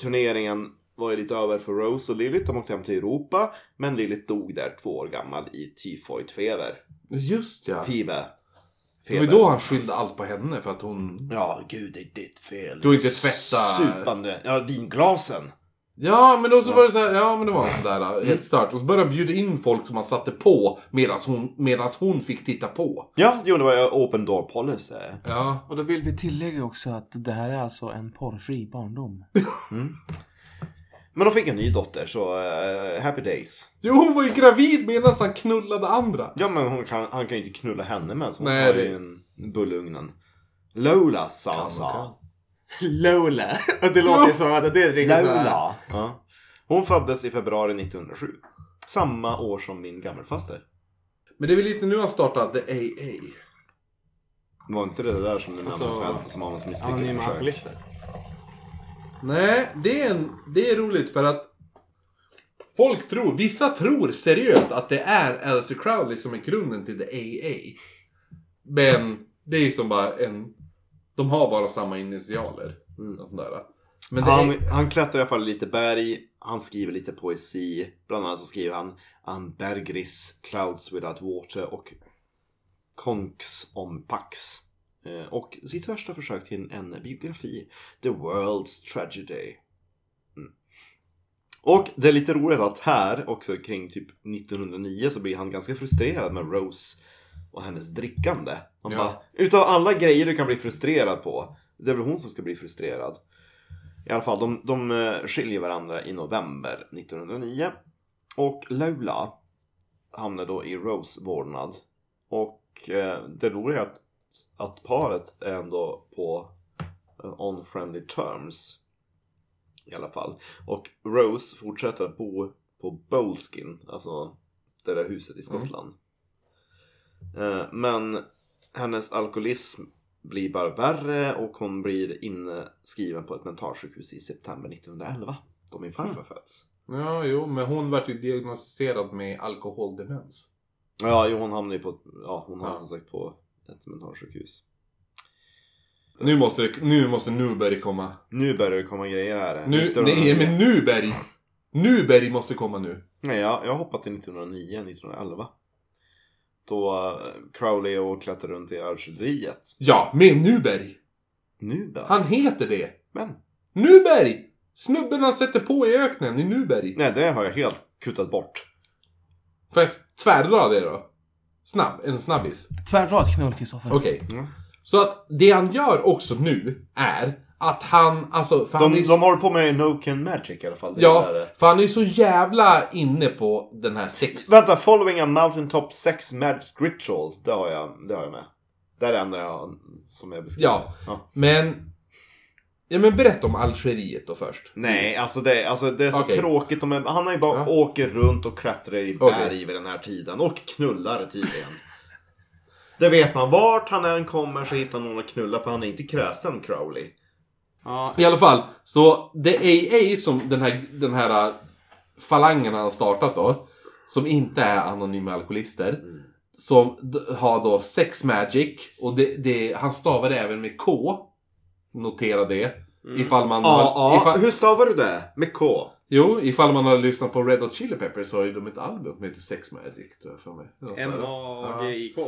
Speaker 1: turneringen var ju lite över för Rose och Lilith. De åkte hem till Europa, men Lilith dog där två år gammal i tyfoidfeber.
Speaker 2: Just ja.
Speaker 1: Fibe.
Speaker 2: Det var ju då han skyllde allt på henne för att hon...
Speaker 1: Ja, gud det är ditt fel.
Speaker 2: Du har inte tvättat-
Speaker 1: Supande. Ja, vinglasen.
Speaker 2: Ja, men då så var det så här, ja men det var sådär helt stört. Och så började han bjuda in folk som han satte på medan hon, medans hon fick titta på.
Speaker 1: Ja, jo det var ju open door policy.
Speaker 2: Ja.
Speaker 3: Och då vill vi tillägga också att det här är alltså en porrfri barndom.
Speaker 1: Men de fick en ny dotter, så eh, happy days.
Speaker 2: Jo, hon var ju gravid medan han knullade andra.
Speaker 1: Ja, men hon kan, han kan ju inte knulla henne med, så hon
Speaker 2: Nej,
Speaker 1: har
Speaker 2: det-
Speaker 1: ju en bullugnen. Lola sa
Speaker 2: Kan, kan.
Speaker 1: sa.
Speaker 3: *laughs* Lola. Och det låter ju som att det är ett riktigt sådär...
Speaker 1: Lola. Ja. Hon föddes i februari 1907. Samma år som min gammelfaster.
Speaker 2: Men det är väl lite nu han startade The AA.
Speaker 1: Var inte det där som du nämnde
Speaker 3: Alltså,
Speaker 1: Sven, som Amos misslyckade
Speaker 3: Anonyma
Speaker 1: försök?
Speaker 3: alkoholister.
Speaker 2: Nej, det är, en, det är roligt för att folk tror, vissa tror seriöst att det är Elsie Crowley som är grunden till The AA. Men det är som bara en... De har bara samma initialer. Och sånt där. Men det är,
Speaker 1: Han, han klättrar i alla fall lite berg, han skriver lite poesi. Bland annat så skriver han An bergris, clouds without water och Konks om Pax. Eh, Och sitt första försök till en biografi, The World's Tragedy. Mm. Och det är lite roligt att här, också kring typ 1909, så blir han ganska frustrerad med Rose och hennes drickande. Han
Speaker 2: Ja.
Speaker 1: bara, utav alla grejer du kan bli frustrerad på, det är väl hon som ska bli frustrerad. I alla fall, de, de eh, skiljer varandra i november 1909. Och Lola hamnar då i Rose vårdnad. Och eh, det roliga är att, att paret är ändå på eh, on friendly terms. I alla fall. Och Rose fortsätter att bo på Bolskin, alltså det där huset i
Speaker 2: Mm.
Speaker 1: Skottland. Eh, men hennes alkoholism blir bara värre och hon blir inskriven på ett mentalsjukhus i september 1911. Då min farfar
Speaker 2: Mm.
Speaker 1: föds.
Speaker 2: Ja, jo, men hon vart ju diagnostiserad med alkoholdemens.
Speaker 1: Ja, jo, hon hamnade ju på, ja, hon hamnade
Speaker 2: Ja.
Speaker 1: som sagt på ett mentalsjukhus.
Speaker 2: Nu måste, det- nu måste Nuberg komma.
Speaker 1: Nu börjar det komma grejer här.
Speaker 2: Nu,
Speaker 1: 1900
Speaker 2: nej, men Nuberg! Nuberg måste komma nu.
Speaker 1: Nej, jag, jag har hoppat till 1909, 1911. Då eh, Crowley och klättrar runt i artilleriet.
Speaker 2: Ja, med Nuberg!
Speaker 1: Nu börjar
Speaker 2: Han heter det!
Speaker 1: Men,
Speaker 2: Nuberg! Snubben han sätter på i öknen i Nuberg.
Speaker 1: nej, det har jag helt kuttat bort.
Speaker 2: Får jag tvärra det då? Snabb, en snabbis.
Speaker 3: Tvärrad knull, Kristoffer.
Speaker 2: Okej.
Speaker 1: Mm.
Speaker 2: Så att det han gör också nu är att han, alltså... För han
Speaker 1: De,
Speaker 2: är,
Speaker 1: de håller på med No Can Magic i alla fall. Det är
Speaker 2: ja,
Speaker 1: det där. eh,
Speaker 2: för han är så jävla inne på den här sex...
Speaker 1: Vänta, Following a Mountaintop Sex Magic Ritual. Det har jag, det har jag med. Det är det enda jag, som jag beskriver.
Speaker 2: Ja, men... Ja, men berätta om Algeriet då först.
Speaker 1: Nej, alltså det, alltså det är så
Speaker 2: Mm. Okej.
Speaker 1: tråkigt. De är, han har ju bara
Speaker 2: Ja.
Speaker 1: åker runt och klättrar i berg
Speaker 2: Okej.
Speaker 1: vid den här tiden. Och knullar tydligen. det vet man. Vart han än kommer så hittar någon att knulla för han är inte kräsen Crowley.
Speaker 3: Ja,
Speaker 2: I alla fall, så det är AA som den här, den här äh, falangen han har startat då, som inte är anonyma alkoholister, som d- har då sex magic, och det, det, han stavar det även med K. Notera det. Ifall man har...
Speaker 1: Ja, ja.
Speaker 2: Ifall,
Speaker 1: Hur stavar du det? Med K?
Speaker 2: jo, ifall man har lyssnat på Red Hot Chili Peppers så har ju de ett album som heter Sex Magic, tror jag för mig. Något sånt där.
Speaker 12: M-A-G-I-K.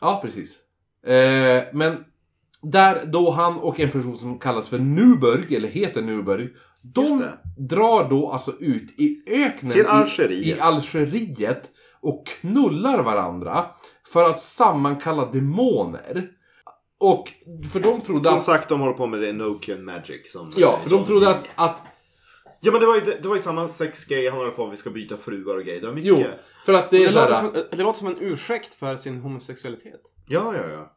Speaker 2: Ja, precis. Eh, men där då han och en person som kallas för Nuburg, eller heter Nuburg,
Speaker 1: Just
Speaker 2: de
Speaker 1: det.
Speaker 2: drar då alltså ut i öknen
Speaker 1: Till
Speaker 2: i-
Speaker 1: Algeriet.
Speaker 2: i Algeriet och knullar varandra för att sammankalla demoner. Och för de trodde
Speaker 1: Som
Speaker 2: att...
Speaker 1: sagt, de håller på med det No Can Magic som...
Speaker 2: Ja, för de trodde att, att
Speaker 1: Ja men det var ju, det var ju samma sexgrej han höll på med, vi ska byta fruar och grejer. Det var mycket.
Speaker 2: Jo, för att det är
Speaker 3: Det, låter
Speaker 2: såhär...
Speaker 3: som, det låter som en ursäkt för sin homosexualitet.
Speaker 1: Ja, ja, ja.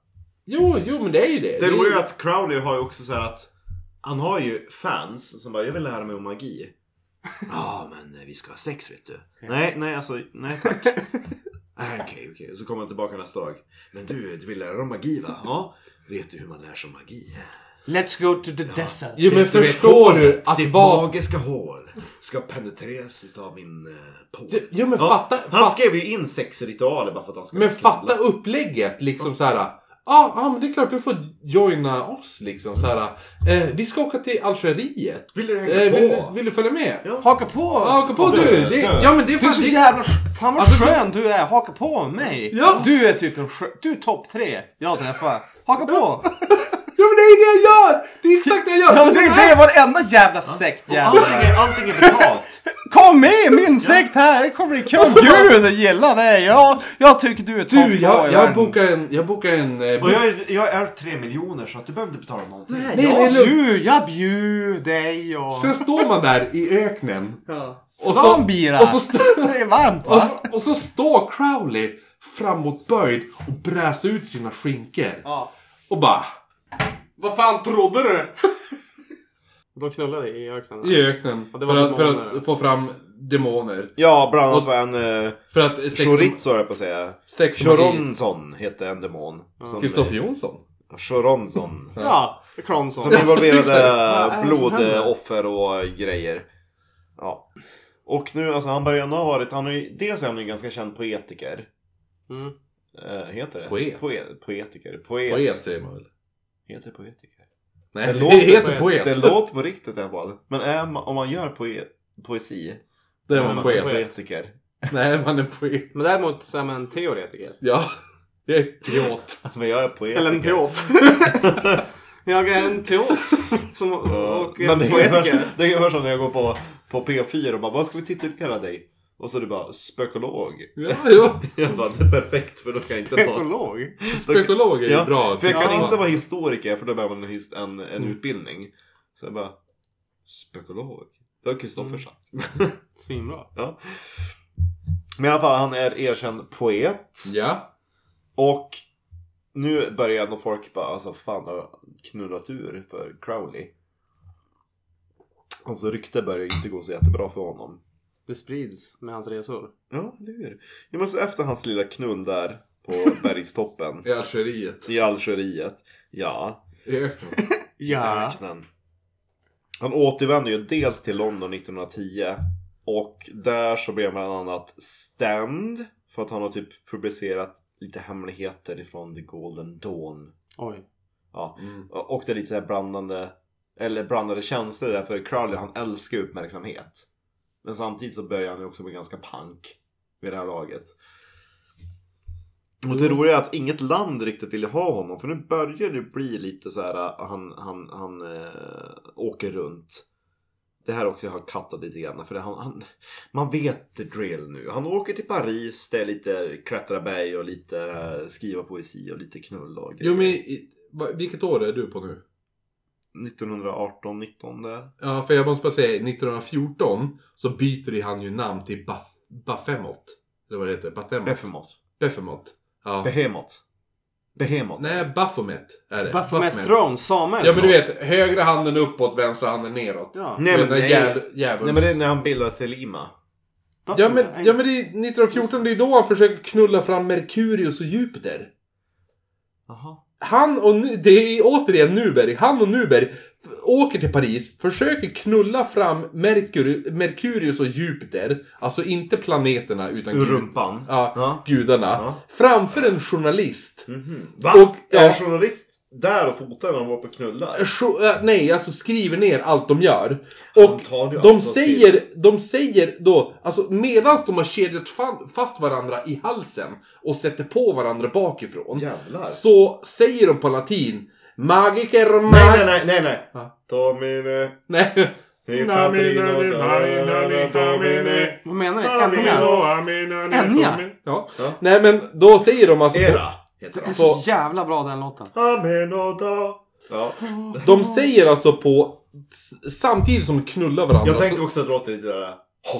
Speaker 2: Jo, jo men det är ju det.
Speaker 1: Det
Speaker 2: är
Speaker 1: roliga
Speaker 2: ju-
Speaker 1: är att Crowley har ju också så här att han har ju fans som bara, jag vill lära mig om
Speaker 2: *laughs*
Speaker 1: magi. Ja, men eh, vi ska ha sex vet du. Nej, nej alltså, nej tack. *laughs* Nej, Okej, okej. Så kommer han tillbaka nästa dag. Men du, du vill lära dig om magi va? Ja. Vet du hur man lär sig om magi?
Speaker 4: Let's go to the desert.
Speaker 2: Jo
Speaker 1: Du
Speaker 2: men
Speaker 1: vet,
Speaker 2: förstår
Speaker 1: hålet,
Speaker 2: du att
Speaker 1: Ditt
Speaker 2: vara...
Speaker 1: magiska hål ska penetreras utav min eh, pol.
Speaker 2: Jo men
Speaker 1: Ja,
Speaker 2: fatta...
Speaker 1: Han
Speaker 2: fatta-
Speaker 1: skrev ju in sexritualer bara för att han skulle
Speaker 2: Men
Speaker 1: knulla.
Speaker 2: fatta upplägget liksom så här. Ja, ah, ah, men det är klart du får joina oss liksom så här. Eh, vi ska åka till Algeriet.
Speaker 1: Vill du hänga
Speaker 2: Eh,
Speaker 1: på?
Speaker 2: vill, du- vill du följa med? Ja,
Speaker 1: Ja.
Speaker 3: Haka på!
Speaker 2: åka på du! Det, ja, men det är
Speaker 3: Du är så
Speaker 2: fan... Det,
Speaker 3: jävla... sk- Fan vad
Speaker 2: Alltså,
Speaker 3: skön du är! Haka på mig!
Speaker 2: Ja.
Speaker 3: Du är typ en skön... Du är topp tre jag träffar. Haka på!
Speaker 2: ja, men det är det jag gör! Det är exakt det jag gör!
Speaker 3: Ja men det är det varenda jävla sekt jävla.
Speaker 1: Allting är, allting är betalt.
Speaker 3: Kom med min sekt här! Jag kommer bli kul! Gud, jag gillar dig! Jag, jag tycker du är topp
Speaker 2: Alltså, Du,
Speaker 3: två i
Speaker 2: jag, jag
Speaker 3: världen.
Speaker 2: bokar en... Jag bokar en... Eh,
Speaker 1: Och
Speaker 2: buss.
Speaker 1: jag, är- jag är tre miljoner så att du behöver inte betala någonting.
Speaker 3: Nej,
Speaker 2: Nej,
Speaker 3: jag,
Speaker 2: nej, lugn.
Speaker 3: bjud, jag bjud dig och...
Speaker 2: Sen står man där i öknen.
Speaker 3: Ja.
Speaker 2: Och
Speaker 3: Ta
Speaker 2: så...
Speaker 3: en bira!
Speaker 2: Och så, stå-
Speaker 3: *laughs* Det är varmt va?
Speaker 2: och, så, och så står Crowley framåtböjd och bräser ut sina skinker.
Speaker 3: Ja.
Speaker 2: Och bara...
Speaker 5: Vad fan trodde du?
Speaker 3: De knullade i öknen.
Speaker 2: I öknen.
Speaker 3: Ja, det var
Speaker 2: För att, för
Speaker 3: demoner.
Speaker 2: att få fram demoner.
Speaker 1: Ja, bland annat var en eh,
Speaker 2: För att sex...
Speaker 1: chorizo höll jag på att säga.
Speaker 2: sex
Speaker 1: Choronson hette en demon. Som-
Speaker 2: Kristoffer Jonsson.
Speaker 1: Choronson.
Speaker 3: Ja, Kramsson.
Speaker 1: Som involverade
Speaker 3: Vad är det som händer?
Speaker 1: blodoffer och grejer. Ja. Och nu, alltså han börjar ha varit, han är ju, dels är han ju ganska känd poetiker.
Speaker 3: Mm.
Speaker 1: Eh, heter det?
Speaker 2: Poet.
Speaker 1: Poe- poetiker. Poet.
Speaker 2: Poet säger man väl?
Speaker 1: Heter poetiker.
Speaker 2: Nej,
Speaker 1: Det
Speaker 2: det,
Speaker 1: låter
Speaker 2: heter
Speaker 1: Poet.
Speaker 2: poet.
Speaker 1: Det låter på riktigt i alla fall. Men är man, om man gör poe, poesi.
Speaker 2: Då är
Speaker 1: är
Speaker 2: man poet.
Speaker 1: poetiker.
Speaker 2: Nej, man är poet.
Speaker 3: Men däremot så är man en teoretiker.
Speaker 2: Ja. Jag är teot.
Speaker 1: Men jag är poetiker.
Speaker 3: Eller en teot. *laughs* jag är en teot. Som,
Speaker 1: Ja.
Speaker 3: och
Speaker 1: Men
Speaker 3: en
Speaker 1: det är ungefär
Speaker 3: poetiker.
Speaker 1: som- det är ungefär som när jag går på, på P4 och bara vad ska vi titulera dig? Och så är det bara spökolog.
Speaker 2: Ja, ja.
Speaker 1: *laughs* Jag bara det är perfekt för då kan jag inte vara...
Speaker 3: Ekolog.
Speaker 2: Spekolog är ju
Speaker 1: Ja,
Speaker 2: bra.
Speaker 1: För jag kan
Speaker 2: Ja.
Speaker 1: inte vara historiker för då behöver man en, his- en, en
Speaker 3: Mm.
Speaker 1: utbildning. Så jag bara spökolog. Det har
Speaker 3: Mm.
Speaker 1: Kristoffer sagt.
Speaker 3: Svinbra.
Speaker 1: Ja. Men i alla fall han är erkänd poet.
Speaker 2: Ja.
Speaker 1: Och nu börjar nog folk bara alltså fan har jag knullat ur för Crowley. Alltså rykte börjar inte gå så jättebra för honom.
Speaker 3: Det sprids med hans resor.
Speaker 1: Ja, eller hur? Ja, men så efter hans lilla knull där på bergstoppen
Speaker 2: I Algeriet.
Speaker 1: i Algeriet. Ja,
Speaker 2: I öknen.
Speaker 3: Ja.
Speaker 1: öknen. Han återvände ju dels till London 1910 och där så blev han bland annat stämd för att han har typ publicerat lite hemligheter ifrån The Golden Dawn.
Speaker 3: Oj.
Speaker 1: Ja,
Speaker 2: Mm.
Speaker 1: och det är lite så här blandande eller blandade känslor där för Crowley han älskar uppmärksamhet. Men samtidigt så börjar han ju också bli ganska punk vid det här laget. Och
Speaker 2: Mm.
Speaker 1: det roliga är att inget land riktigt ville ha honom för nu börjar det bli lite så här äh, han, han, han eh, åker runt. Det här också jag har kattat lite grann för det, han, han, man vet the drill nu. Han åker till Paris, det är lite klättra berg och lite eh, skriva poesi och lite knull och grejer.
Speaker 2: Jo, men i, va- vilket år är du på nu?
Speaker 1: 1918, 19 där.
Speaker 2: Ja, för jag måste bara säga 1914 så byter ju han ju namn till Baf Bafemot. Eller vad det heter? Bafemot.
Speaker 1: Befemot.
Speaker 2: Befemot. Ja.
Speaker 1: Behemot. Behemot.
Speaker 2: Nej, Baphomet är det.
Speaker 3: Baphomet Throne, Samuel.
Speaker 2: Ja, men du vet. Högra handen uppåt, vänstra handen neråt.
Speaker 3: Ja.
Speaker 1: nej, men,
Speaker 2: den där
Speaker 1: nej.
Speaker 2: jävel- djävuls-
Speaker 1: nej men det är när han bildar Thelima.
Speaker 2: Ja men, ja men det är 1914, det är då han försöker knulla fram Merkurius och Jupiter.
Speaker 1: Jaha.
Speaker 2: Han och, Nu- det är återigen Nuberg, han och Nuberg f- åker till Paris, försöker knulla fram Merkur, Merkurius och Jupiter, alltså inte planeterna utan
Speaker 1: Ur
Speaker 2: gud-
Speaker 1: rumpan.
Speaker 2: ja,
Speaker 1: Ja.
Speaker 2: gudarna,
Speaker 1: Ja. Mm.
Speaker 2: framför en journalist.
Speaker 1: Va?
Speaker 2: Och-
Speaker 1: Är
Speaker 2: ja.
Speaker 1: en journalist där och fotar när de var på knullar?
Speaker 2: Jo- äh, nej, alltså skriver ner allt de gör.
Speaker 1: Han
Speaker 2: Och
Speaker 1: tar ju alltså
Speaker 2: de
Speaker 1: allt som
Speaker 2: säger, de säger då, alltså medan de har kedjat fan- fast varandra i halsen och sätter på varandra bakifrån.
Speaker 1: Jävlar.
Speaker 2: Så säger de på latin Magiker mag...
Speaker 1: Nej, nej, nej, nej, nej.
Speaker 2: Ja.
Speaker 1: Domine.
Speaker 2: nej.
Speaker 1: i patrino dona domine.
Speaker 3: Vad menar du?
Speaker 1: Ja, men
Speaker 3: Enya?
Speaker 1: då-
Speaker 3: Enya?
Speaker 2: Ja.
Speaker 1: Ja.
Speaker 2: nej men då säger de alltså på,
Speaker 1: Era. Heter
Speaker 3: Det är
Speaker 1: de.
Speaker 2: Så-
Speaker 3: så jävla bra den låten.
Speaker 1: Amenoda. Ja.
Speaker 2: De säger alltså på s- samtidigt som de knullar varandra. alltså,
Speaker 1: Jag tänker
Speaker 2: så-
Speaker 1: också att det låter lite där... "Hå,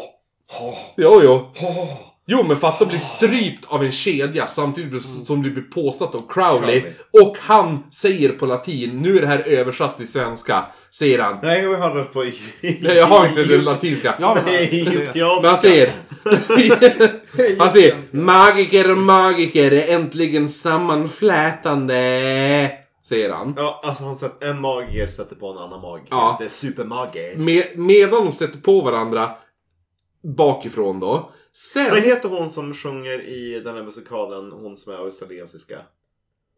Speaker 1: hå,
Speaker 2: Jo, jo.
Speaker 1: hå."
Speaker 2: Jo, men fatta att bli strypt av en kedja samtidigt som du blir påsatt av Crowley.
Speaker 1: Mm. Crowley.
Speaker 2: Och han säger på latin, nu är det här översatt till svenska, säger han.
Speaker 1: Nej, jag hörde på...
Speaker 2: Nej, jag har inte den latinska.
Speaker 3: Ja, men-
Speaker 1: Nej,
Speaker 2: Men han
Speaker 1: egyptianska.
Speaker 2: säger...
Speaker 1: *laughs*
Speaker 2: han säger magiker, magiker är äntligen sammanflätande. Säger han.
Speaker 1: Ja, alltså han sätter, en magiker sätter på en annan magiker.
Speaker 2: Ja.
Speaker 1: Det är supermagiskt.
Speaker 2: Med, medan de sätter på varandra bakifrån då.
Speaker 1: Vad
Speaker 2: Sen...
Speaker 1: heter hon som sjunger i den här musikalen, hon som är australiensiska?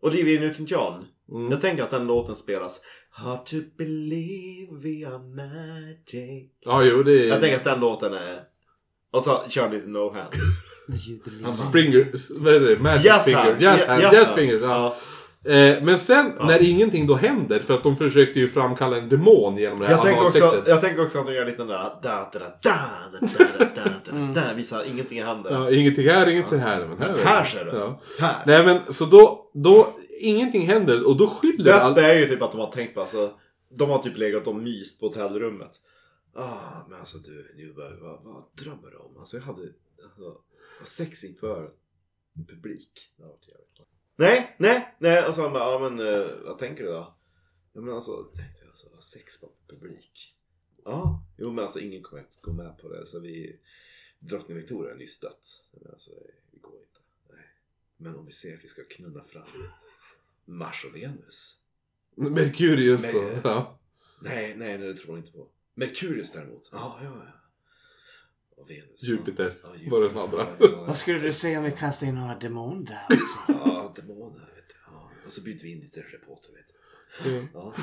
Speaker 1: Olivia Newton-John.
Speaker 2: Mm.
Speaker 1: Jag tänker att den låten spelas. Hard to believe we are magic.
Speaker 2: Ja, jo, det
Speaker 1: Jag
Speaker 2: är...
Speaker 1: tänker att den låten är... Och så kör ni No Hands.
Speaker 2: Springer... Vad heter det? Magic
Speaker 1: Yes,
Speaker 2: finger.
Speaker 1: hand.
Speaker 2: Yes,
Speaker 1: Ye-
Speaker 2: hand.
Speaker 1: yes,
Speaker 2: Yes,
Speaker 1: hand.
Speaker 2: finger. Ja.
Speaker 1: Ja.
Speaker 2: Eh, men sen
Speaker 1: Ja.
Speaker 2: när ingenting då händer, för att de försökte ju framkalla en demon genom det här
Speaker 1: Jag, tänker också,
Speaker 2: analsexet.
Speaker 1: jag tänker också att de gör lite den där... Da, da, da, da, da, da, da, da, da, visar ingenting händer.
Speaker 2: Ja, ingenting här, ingenting här. Men här,
Speaker 1: Här ser du.
Speaker 2: Ja.
Speaker 1: Här.
Speaker 2: Nej men så då, då, ingenting händer och då skyller all...
Speaker 1: Bästa är ju typ att de har tänkt på alltså, De har typ legat och myst på hotellrummet. Ah, men alltså du Newberg, vad, vad drömmer du om? Alltså jag hade alltså, vad sex inför en publik. Det hade varit jävligt bra. Nej, nej, nej. Och så han bara, ja men eh, vad tänker du då? Ja men alltså, jag tänkte jag alltså, sex på publik. Ja, jo men alltså ingen kommer att gå med på det så vi Drottning Victoria är nyss dött. Men alltså det går inte. Nej. Men om vi ser att vi ska knulla fram Mars och Venus.
Speaker 2: Merkurius och...
Speaker 1: Nej.
Speaker 2: Ja.
Speaker 1: Nej, nej, nej, det tror jag inte på. Merkurius däremot. Ja, ja, ja. Och Venus.
Speaker 2: Jupiter.
Speaker 1: Ja,
Speaker 2: Var det den andra?
Speaker 1: Ja, ja,
Speaker 4: Vad skulle du säga om vi kastade in några demoner där?
Speaker 1: ja. Ja, demoner, vet du. Ja. Och så byter vi in lite reporter, vet du. Ja.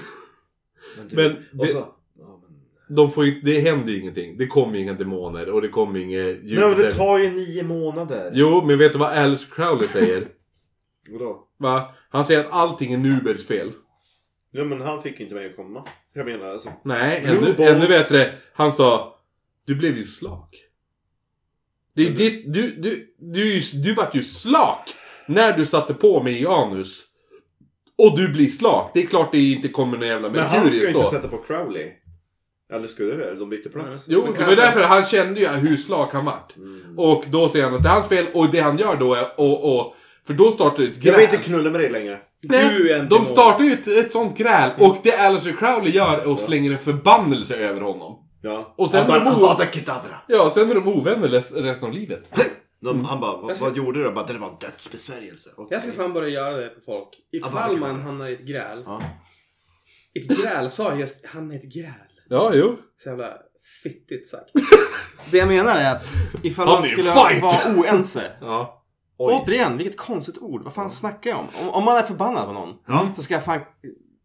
Speaker 1: Men, du,
Speaker 2: Men
Speaker 1: och
Speaker 2: det-
Speaker 1: så, ja, men...
Speaker 2: De får ju, det händer ju ingenting. Det kommer ju inga demoner och det kommer inga Jupiter.
Speaker 1: Nej, men det tar ju nio månader.
Speaker 2: Jo, men vet du vad Alice Crowley säger?
Speaker 1: Vadå?
Speaker 2: Va? Han säger att allting är Nubers fel.
Speaker 1: Ja, men han fick ju inte mig att komma. Jag menar, alltså.
Speaker 2: Nej,
Speaker 1: Blue
Speaker 2: ännu,
Speaker 1: balls.
Speaker 2: ännu bättre. Han sa Du blev ju slak. Det är ditt, du, du, du, är ju- du vart ju slak när du satte på mig i anus. Och du blir slak. Det är klart det inte kommer någon jävla
Speaker 1: Men han ska ju
Speaker 2: Merkurius
Speaker 1: inte
Speaker 2: då.
Speaker 1: sätta på Crowley. Eller skulle det? De bytte plats.
Speaker 2: Jo, det var därför han kände ju hur slak han vart.
Speaker 1: Mm.
Speaker 2: Och då säger han att det är hans fel och det han gör då är och, och, För då startar ett
Speaker 1: Jag
Speaker 2: gräl.
Speaker 1: vill inte knulla med dig längre.
Speaker 5: Du är en
Speaker 2: de
Speaker 5: demon.
Speaker 2: startar ju ett, ett sånt gräl och det Alistair Crowley gör är att slänger en förbannelse över honom.
Speaker 1: Ja.
Speaker 2: Och sen
Speaker 1: han bara,
Speaker 2: de-
Speaker 1: Avada Kedavra.
Speaker 2: Ja, sen är de ovänner les- resten av livet.
Speaker 1: De, Han bara, vad,
Speaker 5: Jag ska-
Speaker 1: vad gjorde du? Jag bara, det var en dödsbesvärjelse. Okej.
Speaker 5: Jag ska fan börja göra det på folk.
Speaker 1: Ja,
Speaker 5: Ifall
Speaker 1: bara-
Speaker 5: man hamnar i ett gräl.
Speaker 1: Ja.
Speaker 5: Ett gräl sa jag just, hamna i ett gräl.
Speaker 2: Ja, jo.
Speaker 5: Så jävla fittigt sagt.
Speaker 3: *laughs* Det jag menar är att ifall
Speaker 2: Han
Speaker 3: man
Speaker 2: är ju
Speaker 3: skulle
Speaker 2: fight!
Speaker 3: vara oense.
Speaker 2: Ja.
Speaker 3: Återigen, vilket konstigt ord. Vad fan snackar jag om? om? Om man är förbannad på någon
Speaker 1: Ja.
Speaker 3: så ska jag fan...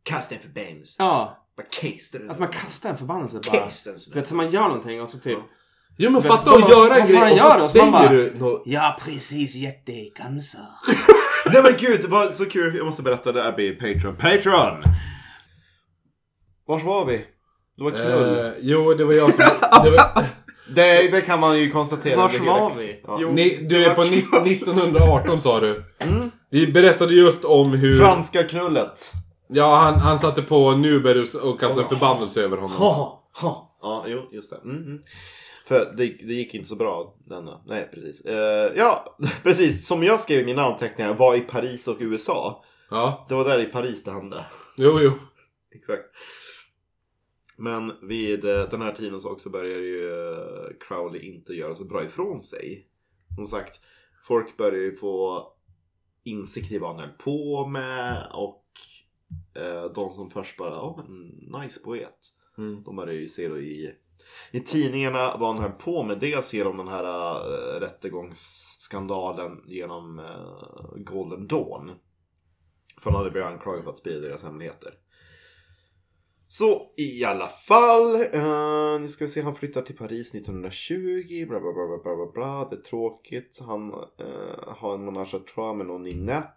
Speaker 1: Kasta en förbannelse.
Speaker 3: Ja,
Speaker 1: Bara case det
Speaker 3: att man kastar en förbannelse bara.
Speaker 1: case den
Speaker 3: Du vet, så man gör någonting och så typ...
Speaker 2: Jo men
Speaker 3: Men
Speaker 2: fatta
Speaker 3: vad
Speaker 2: att
Speaker 3: fan-
Speaker 2: göra en
Speaker 3: vad fan
Speaker 2: grej och
Speaker 3: gör
Speaker 2: så
Speaker 3: de? Så man
Speaker 2: säger
Speaker 3: bara-
Speaker 2: du något.
Speaker 4: Jag har precis gett dig cancer.
Speaker 1: Nej men gud, det var så kul. Jag måste berätta det här med Patreon. Patreon! Vars var vi? Det var knull.
Speaker 2: Eh, jo, det var jag som... Det *laughs* var,
Speaker 1: Det, det kan man ju konstatera.
Speaker 3: Vars
Speaker 1: Det-
Speaker 3: var vi?
Speaker 1: Jo,
Speaker 2: ni, du är på ni- 1918 sa du. Vi berättade just om hur...
Speaker 1: Franska knullet.
Speaker 2: Ja, han, han satte på Nuberus och kastade en förbannelse över honom.
Speaker 1: Ha, ha. Ja, jo, just det. Mm, mm. För det, det gick inte så bra denna. Nej, precis. Eh, ja, *laughs* precis. Som jag skrev i mina anteckningar var i Paris och USA.
Speaker 2: Ja,
Speaker 1: Det var där i Paris det hände.
Speaker 2: jo, jo.
Speaker 1: Exakt. Men vid eh, den här tiden så också börjar ju eh, Crowley inte göra så bra ifrån sig. Som sagt, folk börjar ju få insikt i vad han höll på med och eh, de som först bara, ja men nice poet.
Speaker 2: Mm.
Speaker 1: De börjar ju se då i, i tidningarna vad han höll på med. Dels genom den här eh, rättegångsskandalen genom eh, Golden Dawn. För han hade blivit anklagad för att sprida deras hemligheter. Så i alla fall, eh, nu ska vi se, han flyttar till Paris 1920, bla bla bla bla bla bla, bla. det är tråkigt, han eh, har en menage à trois med någon Ninette.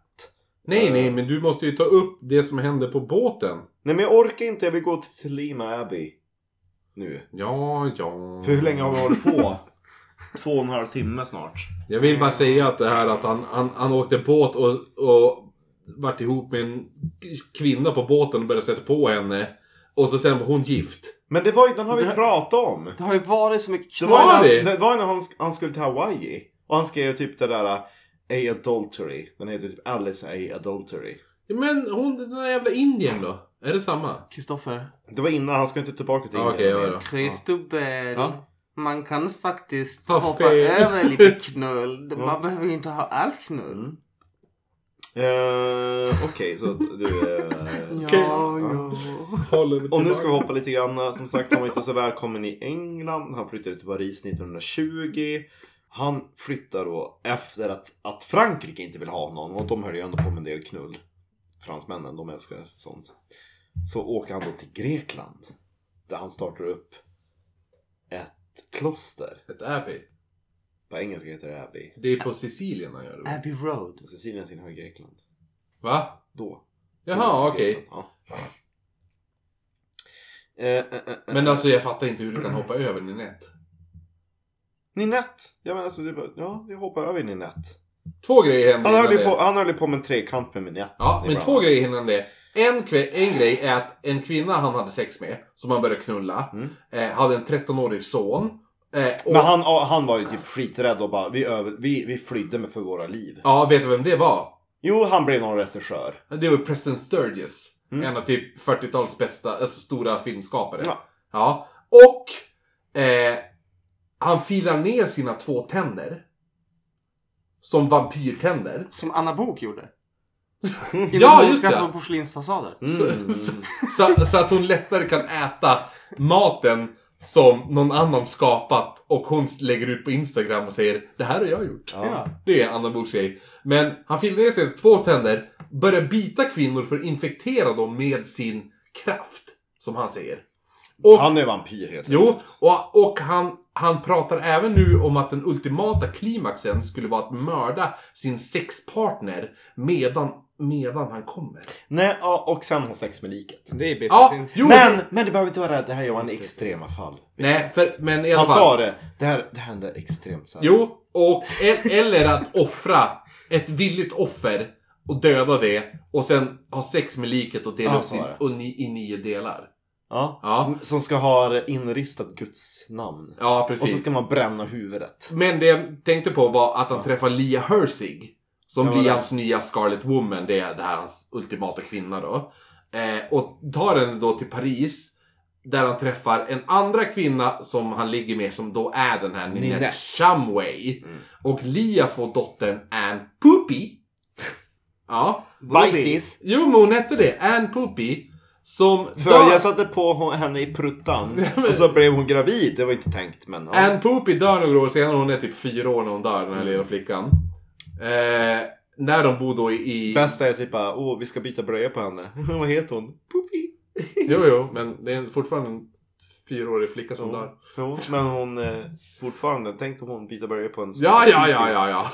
Speaker 2: Nej, nej, men du måste ju ta upp det som hände på båten.
Speaker 1: Nej men jag orkar inte, jag vill gå till Lima Abbey. Nu.
Speaker 2: Ja, ja.
Speaker 1: För hur länge har vi hållit på? *laughs* Två och en halv timme snart.
Speaker 2: Jag vill bara säga att det här att han, han, han åkte båt och, och vart ihop med en kvinna på båten och började sätta på henne. Och så sen var hon gift.
Speaker 1: Men det var ju, den har vi
Speaker 4: Det-
Speaker 1: pratat om.
Speaker 4: Det har ju varit så mycket
Speaker 1: Det
Speaker 4: knas.
Speaker 1: var, ju
Speaker 2: Har
Speaker 1: när-
Speaker 2: vi?
Speaker 1: det var ju när han, sk- han skulle till Hawaii. Och han skrev typ det där A Adultery. Den heter typ Alice A Adultery.
Speaker 2: Ja, Men hon, den där jävla indien då? Är det samma?
Speaker 4: Kristoffer.
Speaker 1: Det var innan, han skulle inte tillbaka till
Speaker 2: Ja, okej,
Speaker 1: Indien.
Speaker 2: ja, ja.
Speaker 13: Kristobel.
Speaker 1: Ja.
Speaker 13: Man kan faktiskt
Speaker 2: Ha
Speaker 13: hoppa
Speaker 2: fel.
Speaker 13: över lite
Speaker 2: *laughs*
Speaker 13: knull. Man
Speaker 1: Ja.
Speaker 13: behöver ju inte ha allt knull.
Speaker 1: Eh, Okej, så att du... eh,
Speaker 13: Ja,
Speaker 2: Mm. Okej.
Speaker 13: ja.
Speaker 2: Håller
Speaker 1: Och nu ska vi hoppa lite grann. Som sagt, han var inte så välkommen i England. Han flyttade till Paris 1920. Han flyttar då efter att, att Frankrike inte vill ha honom. Och de höll ju ändå på med en del knull. Fransmännen, de älskar sånt. Så åker han då till Grekland. Där han startar upp ett kloster.
Speaker 2: Ett Abbey.
Speaker 1: På engelska heter det Abbey.
Speaker 2: Det är på Sicilien han gör det. va?
Speaker 4: Abbey Road.
Speaker 1: Men Sicilien tillhör Grekland.
Speaker 2: Va?
Speaker 1: Då.
Speaker 2: Jaha, okej.
Speaker 1: Ja. Eh, eh, eh, eh.
Speaker 2: Men alltså jag fattar inte hur du kan hoppa över Ninette.
Speaker 1: Ninette! Ja men alltså, det var, ja, jag hoppar över Ninette.
Speaker 2: Två grejer händer
Speaker 1: Han höll,
Speaker 2: innan
Speaker 1: ju
Speaker 2: det.
Speaker 1: på, han höll ju på med en trekant med Ninette.
Speaker 2: Ja, men
Speaker 1: ibland.
Speaker 2: två grejer innan det. En, kve- en grej är att en kvinna han hade sex med, som han började knulla,
Speaker 1: Mm.
Speaker 2: eh, hade en 13-årig son. Eh, och,
Speaker 1: Men han, han var ju typ skiträdd och bara, vi, över, vi, vi flydde med för våra liv.
Speaker 2: Ja, vet du vem det var?
Speaker 1: Jo, han blev någon regissör.
Speaker 2: Det var Preston Sturges.
Speaker 1: Mm.
Speaker 2: En av typ 40-talets bästa, alltså stora filmskapare.
Speaker 1: Ja.
Speaker 2: Ja. Och eh, han filar ner sina två tänder. Som vampyrtänder.
Speaker 4: Som Anna Bok gjorde.
Speaker 2: *laughs* Ja, just det.
Speaker 4: På porslinsfasader.
Speaker 1: Mm.
Speaker 2: Så, *laughs* så, så, så att hon lättare kan äta maten som någon annan skapat och hon lägger ut på Instagram och säger Det här har jag gjort.
Speaker 1: Ja.
Speaker 2: Det är Anna Books grej. Men han filar ner sig två tänder, börjar bita kvinnor för att infektera dem med sin kraft. Som han säger. Och,
Speaker 1: Han är vampyr helt enkelt.
Speaker 2: jo, och, och han, han pratar även nu om att den ultimata klimaxen skulle vara att mörda sin sexpartner medan, medan han kommer.
Speaker 1: Nej, ja, och sen har sex med liket.
Speaker 3: Det är business
Speaker 2: Ja,
Speaker 3: sense.
Speaker 2: jo,
Speaker 1: Men, men du behöver inte vara rädd, det här är en extrema fall.
Speaker 2: Nej, för, men i alla
Speaker 1: Han
Speaker 2: fall.
Speaker 1: sa det, det här, det här händer extremt sällan.
Speaker 2: Jo, och, e- eller att offra ett villigt offer och döda det och sen ha sex med liket och dela
Speaker 1: Ja,
Speaker 2: upp
Speaker 1: så
Speaker 2: det
Speaker 1: är det.
Speaker 2: och ni, i nio delar.
Speaker 1: Ja.
Speaker 2: Ja,
Speaker 1: Som ska ha inristat Guds namn.
Speaker 2: ja
Speaker 1: Och så
Speaker 2: precis.
Speaker 1: ska man bränna huvudet.
Speaker 2: Men det jag tänkte på var att han träffar Lia Herzig. Som
Speaker 1: Ja,
Speaker 2: blir
Speaker 1: det.
Speaker 2: hans nya Scarlet Woman, det är det här hans ultimata kvinna då. Eh, och tar henne då till Paris. Där han träffar en andra kvinna som han ligger med som då är den här Ninette,
Speaker 1: Ninette.
Speaker 2: Shumway.
Speaker 1: Mm.
Speaker 2: Och Lia får dottern Anne
Speaker 1: *laughs*
Speaker 2: Poopy. Ja.
Speaker 1: Bajsis!
Speaker 2: Jo men hon hette det, Anne Poopy. Som...
Speaker 1: För
Speaker 2: dör-
Speaker 1: jag satte på henne i pruttan och så blev hon gravid. Det var inte tänkt men... ja. Mm.
Speaker 2: Ann Poopy dör några år senare, hon är typ fyra år när hon dör, den här lilla flickan. Eh, när de bor då i...
Speaker 1: Bästa är typ bara, åh vi ska byta blöja på henne. *laughs* Vad heter hon? Poopy.
Speaker 2: Jo, jo, men det är fortfarande en fyraårig flicka som dör.
Speaker 1: Jo, men hon eh, fortfarande, tänk om hon byter blöja på en
Speaker 2: Ja, ja, ja, ja, ja.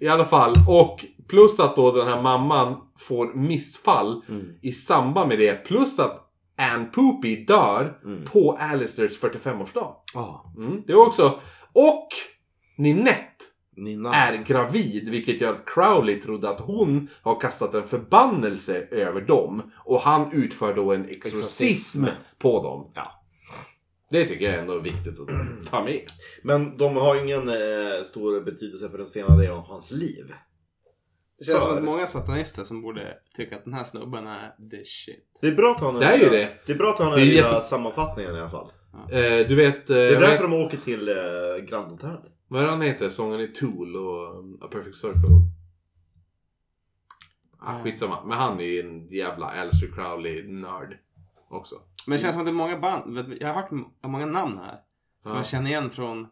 Speaker 2: I alla fall. Och plus att då den här mamman får missfall
Speaker 1: Mm.
Speaker 2: i samband med det. Plus att Ann Poopy dör
Speaker 1: Mm.
Speaker 2: på Alistairs 45-årsdag.
Speaker 1: Ja,
Speaker 2: Mm, det är också. Och Ninette
Speaker 1: Nina.
Speaker 2: är gravid vilket gör att Crowley trodde att hon har kastat en förbannelse över dem. Och han utför då en exorcism
Speaker 1: Exorcism.
Speaker 2: på dem.
Speaker 1: Ja.
Speaker 2: Det tycker jag ändå är viktigt att ta med.
Speaker 14: Men de har ingen eh, stor betydelse för den senare delen av hans liv.
Speaker 3: Det känns som
Speaker 14: För-
Speaker 3: att många satanister som borde tycka att den här snubben är the shit.
Speaker 14: Det är bra att ha den
Speaker 2: Det är ju det.
Speaker 14: Det är bra att ha den
Speaker 2: Det
Speaker 14: här
Speaker 2: är
Speaker 14: lilla
Speaker 2: jätte-
Speaker 14: sammanfattningen i alla fall.
Speaker 2: Eh, du vet, eh,
Speaker 14: Det är
Speaker 2: vad,
Speaker 14: därför
Speaker 2: heter,
Speaker 14: de åker till eh, Grand Hotel.
Speaker 2: vad är han heter? Sången i Tool och um, A Perfect Circle.
Speaker 14: Eh.
Speaker 2: Ah, skitsamma. Men han är ju en jävla Alistair Crowley-nörd också.
Speaker 3: Men det känns som att det är många band. vet du, Jag har hört m- många namn här. Som
Speaker 2: Ja.
Speaker 3: jag känner igen från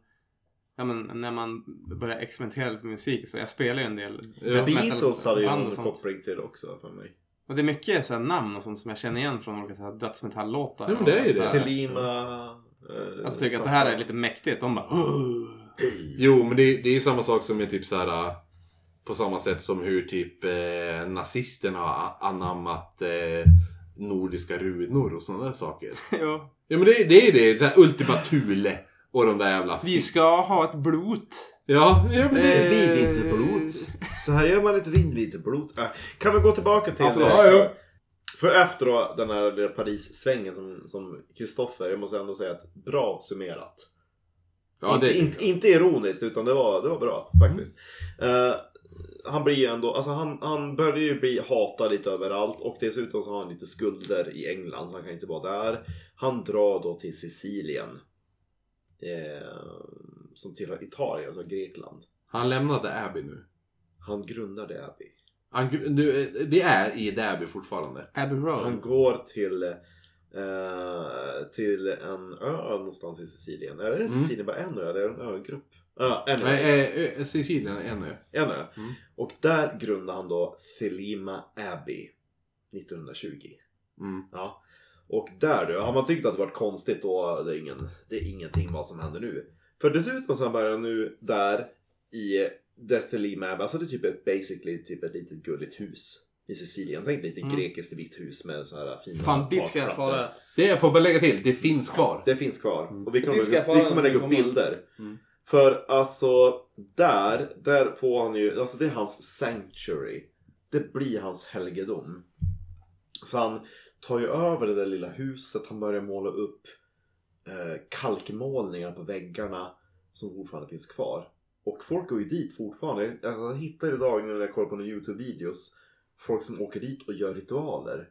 Speaker 3: ja, men, när man börjar experimentera lite med musik. Så jag spelar ju en del
Speaker 2: Ja,
Speaker 3: death metal
Speaker 14: Beatles hade ju
Speaker 3: band
Speaker 14: en
Speaker 3: och sånt.
Speaker 14: koppling till också för mig.
Speaker 3: Och det är mycket så här, namn och sånt som jag känner igen från olika så här, dödsmetalllåtar.
Speaker 2: Ja, men det är ju
Speaker 3: Så här,
Speaker 2: det.
Speaker 14: Selima... Eh,
Speaker 3: Att tycka att det här är lite mäktigt. De bara "Åh."
Speaker 2: Jo, men det, det är ju samma sak som är typ så här. äh, På samma sätt som hur typ eh, nazisterna har a- anammat eh, nordiska runor och sådana där saker.
Speaker 3: Jo.
Speaker 2: Ja, men det, det är det. Så här Ultima Thule och de där jävla...
Speaker 3: Vi ska ha ett blot.
Speaker 2: Ja, ja men det...
Speaker 1: Eh,
Speaker 14: Vinviteblot. Så här gör man ett vinviteblot. Äh, kan vi gå tillbaka till...
Speaker 2: Ja, förlåt. Ja, ja.
Speaker 1: För efter då den här lilla Paris-svängen som- som Kristoffer, jag måste ändå säga att bra summerat.
Speaker 2: Ja, det, Mm.
Speaker 1: Inte, inte, inte ironiskt utan det var, det var bra faktiskt. Eh, han blir ju ändå, alltså han, han börjar ju bli hatad lite överallt och dessutom så har han lite skulder i England så han kan inte vara där. Han drar då till Sicilien. Eh, som tillhör Italien, alltså Grekland.
Speaker 2: Han lämnade Abbey nu.
Speaker 1: Han grundade Abbey.
Speaker 2: Han, gr- nu eh, vi är i Abbey fortfarande.
Speaker 3: Abbey Road.
Speaker 1: Han går till, eh, till en ö någonstans i Sicilien. Är det Sicilien bara en ö eller är det en ögrupp? Ja, en ö.
Speaker 2: Mm. Nej, eh, eh, Sicilien är en ö.
Speaker 1: En ö.
Speaker 2: Mm.
Speaker 1: Och där grundade han då Thelema Abbey 1920.
Speaker 2: Mm.
Speaker 1: Ja. Och där då, har man tyckt att det varit konstigt då, det är, ingen, det är ingenting vad som händer nu. För dessutom så börjar han nu där i Thelema Abbey, alltså det är typ ett, basically typ ett litet gulligt hus. I Sicilien, tänk lite grekiskt vitt hus med så här fina
Speaker 3: Mm. Fan, dit ska jag
Speaker 1: takplattor.
Speaker 3: fara.
Speaker 2: Det jag får bara lägga till, det finns kvar.
Speaker 1: Det finns kvar. Och vi
Speaker 5: Dit ska jag
Speaker 1: kommer,
Speaker 5: fara
Speaker 1: vi
Speaker 5: när
Speaker 1: kommer lägga
Speaker 5: vi
Speaker 1: upp
Speaker 5: kommer.
Speaker 1: bilder.
Speaker 2: Mm.
Speaker 1: För alltså, där, där får han ju, alltså det är hans sanctuary. Det blir hans helgedom. Så han tar ju över det där lilla huset, han börjar måla upp eh, kalkmålningar på väggarna som fortfarande finns kvar. Och folk går ju dit fortfarande. Jag- Jag hittar idag när jag kollar på några YouTube-videos folk som åker dit och gör ritualer.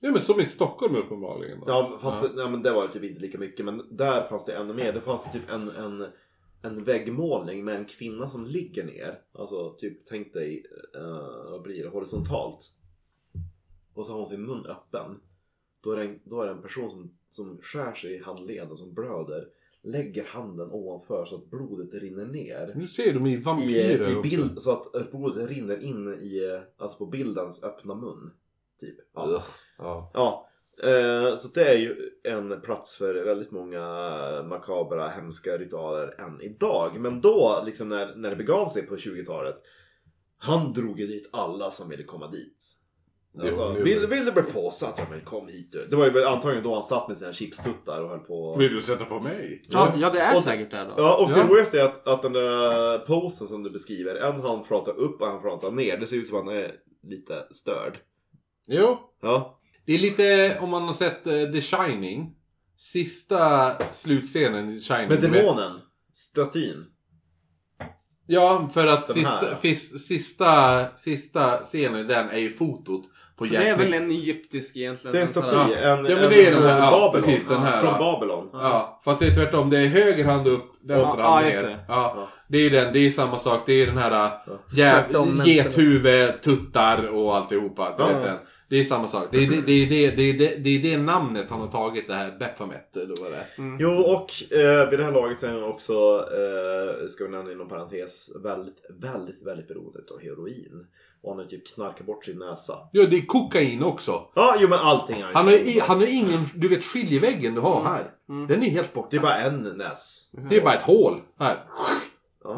Speaker 2: Ja, men som i Stockholm uppenbarligen. Då.
Speaker 1: Ja, fast
Speaker 2: Ja.
Speaker 1: Det, nej, men det var ju typ inte lika mycket. Men där fanns det ännu mer. Det fanns typ en, en, en väggmålning med en kvinna som ligger ner. Alltså typ, tänk dig, eh, vad blir det, horisontalt. Och så har hon sin mun öppen. Då är det en, då är det en person som, som skär sig i handleden, som blöder. Lägger handen ovanför så att blodet rinner ner.
Speaker 2: Nu ser de i
Speaker 1: I,
Speaker 2: vampyrer
Speaker 1: i
Speaker 2: också.
Speaker 1: bild, så att eh, blodet rinner in i, eh, alltså på bildens öppna mun. Typ. Ja.
Speaker 2: Ugh. Ja.
Speaker 1: Ja, eh, så det är ju en plats för väldigt många makabra, hemska ritualer än idag. Men då, liksom när, när det begav sig på 20-talet, han drog ju dit alla som ville komma dit. Alltså,
Speaker 2: Jo, jo.
Speaker 1: vill, vill du bli påsatt? Ja men kom hit du. Det var ju väl antagligen då han satt med sina chipstuttar och höll på.
Speaker 2: Vill du sätta på mig?
Speaker 5: Ja, ja det är
Speaker 1: Och-
Speaker 5: säkert där då.
Speaker 1: Ja och
Speaker 2: Ja.
Speaker 1: det roligaste är att, att den där posen som du beskriver, en hand pratar upp och en pratar ner. Det ser ut som att han är lite störd.
Speaker 2: Jo,
Speaker 1: Ja.
Speaker 2: Det är lite, om man har sett eh, The Shining. Sista slutscenen i Shining.
Speaker 1: Men demonen, statyn.
Speaker 2: Ja, för att
Speaker 1: Den här,
Speaker 2: sista,
Speaker 1: ja.
Speaker 2: fis, sista, sista scenen i den är ju fotot på
Speaker 5: Det är
Speaker 2: Jack
Speaker 5: väl
Speaker 2: Nick-
Speaker 5: en egyptisk egentligen.
Speaker 1: Det är en
Speaker 5: sån här-
Speaker 1: staty. En,
Speaker 2: Ja, men
Speaker 1: en,
Speaker 2: det är den
Speaker 1: från
Speaker 2: här, ja,
Speaker 1: Babylon.
Speaker 2: precis, den här,
Speaker 1: Från
Speaker 2: ja.
Speaker 1: Babylon.
Speaker 2: Ja, fast det är tvärtom. Det är höger hand upp, vänster
Speaker 5: Ja,
Speaker 2: hand
Speaker 5: ja,
Speaker 2: ner.
Speaker 5: just
Speaker 2: Ja,
Speaker 5: det.
Speaker 2: det är den. Det är samma sak. Det är den här
Speaker 5: Tvärtom,
Speaker 2: ja.
Speaker 5: men-
Speaker 2: gethuvud, tuttar och alltihopa. Du vet den. Det är samma sak. Det är det, det, är det, det, är det, det, är det namnet han har tagit, det här Beffamet. Eller vad det är.
Speaker 5: Mm.
Speaker 1: Mm. Jo, och eh, vid det här laget så är han också, eh, ska vi nämna inom parentes, väldigt, väldigt, väldigt beroende av heroin. Och han har typ knarkat bort sin näsa.
Speaker 2: Ja, det är kokain också.
Speaker 1: Ja, jo men allting är
Speaker 2: Han har, i, han har ingen, du vet skiljeväggen du
Speaker 5: Mm.
Speaker 2: har här. Den är helt borta.
Speaker 1: Det är bara en näs.
Speaker 2: Det är bara ett hål här.
Speaker 1: Ja.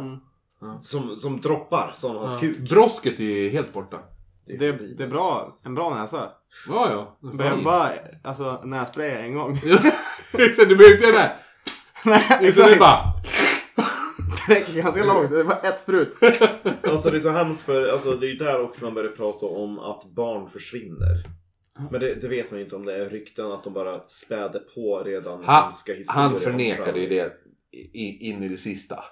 Speaker 2: Mm.
Speaker 1: Som, som droppar, som hans kuk.
Speaker 2: Brosket är helt borta.
Speaker 5: Det, det är bra. En bra näsa.
Speaker 2: Ja, ja. Den är
Speaker 5: Behöver
Speaker 2: fin.
Speaker 5: bara alltså, nässpraya en
Speaker 3: *laughs*
Speaker 5: gång.
Speaker 2: Ja, Exakt, *laughs* du behöver inte göra det här.
Speaker 5: Nej,
Speaker 2: Utan
Speaker 3: Liksom,
Speaker 2: det är
Speaker 5: exakt.
Speaker 2: bara...
Speaker 5: Det räcker ganska långt. Det är bara ett sprut.
Speaker 1: Alltså det är så hemskt för alltså, det är ju där också man börjar prata om att barn försvinner. Men det, det vet man ju inte om det är rykten att de bara späder på redan
Speaker 2: Han,
Speaker 1: hemska historier.
Speaker 2: han
Speaker 1: om
Speaker 2: förnekade ju
Speaker 1: Crowley.
Speaker 2: det i- in i det sista.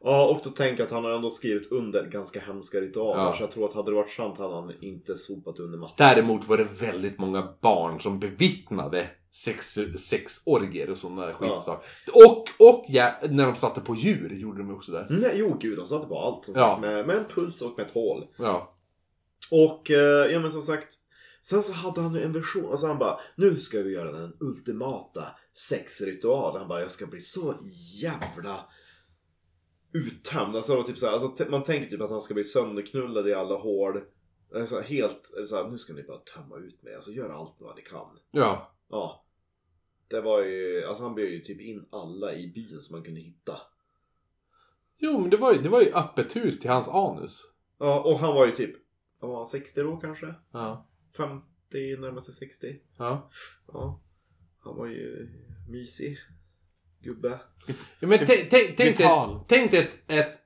Speaker 1: Ja, och då tänker jag att han har ändå skrivit under ganska hemska ritualer.
Speaker 2: Ja.
Speaker 1: Så jag tror att hade det varit sant hade han inte sopat under mattan.
Speaker 2: Däremot var det väldigt många barn som bevittnade sex, sexorger och sådana där skitsaker. Och, och ja, när de satte på djur gjorde de också det.
Speaker 1: Nej, jo gud, han satte på allt som
Speaker 2: Ja.
Speaker 1: sagt. Med, med en puls och med ett hål.
Speaker 2: Ja.
Speaker 1: Och eh, ja men som sagt. Sen så hade han ju en vision, alltså han bara nu ska vi göra den ultimata sexritualen. Han bara jag ska bli så jävla uttömd. Alltså, det var typ så här, alltså t- man tänker typ att han ska bli sönderknullad i alla hål. Alltså, helt eller så här, nu ska ni bara tömma ut mig, alltså gör allt vad ni kan.
Speaker 2: Ja.
Speaker 1: Ja. Det var ju, alltså han bjöd ju typ in alla i byn som man kunde hitta.
Speaker 2: Jo, men det var ju, det var ju öppet hus till hans anus.
Speaker 1: Ja, och han var ju typ, vad var han 60 då kanske?
Speaker 2: Ja.
Speaker 1: 50, närmar sig 60.
Speaker 2: Ja.
Speaker 1: Ja. Han var ju mysig. Gubbe.
Speaker 2: Ja, men tänk, tänk, tänk, dig,
Speaker 5: Vital.
Speaker 2: tänk dig ett, ett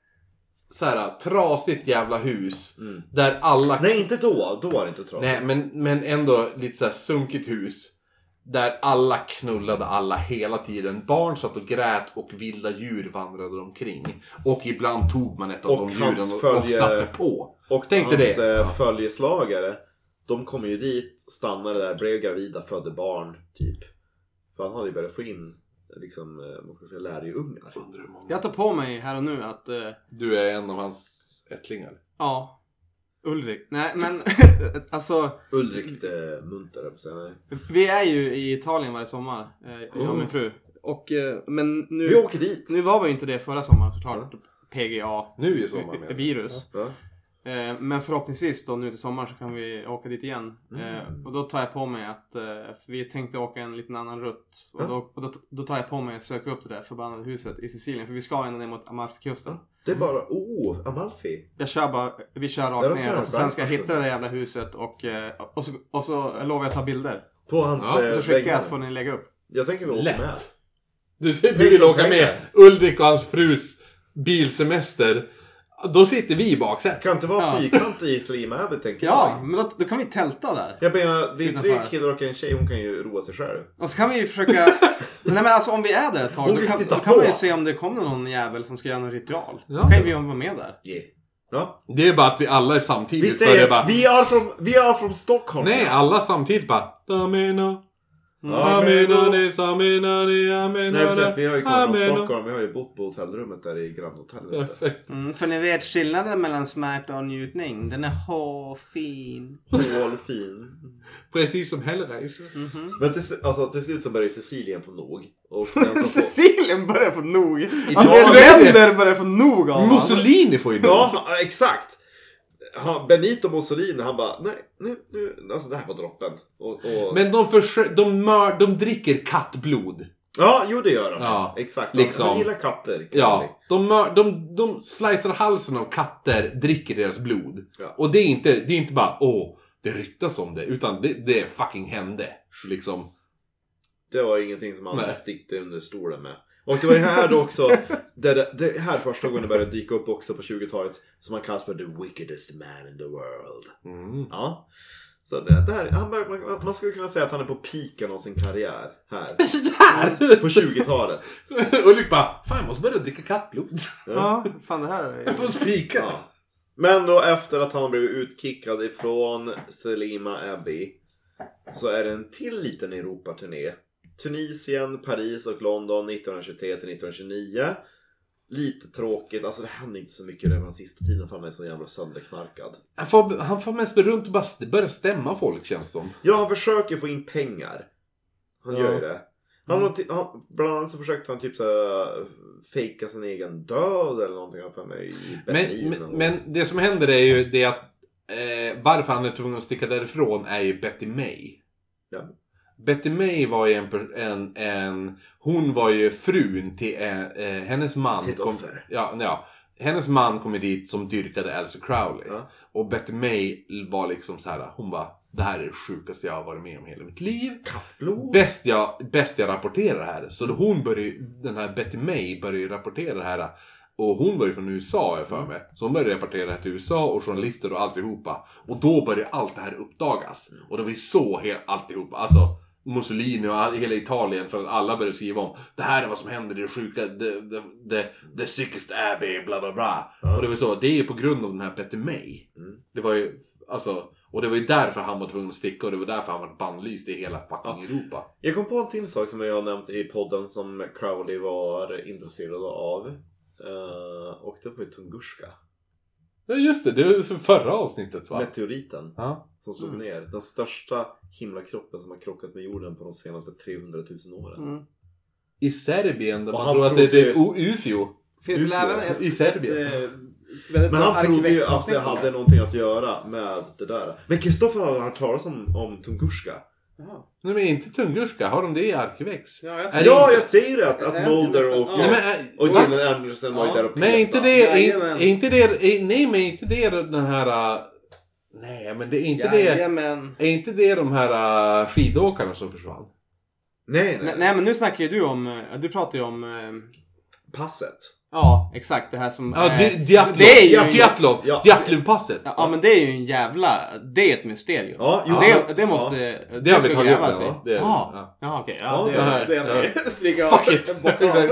Speaker 2: så här, trasigt jävla hus.
Speaker 1: Mm.
Speaker 2: Där alla...
Speaker 1: Nej, inte då. Då var det inte trasigt.
Speaker 2: Nej, men, men ändå lite så här sunkigt hus. Där alla knullade alla hela tiden. Barn satt och grät och vilda djur vandrade omkring. Och ibland tog man ett av
Speaker 1: Och
Speaker 2: de djuren
Speaker 1: hans
Speaker 2: och, och
Speaker 1: följe-
Speaker 2: satte på.
Speaker 1: Och
Speaker 2: Tänk dig
Speaker 1: hans
Speaker 2: det.
Speaker 1: eh, följeslagare, de kom ju dit, stannade där, blev gravida, födde barn, typ. För han hade ju börjat få in, liksom, eh, vad ska jag säga, lärjungar.
Speaker 2: Undrar hur många-
Speaker 3: Jag tar på mig här och nu att, eh,
Speaker 2: Du är en av hans ättlingar.
Speaker 3: ja. Ulrik. Nej
Speaker 5: *laughs*
Speaker 3: men, alltså.
Speaker 1: Ulrik det eh, Munter, höll jag på att säga, nej.
Speaker 3: Vi är ju i Italien varje sommar. eh, Jag
Speaker 5: Oh.
Speaker 3: och min fru. Och, eh, men nu.
Speaker 1: Vi åker dit!
Speaker 3: Nu var vi ju inte det förra sommaren såklart. PGA.
Speaker 2: Nu i sommar menar jag.
Speaker 3: Virus.
Speaker 1: Ja.
Speaker 3: Eh, Men förhoppningsvis då nu till sommaren så kan vi åka dit igen.
Speaker 1: Mm.
Speaker 3: Eh, Och då tar jag på mig att, eh, för vi tänkte åka en liten annan rutt. Och,
Speaker 1: Ja.
Speaker 3: då, och då, då tar jag på mig att söka upp det där förbannade huset i Sicilien. För vi ska ända ner mot Amalfikusten.
Speaker 1: Det är bara, oh, Amalfi!
Speaker 3: Jag kör bara, vi kör
Speaker 1: Där
Speaker 3: rakt
Speaker 1: har
Speaker 3: ner
Speaker 1: Sören
Speaker 3: och så sen ska jag
Speaker 1: Brandt
Speaker 3: hitta det där jävla huset och, eh, och, så, och så lovar jag att ta bilder.
Speaker 1: På hans
Speaker 2: Ja,
Speaker 1: eh,
Speaker 3: Så skickar
Speaker 1: väggar.
Speaker 3: jag så får ni lägga upp.
Speaker 1: Jag tänker vi åker
Speaker 2: Lätt.
Speaker 1: med.
Speaker 2: Du, du vill åka med Ulrik och hans frus bilsemester. Då sitter vi i baksätet.
Speaker 1: Kan inte vara
Speaker 3: Ja.
Speaker 1: fyrkantig i Fleam Abbey, tänker
Speaker 3: Ja,
Speaker 1: jag.
Speaker 3: men då, då kan vi tälta där.
Speaker 1: Jag menar, vi är tre
Speaker 3: Utanför.
Speaker 1: killar och en tjej, hon kan ju roa sig själv.
Speaker 3: Och så kan vi ju försöka...
Speaker 1: *laughs*
Speaker 3: Nej men alltså om vi är där ett tag
Speaker 1: Hon
Speaker 3: då
Speaker 1: vill
Speaker 3: kan,
Speaker 1: titta
Speaker 3: då kan man ju
Speaker 1: på.
Speaker 3: se om det kommer någon jävel som ska göra någon ritual.
Speaker 2: Ja.
Speaker 3: då kan ju vi vara med där.
Speaker 1: Ja.
Speaker 2: Det är bara att vi alla är samtidigt.
Speaker 1: Vi
Speaker 2: börjar
Speaker 1: säger,
Speaker 2: bara,
Speaker 1: vi är från, vi är från Stockholm!
Speaker 2: Nej, alla samtidigt bara. Ameno,
Speaker 1: Ja, men då-
Speaker 2: ameno, aminani, ameno.
Speaker 1: Nej precis, vi har ju kommit från Stockholm, vi har ju bott på hotellrummet där i grannhotellet. där.
Speaker 3: Mm, för ni vet skillnaden mellan smärta och njutning. Den är *laughs* hårfin.
Speaker 2: *laughs*
Speaker 1: Hålfin.
Speaker 2: Precis som Hellraiser.
Speaker 1: Men till, sl- alltså, till slut så börjar ju Cecilien få nog. Och den
Speaker 2: *laughs*
Speaker 1: som får...
Speaker 3: Cecilien börjar få nog.
Speaker 2: Ja,
Speaker 3: Alltså länder börjar få nog av honom.
Speaker 2: Mussolini får ju nog.
Speaker 1: Ja, exakt! Han, Benito Mussolini, han bara nej, nu, nu, alltså det här var droppen. Och, och...
Speaker 2: Men de, försö- de, mör- de dricker kattblod.
Speaker 1: Ja, jo det gör han.
Speaker 2: Ja,
Speaker 1: exakt.
Speaker 2: liksom.
Speaker 1: Han gillar katter.
Speaker 2: Ja, de, mör- de, de slicear halsen av katter, dricker deras blod.
Speaker 1: Ja.
Speaker 2: Och det är, inte, det är inte bara åh, det ryktas om det. Utan det, det fucking hände. Liksom.
Speaker 1: Det var ingenting som han
Speaker 2: Nej.
Speaker 1: stickte under stolen med. Och det var det här då också, det, det, det här första gången det började dyka upp också på 20-talet, som han kallas för the wickedest man in the world.
Speaker 2: *laughs* Mm.
Speaker 1: Ja. Så det, det här, han bör, man, man skulle kunna säga att han är på piken av sin karriär här. På 20-talet.
Speaker 2: Ulrik bara, fan jag måste börja dricka kattblod. *laughs*
Speaker 3: Ja, fan det här är...
Speaker 2: Jag måste spika.
Speaker 1: Ja. Men då efter att han blivit utkickad ifrån Selima Abbey så är det en till liten Europaturné. Tunisien, Paris och London 1923 till 1929. Lite tråkigt, alltså det händer inte så mycket redan sista tiden för han är så jävla sönderknarkad.
Speaker 2: Han får, han får mest runt och bara st- börja stämma folk känns som.
Speaker 1: Ja, han försöker få in pengar. Han
Speaker 2: Ja. Mm.
Speaker 1: gör ju det. Han, har ti- han, bland annat så försökte han typ så här, fejka sin egen död eller någonting har jag för mig. i
Speaker 2: Men,
Speaker 1: Berlin
Speaker 2: men,
Speaker 1: och-
Speaker 2: men det som händer är ju det att eh, varför han är tvungen att sticka därifrån är ju Betty May.
Speaker 1: Ja.
Speaker 2: Betty May var ju en, per- en, en hon var ju frun till eh, eh, hennes man.
Speaker 1: Till ett
Speaker 2: kom,
Speaker 1: offer.
Speaker 2: ja, ja, hennes man kom ju dit som dyrkade Elsa Crowley.
Speaker 1: Ja.
Speaker 2: Och Betty May var liksom så här, hon bara det här är det sjukaste jag har varit med om i hela mitt liv.
Speaker 1: Blod.
Speaker 2: Bäst jag, bäst jag rapporterar det här. Så då hon började, ju- den här Betty May började ju rapportera det här. Och hon var ju från USA har jag för mig. Så hon började rapportera det här till USA och journalister och alltihopa. Och då började allt det här uppdagas. Och det var ju så he- alltihopa. Alltså Mussolini och all, hela Italien för att alla började skriva om det här är vad som händer, det är sjuka, the, the, the, the sickest abbey, bla bla bla.
Speaker 1: Ja.
Speaker 2: Och det var så, det är ju på grund av den här Betty May.
Speaker 1: Mm.
Speaker 2: Det var ju, alltså, och det var ju därför han var tvungen att sticka och det var därför han var bannlyst i hela fucking Europa.
Speaker 1: Jag kom på en till sak som jag har nämnt i podden som Crowley var intresserad av. Eh, och det var ju Tunguska.
Speaker 2: Ja just det, det var för förra avsnittet va?
Speaker 1: Meteoriten
Speaker 2: Ja.
Speaker 1: som slog ner. Den största himlakroppen som har krockat med jorden på de senaste 300 000 åren.
Speaker 3: Mm.
Speaker 2: I Serbien där
Speaker 1: Och
Speaker 2: man
Speaker 1: han
Speaker 2: tror att det det är ett
Speaker 1: trodde
Speaker 2: o- ufo.
Speaker 3: Finns väl även ett,
Speaker 2: I Serbien.
Speaker 3: eh, väldigt
Speaker 1: Men
Speaker 3: bra
Speaker 1: han trodde ju att
Speaker 3: arkivex-avsnitt
Speaker 1: det
Speaker 3: om
Speaker 1: hade någonting att göra med det där. Men Kristoffer har hört talas om, om Tunguska.
Speaker 2: Nej men inte tungurska, har de det i Arkivex?
Speaker 3: Ja, jag
Speaker 2: Är det
Speaker 1: ja,
Speaker 2: inte-
Speaker 1: jag säger det! Att,
Speaker 3: Det
Speaker 1: att
Speaker 3: är
Speaker 1: Mulder
Speaker 3: nästan-
Speaker 1: och,
Speaker 3: ja.
Speaker 2: Nej, men,
Speaker 1: och
Speaker 2: och va?
Speaker 1: Gillian Anderson var ju
Speaker 3: Ja.
Speaker 1: där och
Speaker 2: men är inte
Speaker 1: petade.
Speaker 2: det, är,
Speaker 3: Jajamän.
Speaker 2: är inte det, är, nej men är inte det den här, äh, nej men det är inte det,
Speaker 3: Jajamän.
Speaker 2: är inte det de här äh, skidåkarna som försvann?
Speaker 1: Nej, nej.
Speaker 3: Nej, nej men nu snackar ju du om, eh, du pratar ju om eh,
Speaker 1: Passet.
Speaker 5: Ja, exakt. Det här som...
Speaker 2: Ja,
Speaker 5: är-
Speaker 2: di- Diatlov.
Speaker 5: det är ju-
Speaker 2: ja, Diatlov.
Speaker 1: Ja.
Speaker 2: Diatlovpasset.
Speaker 5: Ja, men det är ju en jävla... Det är ett mysterium.
Speaker 1: Ja, jo,
Speaker 5: det, det måste... Det,
Speaker 2: Det har vi
Speaker 5: ska
Speaker 2: tagit upp.
Speaker 5: grävas i.
Speaker 2: ja. Det är-
Speaker 5: Ja.
Speaker 2: ja.
Speaker 5: Ja, okej.
Speaker 1: Ja,
Speaker 5: Ja, det-
Speaker 1: det- det
Speaker 2: Ja.
Speaker 1: är
Speaker 3: *laughs*
Speaker 5: Stryka
Speaker 2: Fuck *laughs* it!
Speaker 5: bocka av.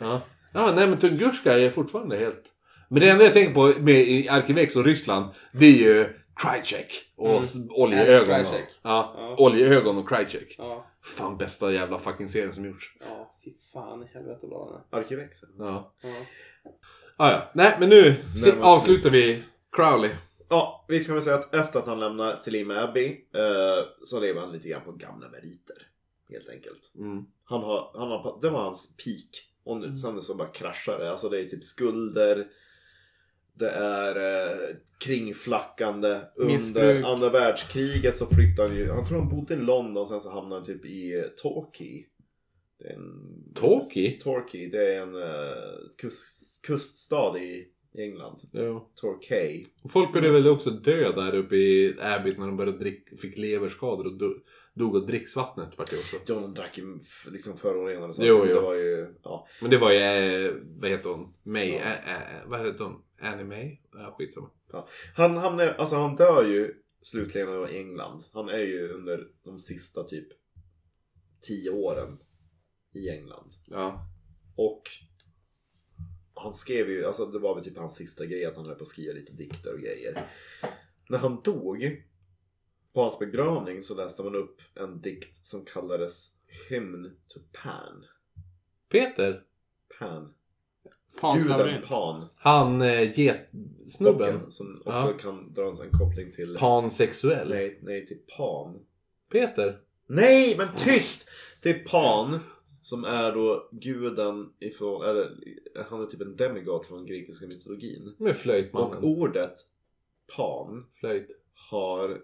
Speaker 2: Ja. ja, nej men Tunguska är fortfarande helt... Men det enda jag tänker på med i Arkivex och Ryssland, det är ju Krychek och mm. oljeögon.
Speaker 5: Ja,
Speaker 2: och-
Speaker 5: Krychek.
Speaker 2: Ja,
Speaker 5: Ja.
Speaker 2: oljeögon och Krychek.
Speaker 5: Ja,
Speaker 2: Fan bästa jävla fucking serien som gjorts.
Speaker 5: ja, fy fan i helvete bra den är.
Speaker 1: Arkivexen.
Speaker 2: Ja.
Speaker 5: Ja.
Speaker 2: Ah, ja. Nej men nu si-
Speaker 1: men-
Speaker 2: avslutar vi Crowley.
Speaker 1: Ja, vi kan väl säga att efter att han lämnar Thelema Abbey eh, så lever han lite grann på gamla meriter. Helt enkelt.
Speaker 2: Mm.
Speaker 1: Han har, han har, det var hans peak. Och nu, sen så bara kraschar det. Alltså det är typ skulder. Det är eh, kringflackande. Under
Speaker 5: Missbruk.
Speaker 1: andra världskriget så flyttade han ju. Han tror han bodde i London sen så hamnade han typ i eh, Torquay. Det är en-
Speaker 2: Torquay?
Speaker 1: Torquay, det är en eh, kust, kuststad i i England.
Speaker 2: Ja.
Speaker 1: Torquay.
Speaker 2: Och Folk började väl också dö där uppe i Abbey när de började drick, fick leverskador och do, dog av dricksvattnet vart det också.
Speaker 1: Ja, de drack ju f- liksom förorenade saker.
Speaker 2: Jo,
Speaker 1: men
Speaker 2: jo.
Speaker 1: Det var ju, ja.
Speaker 2: Men det var ju, eh, vad heter hon? May? Ä, ä, vad heter hon? Annie May? Ja, skitsamma.
Speaker 1: han, hamnar, alltså, han dör ju slutligen i England. Han är ju under de sista typ tio åren i England.
Speaker 2: Ja.
Speaker 1: Och han skrev ju, alltså det var väl typ hans sista grej att han höll på att skriva lite dikter och grejer. När han dog, på hans begravning så läste man upp en dikt som kallades Hymn to Pan.
Speaker 2: Peter?
Speaker 1: Pan.
Speaker 5: Fans
Speaker 1: Guden
Speaker 5: labyrint.
Speaker 1: Pan.
Speaker 2: Han eh, getsnubben?
Speaker 1: Bocken, Som också
Speaker 2: Ja.
Speaker 1: kan dra en sån koppling till...
Speaker 2: Pansexuell?
Speaker 1: Nej, nej, till Pan.
Speaker 2: Peter?
Speaker 1: Nej, men tyst! Till Pan. Som är då guden ifrån, eller han är typ en demigod från den grekiska mytologin.
Speaker 2: Med
Speaker 1: Och
Speaker 2: flöjtmannen?
Speaker 1: ordet Pan
Speaker 2: Flöjt.
Speaker 1: har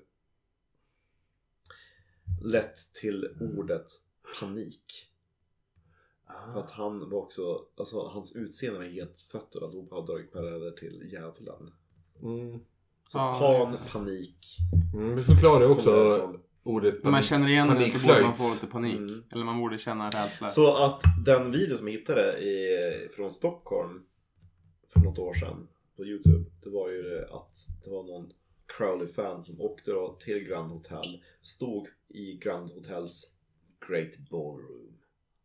Speaker 1: lett till
Speaker 2: Mm.
Speaker 1: ordet panik. För
Speaker 2: Ah.
Speaker 1: att han var också, alltså hans utseende med getfötter och allihopa har dragit paralleller till djävulen.
Speaker 2: Mm.
Speaker 1: Så
Speaker 5: Ja,
Speaker 1: pan, panik.
Speaker 2: Mm, vi förklarar
Speaker 1: kommer
Speaker 2: också
Speaker 1: därifrån.
Speaker 2: ordet
Speaker 5: När man känner igen den så borde
Speaker 2: panikflöjt.
Speaker 5: man få lite panik.
Speaker 1: Mm.
Speaker 5: Eller man borde känna rädsla.
Speaker 1: Så att den video som jag hittade i, från Stockholm för något år sedan på Youtube. Det var ju det att det var någon Crowley-fan som åkte då till Grand Hotel. Stod i Grand Hotels Great Ballroom.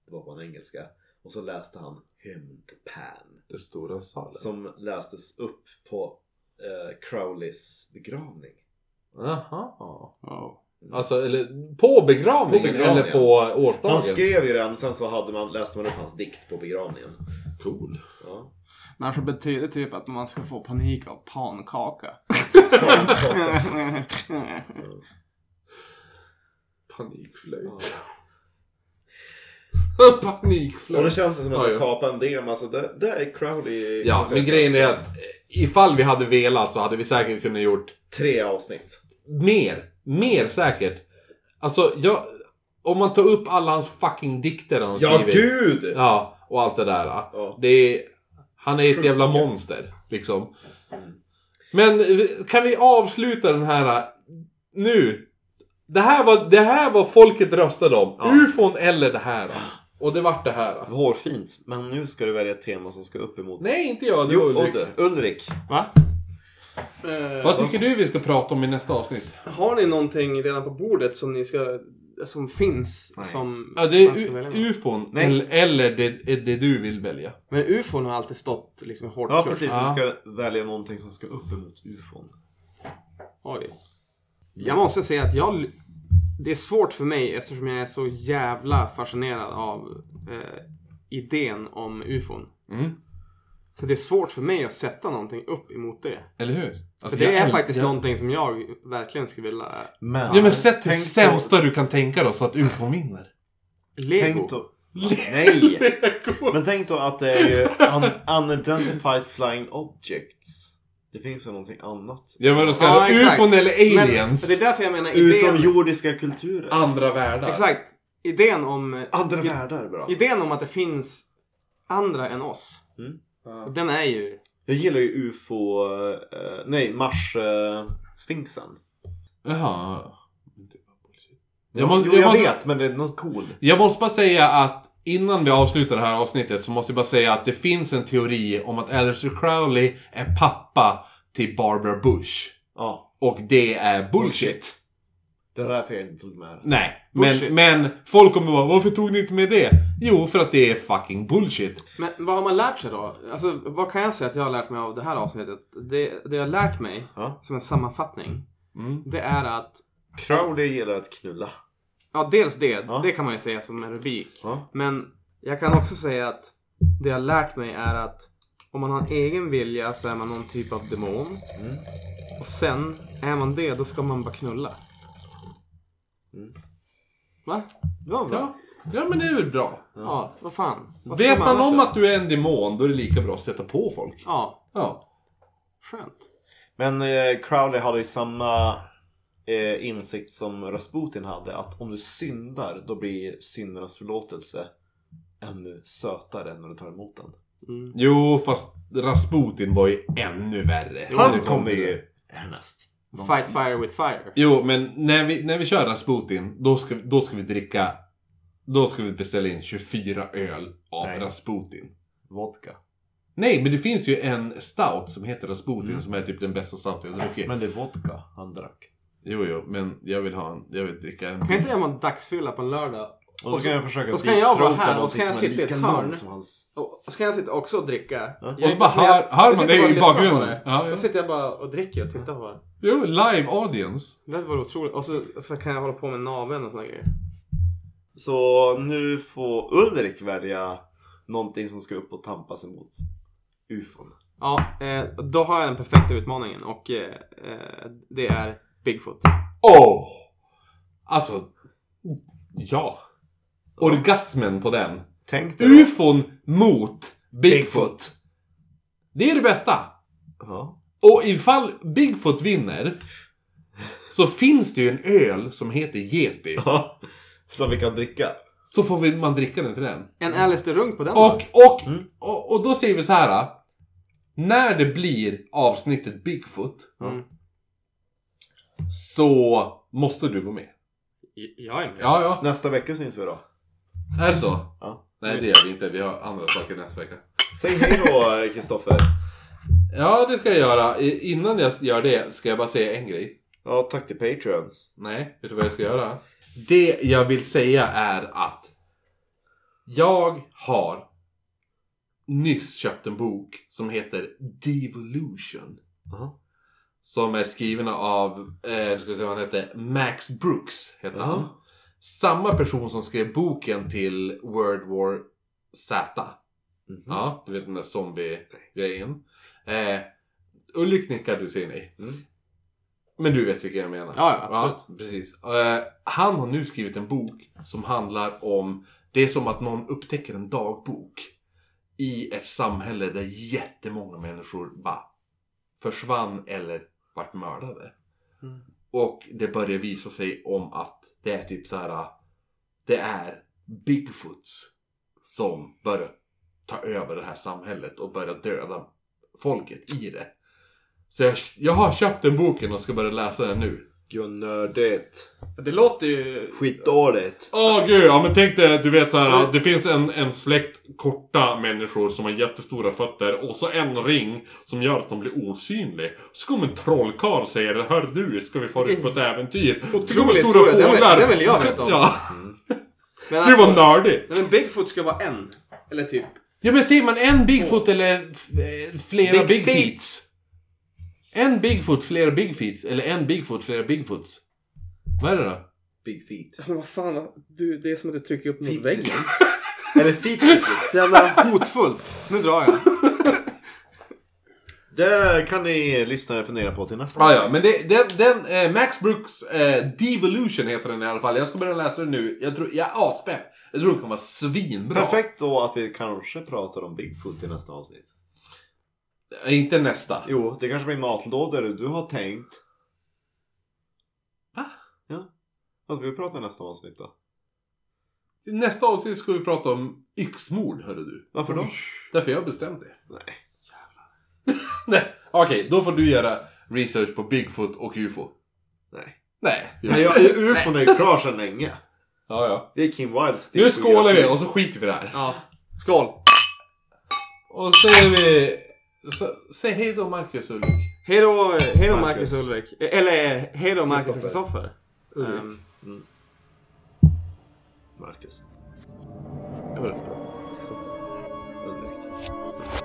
Speaker 1: Det var på en engelska. Och så läste han Hymn to Pan.
Speaker 2: Det stora salen.
Speaker 1: Som lästes upp på eh, Crowleys begravning.
Speaker 2: Aha.
Speaker 5: Wow.
Speaker 2: Alltså, eller på begravningen,
Speaker 1: På begravningen.
Speaker 2: eller på
Speaker 1: Han
Speaker 2: årsdagen?
Speaker 1: skrev ju den, sen så hade man, läste man upp hans dikt på begravningen.
Speaker 2: Cool.
Speaker 1: Ja.
Speaker 5: Men alltså betyder typ att man ska få panik av pannkaka. *laughs*
Speaker 2: Panikflöjt.
Speaker 1: Ja. Och det
Speaker 2: *laughs* Panikflöjt.
Speaker 1: känns som att
Speaker 2: Ja,
Speaker 1: man
Speaker 2: ja.
Speaker 1: kapar en del, alltså det, det är Crowley.
Speaker 2: Ja, men grejen är att eh, ifall vi hade velat så hade vi säkert kunnat gjort
Speaker 1: Tre avsnitt.
Speaker 2: mer. Mer säkert. Alltså, jag... Om man tar upp alla hans fucking dikter han har
Speaker 1: Ja,
Speaker 2: skrivit.
Speaker 1: gud!
Speaker 2: Ja, och allt det där.
Speaker 1: Ja.
Speaker 2: Det är, han är ett jävla monster, liksom. Men kan vi avsluta den här eh, nu? Det här var, det här var folket röstade om. Ufon eller det här. Och det vart det här.
Speaker 1: Hårfint, men nu ska du välja ett tema som ska upp emot...
Speaker 2: Nej, inte jag. Det var Ulrik.
Speaker 1: Ulrik.
Speaker 5: Va?
Speaker 2: Vad tycker du vi ska prata om i nästa avsnitt?
Speaker 3: Har ni någonting redan på bordet som ni ska... Som finns? Som
Speaker 2: Ja, det
Speaker 3: man ska
Speaker 2: är
Speaker 3: välja
Speaker 2: u-
Speaker 3: med?
Speaker 2: ufon eller, eller det, det du vill välja.
Speaker 3: Men ufon har alltid stått liksom hårt
Speaker 1: Ja,
Speaker 3: kurs.
Speaker 1: precis.
Speaker 2: Ja.
Speaker 1: Du ska välja någonting som ska upp emot ufon.
Speaker 3: Oj. Jag måste säga att jag... Det är svårt för mig eftersom jag är så jävla fascinerad av eh, idén om ufon.
Speaker 2: Mm.
Speaker 3: Så det är svårt för mig att sätta någonting upp emot det.
Speaker 2: Eller hur? Alltså,
Speaker 3: För det
Speaker 2: jag
Speaker 3: är
Speaker 2: äl-
Speaker 3: faktiskt
Speaker 2: jag-
Speaker 3: någonting som jag verkligen skulle vilja...
Speaker 1: Men...
Speaker 2: Ja, men sätt det
Speaker 1: Tänk då-
Speaker 2: sämsta du kan tänka då så att ufon vinner.
Speaker 3: Lego.
Speaker 1: Tänk då... *laughs* Nej! men tänk då att det är ju un- unidentified flying objects. Det finns ju någonting annat.
Speaker 2: Ja, men då ska ja,
Speaker 3: Ja, exakt.
Speaker 2: ufon eller
Speaker 3: Men
Speaker 2: aliens.
Speaker 3: det är därför jag menar idén...
Speaker 1: Utomjordiska kulturer.
Speaker 2: Andra världar.
Speaker 3: Exakt. Idén om...
Speaker 1: Andra
Speaker 3: Ja.
Speaker 1: världar är bra.
Speaker 3: Idén om att det finns andra än oss.
Speaker 1: Mm.
Speaker 2: Ja.
Speaker 3: Den är ju...
Speaker 1: Jag gillar ju UFO... eh, nej, Mars-sfinxen.
Speaker 2: Jaha.
Speaker 1: Jag,
Speaker 2: Jag måste,
Speaker 1: jo, jag,
Speaker 2: jag, måste,
Speaker 1: vet, men det är något cool.
Speaker 2: jag måste bara säga att Innan vi avslutar det här avsnittet så måste jag bara säga att det finns en teori om att Alistair Crowley är pappa till Barbara Bush.
Speaker 1: Ja.
Speaker 2: Och det är bullshit.
Speaker 1: Det var därför jag inte tog med det.
Speaker 2: Nej, men, men folk kommer bara “Varför tog ni inte med det?” Jo, för att det är fucking bullshit.
Speaker 3: Men vad har man lärt sig då? Alltså, vad kan jag säga att jag har lärt mig av det här avsnittet? Det, det jag har lärt mig,
Speaker 1: Ja.
Speaker 3: som en sammanfattning,
Speaker 2: Mm.
Speaker 3: det är att...
Speaker 1: Crowley gillar att knulla.
Speaker 3: Ja, dels det.
Speaker 1: Ja.
Speaker 3: Det kan man ju säga som en rubrik.
Speaker 1: Ja.
Speaker 3: Men jag kan också säga att det jag har lärt mig är att om man har en egen vilja så är man någon typ av demon. Och sen, är man det, då ska man bara knulla. Va? Det var bra.
Speaker 2: Ja. ja, men det är väl bra.
Speaker 3: Ja, vad fan. Vad
Speaker 2: Vet
Speaker 3: ska
Speaker 2: man
Speaker 3: annars
Speaker 2: om
Speaker 3: göra?
Speaker 2: att du är en demon, då är det lika bra att sätta på folk.
Speaker 3: Ja,
Speaker 2: Ja.
Speaker 3: skönt.
Speaker 1: Men eh, Crowley hade ju samma eh, insikt som Rasputin hade. Att om du syndar, då blir syndernas förlåtelse ännu sötare när du tar emot den.
Speaker 2: Jo, fast Rasputin var ju ännu värre.
Speaker 1: Han
Speaker 2: Nu kom
Speaker 1: kommer
Speaker 2: till det.
Speaker 1: ju härnäst.
Speaker 3: Fight fire with fire.
Speaker 2: Jo, men när vi, när vi kör Rasputin, då ska, då ska vi dricka... Då ska vi beställa in 24 öl av
Speaker 1: Nej.
Speaker 2: Rasputin.
Speaker 1: Vodka.
Speaker 2: Nej, men det finns ju en stout som heter Rasputin som är typ den bästa stouten jag druckit.
Speaker 1: Men det är vodka han drack.
Speaker 2: Jo, jo, men jag vill ha en... Jag vill dricka en...
Speaker 3: Kan inte jag vara en dagsfylla på en lördag?
Speaker 1: Och så, kan jag försöka
Speaker 3: och så kan jag vara
Speaker 1: bitrota
Speaker 3: här och så
Speaker 1: någonting
Speaker 3: kan jag
Speaker 1: som är
Speaker 3: sitta i ett
Speaker 1: lika långt
Speaker 3: hörn.
Speaker 1: som hans.
Speaker 3: Och och så kan jag sitta också och dricka.
Speaker 1: Ja.
Speaker 2: Och så bara
Speaker 3: som jag-
Speaker 2: hör, hör
Speaker 3: jag
Speaker 2: man
Speaker 3: sitter bara
Speaker 2: det
Speaker 3: och
Speaker 2: i
Speaker 3: lyssnar på
Speaker 2: bakgrunden.
Speaker 3: det.
Speaker 2: Ja, ja.
Speaker 3: Då sitter jag bara och dricker och tittar på det.
Speaker 2: Jo, live audience.
Speaker 3: Det var otroligt. Och så för kan jag hålla på med naveln och såna grejer.
Speaker 1: Så nu får Ulrik välja någonting som ska upp och tampas emot ufon.
Speaker 3: Ja, eh, då har jag den perfekta utmaningen och eh, eh, det är Bigfoot.
Speaker 2: Åh! Alltså... Ja. Orgasmen på den.
Speaker 1: Tänk dig.
Speaker 2: Ufon mot Bigfoot. Det är det bästa.
Speaker 1: Ja. *laughs*
Speaker 2: Och ifall Bigfoot vinner så finns det ju en öl som heter Yeti.
Speaker 1: Ja. Som vi kan dricka.
Speaker 2: Så får vi, man dricka den till den.
Speaker 3: En Alistair Runk på den då?
Speaker 2: Och, och, och, och då säger vi så här. När det blir avsnittet Bigfoot
Speaker 3: Mm.
Speaker 2: så måste du vara med.
Speaker 3: Jag är med.
Speaker 2: Ja, ja.
Speaker 1: Nästa vecka syns vi då.
Speaker 2: Är det så?
Speaker 1: Ja.
Speaker 2: Nej, det gör vi inte. Vi har andra saker nästa vecka.
Speaker 1: Säg hej då Kristoffer.
Speaker 2: Ja, det ska jag göra. I- Innan jag gör det ska jag bara säga en grej.
Speaker 1: Ja, tack till Patreons.
Speaker 2: Nej, vet du vad jag ska göra? Det jag vill säga är att jag har nyss köpt en bok som heter Devolution.
Speaker 1: Aha.
Speaker 2: Som är skriven av, eh, nu ska vi se vad han heter, Max Brooks. Heter
Speaker 1: Aha.
Speaker 2: han. Samma person som skrev boken till World War Z.
Speaker 1: Mhm.
Speaker 2: Ja, du vet den där zombie-grejen. Eh, Ulrik nickar, du säger nej.
Speaker 1: Mm.
Speaker 2: Men du vet vilken jag menar.
Speaker 3: Ja, ja, absolut.
Speaker 2: precis. Eh, han har nu skrivit en bok som handlar om... Det är som att någon upptäcker en dagbok i ett samhälle där jättemånga människor bara försvann eller vart mördade.
Speaker 3: Mm.
Speaker 2: Och det börjar visa sig om att det är typ så här. Det är Bigfoots som börjar ta över det här samhället och börja döda folket i det. Så jag, jag har köpt den boken och ska börja läsa den nu.
Speaker 1: Gud vad nördigt.
Speaker 3: Det låter ju...
Speaker 1: Skitdåligt.
Speaker 2: Åh gud, ja men tänk dig, du vet såhär, det finns en, en släkt korta människor som har jättestora fötter och så en ring som gör att de blir osynlig. Så kommer en trollkarl och säger Hör du, ska vi fara ut på ett äventyr? Så kommer stora
Speaker 3: historia, den vill-
Speaker 2: fåglar.
Speaker 3: den vill jag
Speaker 2: Så-
Speaker 3: veta om.
Speaker 2: Ja. *laughs*
Speaker 3: Men
Speaker 2: Gud vad nördigt!
Speaker 3: alltså- Nej, men Bigfoot ska vara en. Eller typ.
Speaker 2: Ja men säger man en Bigfoot eller f- eh, flera Big,
Speaker 3: Big
Speaker 2: Feets? En Bigfoot, flera Big Feets. Eller en Bigfoot, flera Bigfoots. Vad är det då?
Speaker 1: Big feet.
Speaker 3: Men vad fan, du, det är som att du trycker upp mot väggen. *laughs*
Speaker 1: Eller feet
Speaker 3: Så jävla hotfullt. Nu drar jag.
Speaker 1: Det kan ni lyssnare fundera på till nästa
Speaker 2: Ah, ja, men det, den, den eh, Max Brooks eh, Devolution heter den i alla fall. Jag ska börja läsa den nu. Jag tror, jag är aspepp. Jag tror den kommer vara svinbra.
Speaker 1: Perfekt då att vi kanske pratar om Bigfoot i nästa avsnitt.
Speaker 2: Eh, Inte nästa.
Speaker 1: Jo, det kanske blir matlådor du har tänkt.
Speaker 2: Va?
Speaker 1: Ja. Vad ska vi prata i nästa avsnitt då?
Speaker 2: Nästa avsnitt ska vi prata om yxmord, hörru du. Mm.
Speaker 1: Varför då?
Speaker 2: Därför jag har bestämt det. *laughs*
Speaker 1: Nej.
Speaker 2: Nej, okej. då får du göra research på Bigfoot och UFO.
Speaker 1: Nej.
Speaker 2: Nej.
Speaker 1: Men jag, UFOn är ju klar sedan länge.
Speaker 2: *laughs* Ja, ja.
Speaker 6: Det är Kim Wildes
Speaker 2: Nu skålar vi och så skiter vi i det här.
Speaker 3: Ja. Skål!
Speaker 2: Och så säger vi... Så, säg hej då Marcus Ulrik.
Speaker 3: Hej då, hej då Marcus
Speaker 6: Marcus.
Speaker 3: Ulrik. Eh, Eller eh, hej då Marcus och
Speaker 2: Kristoffer.
Speaker 3: Kristoffer.
Speaker 1: Ulrik.
Speaker 3: Ehm,
Speaker 1: Marcus.
Speaker 2: Ulrik.
Speaker 1: Ulrik.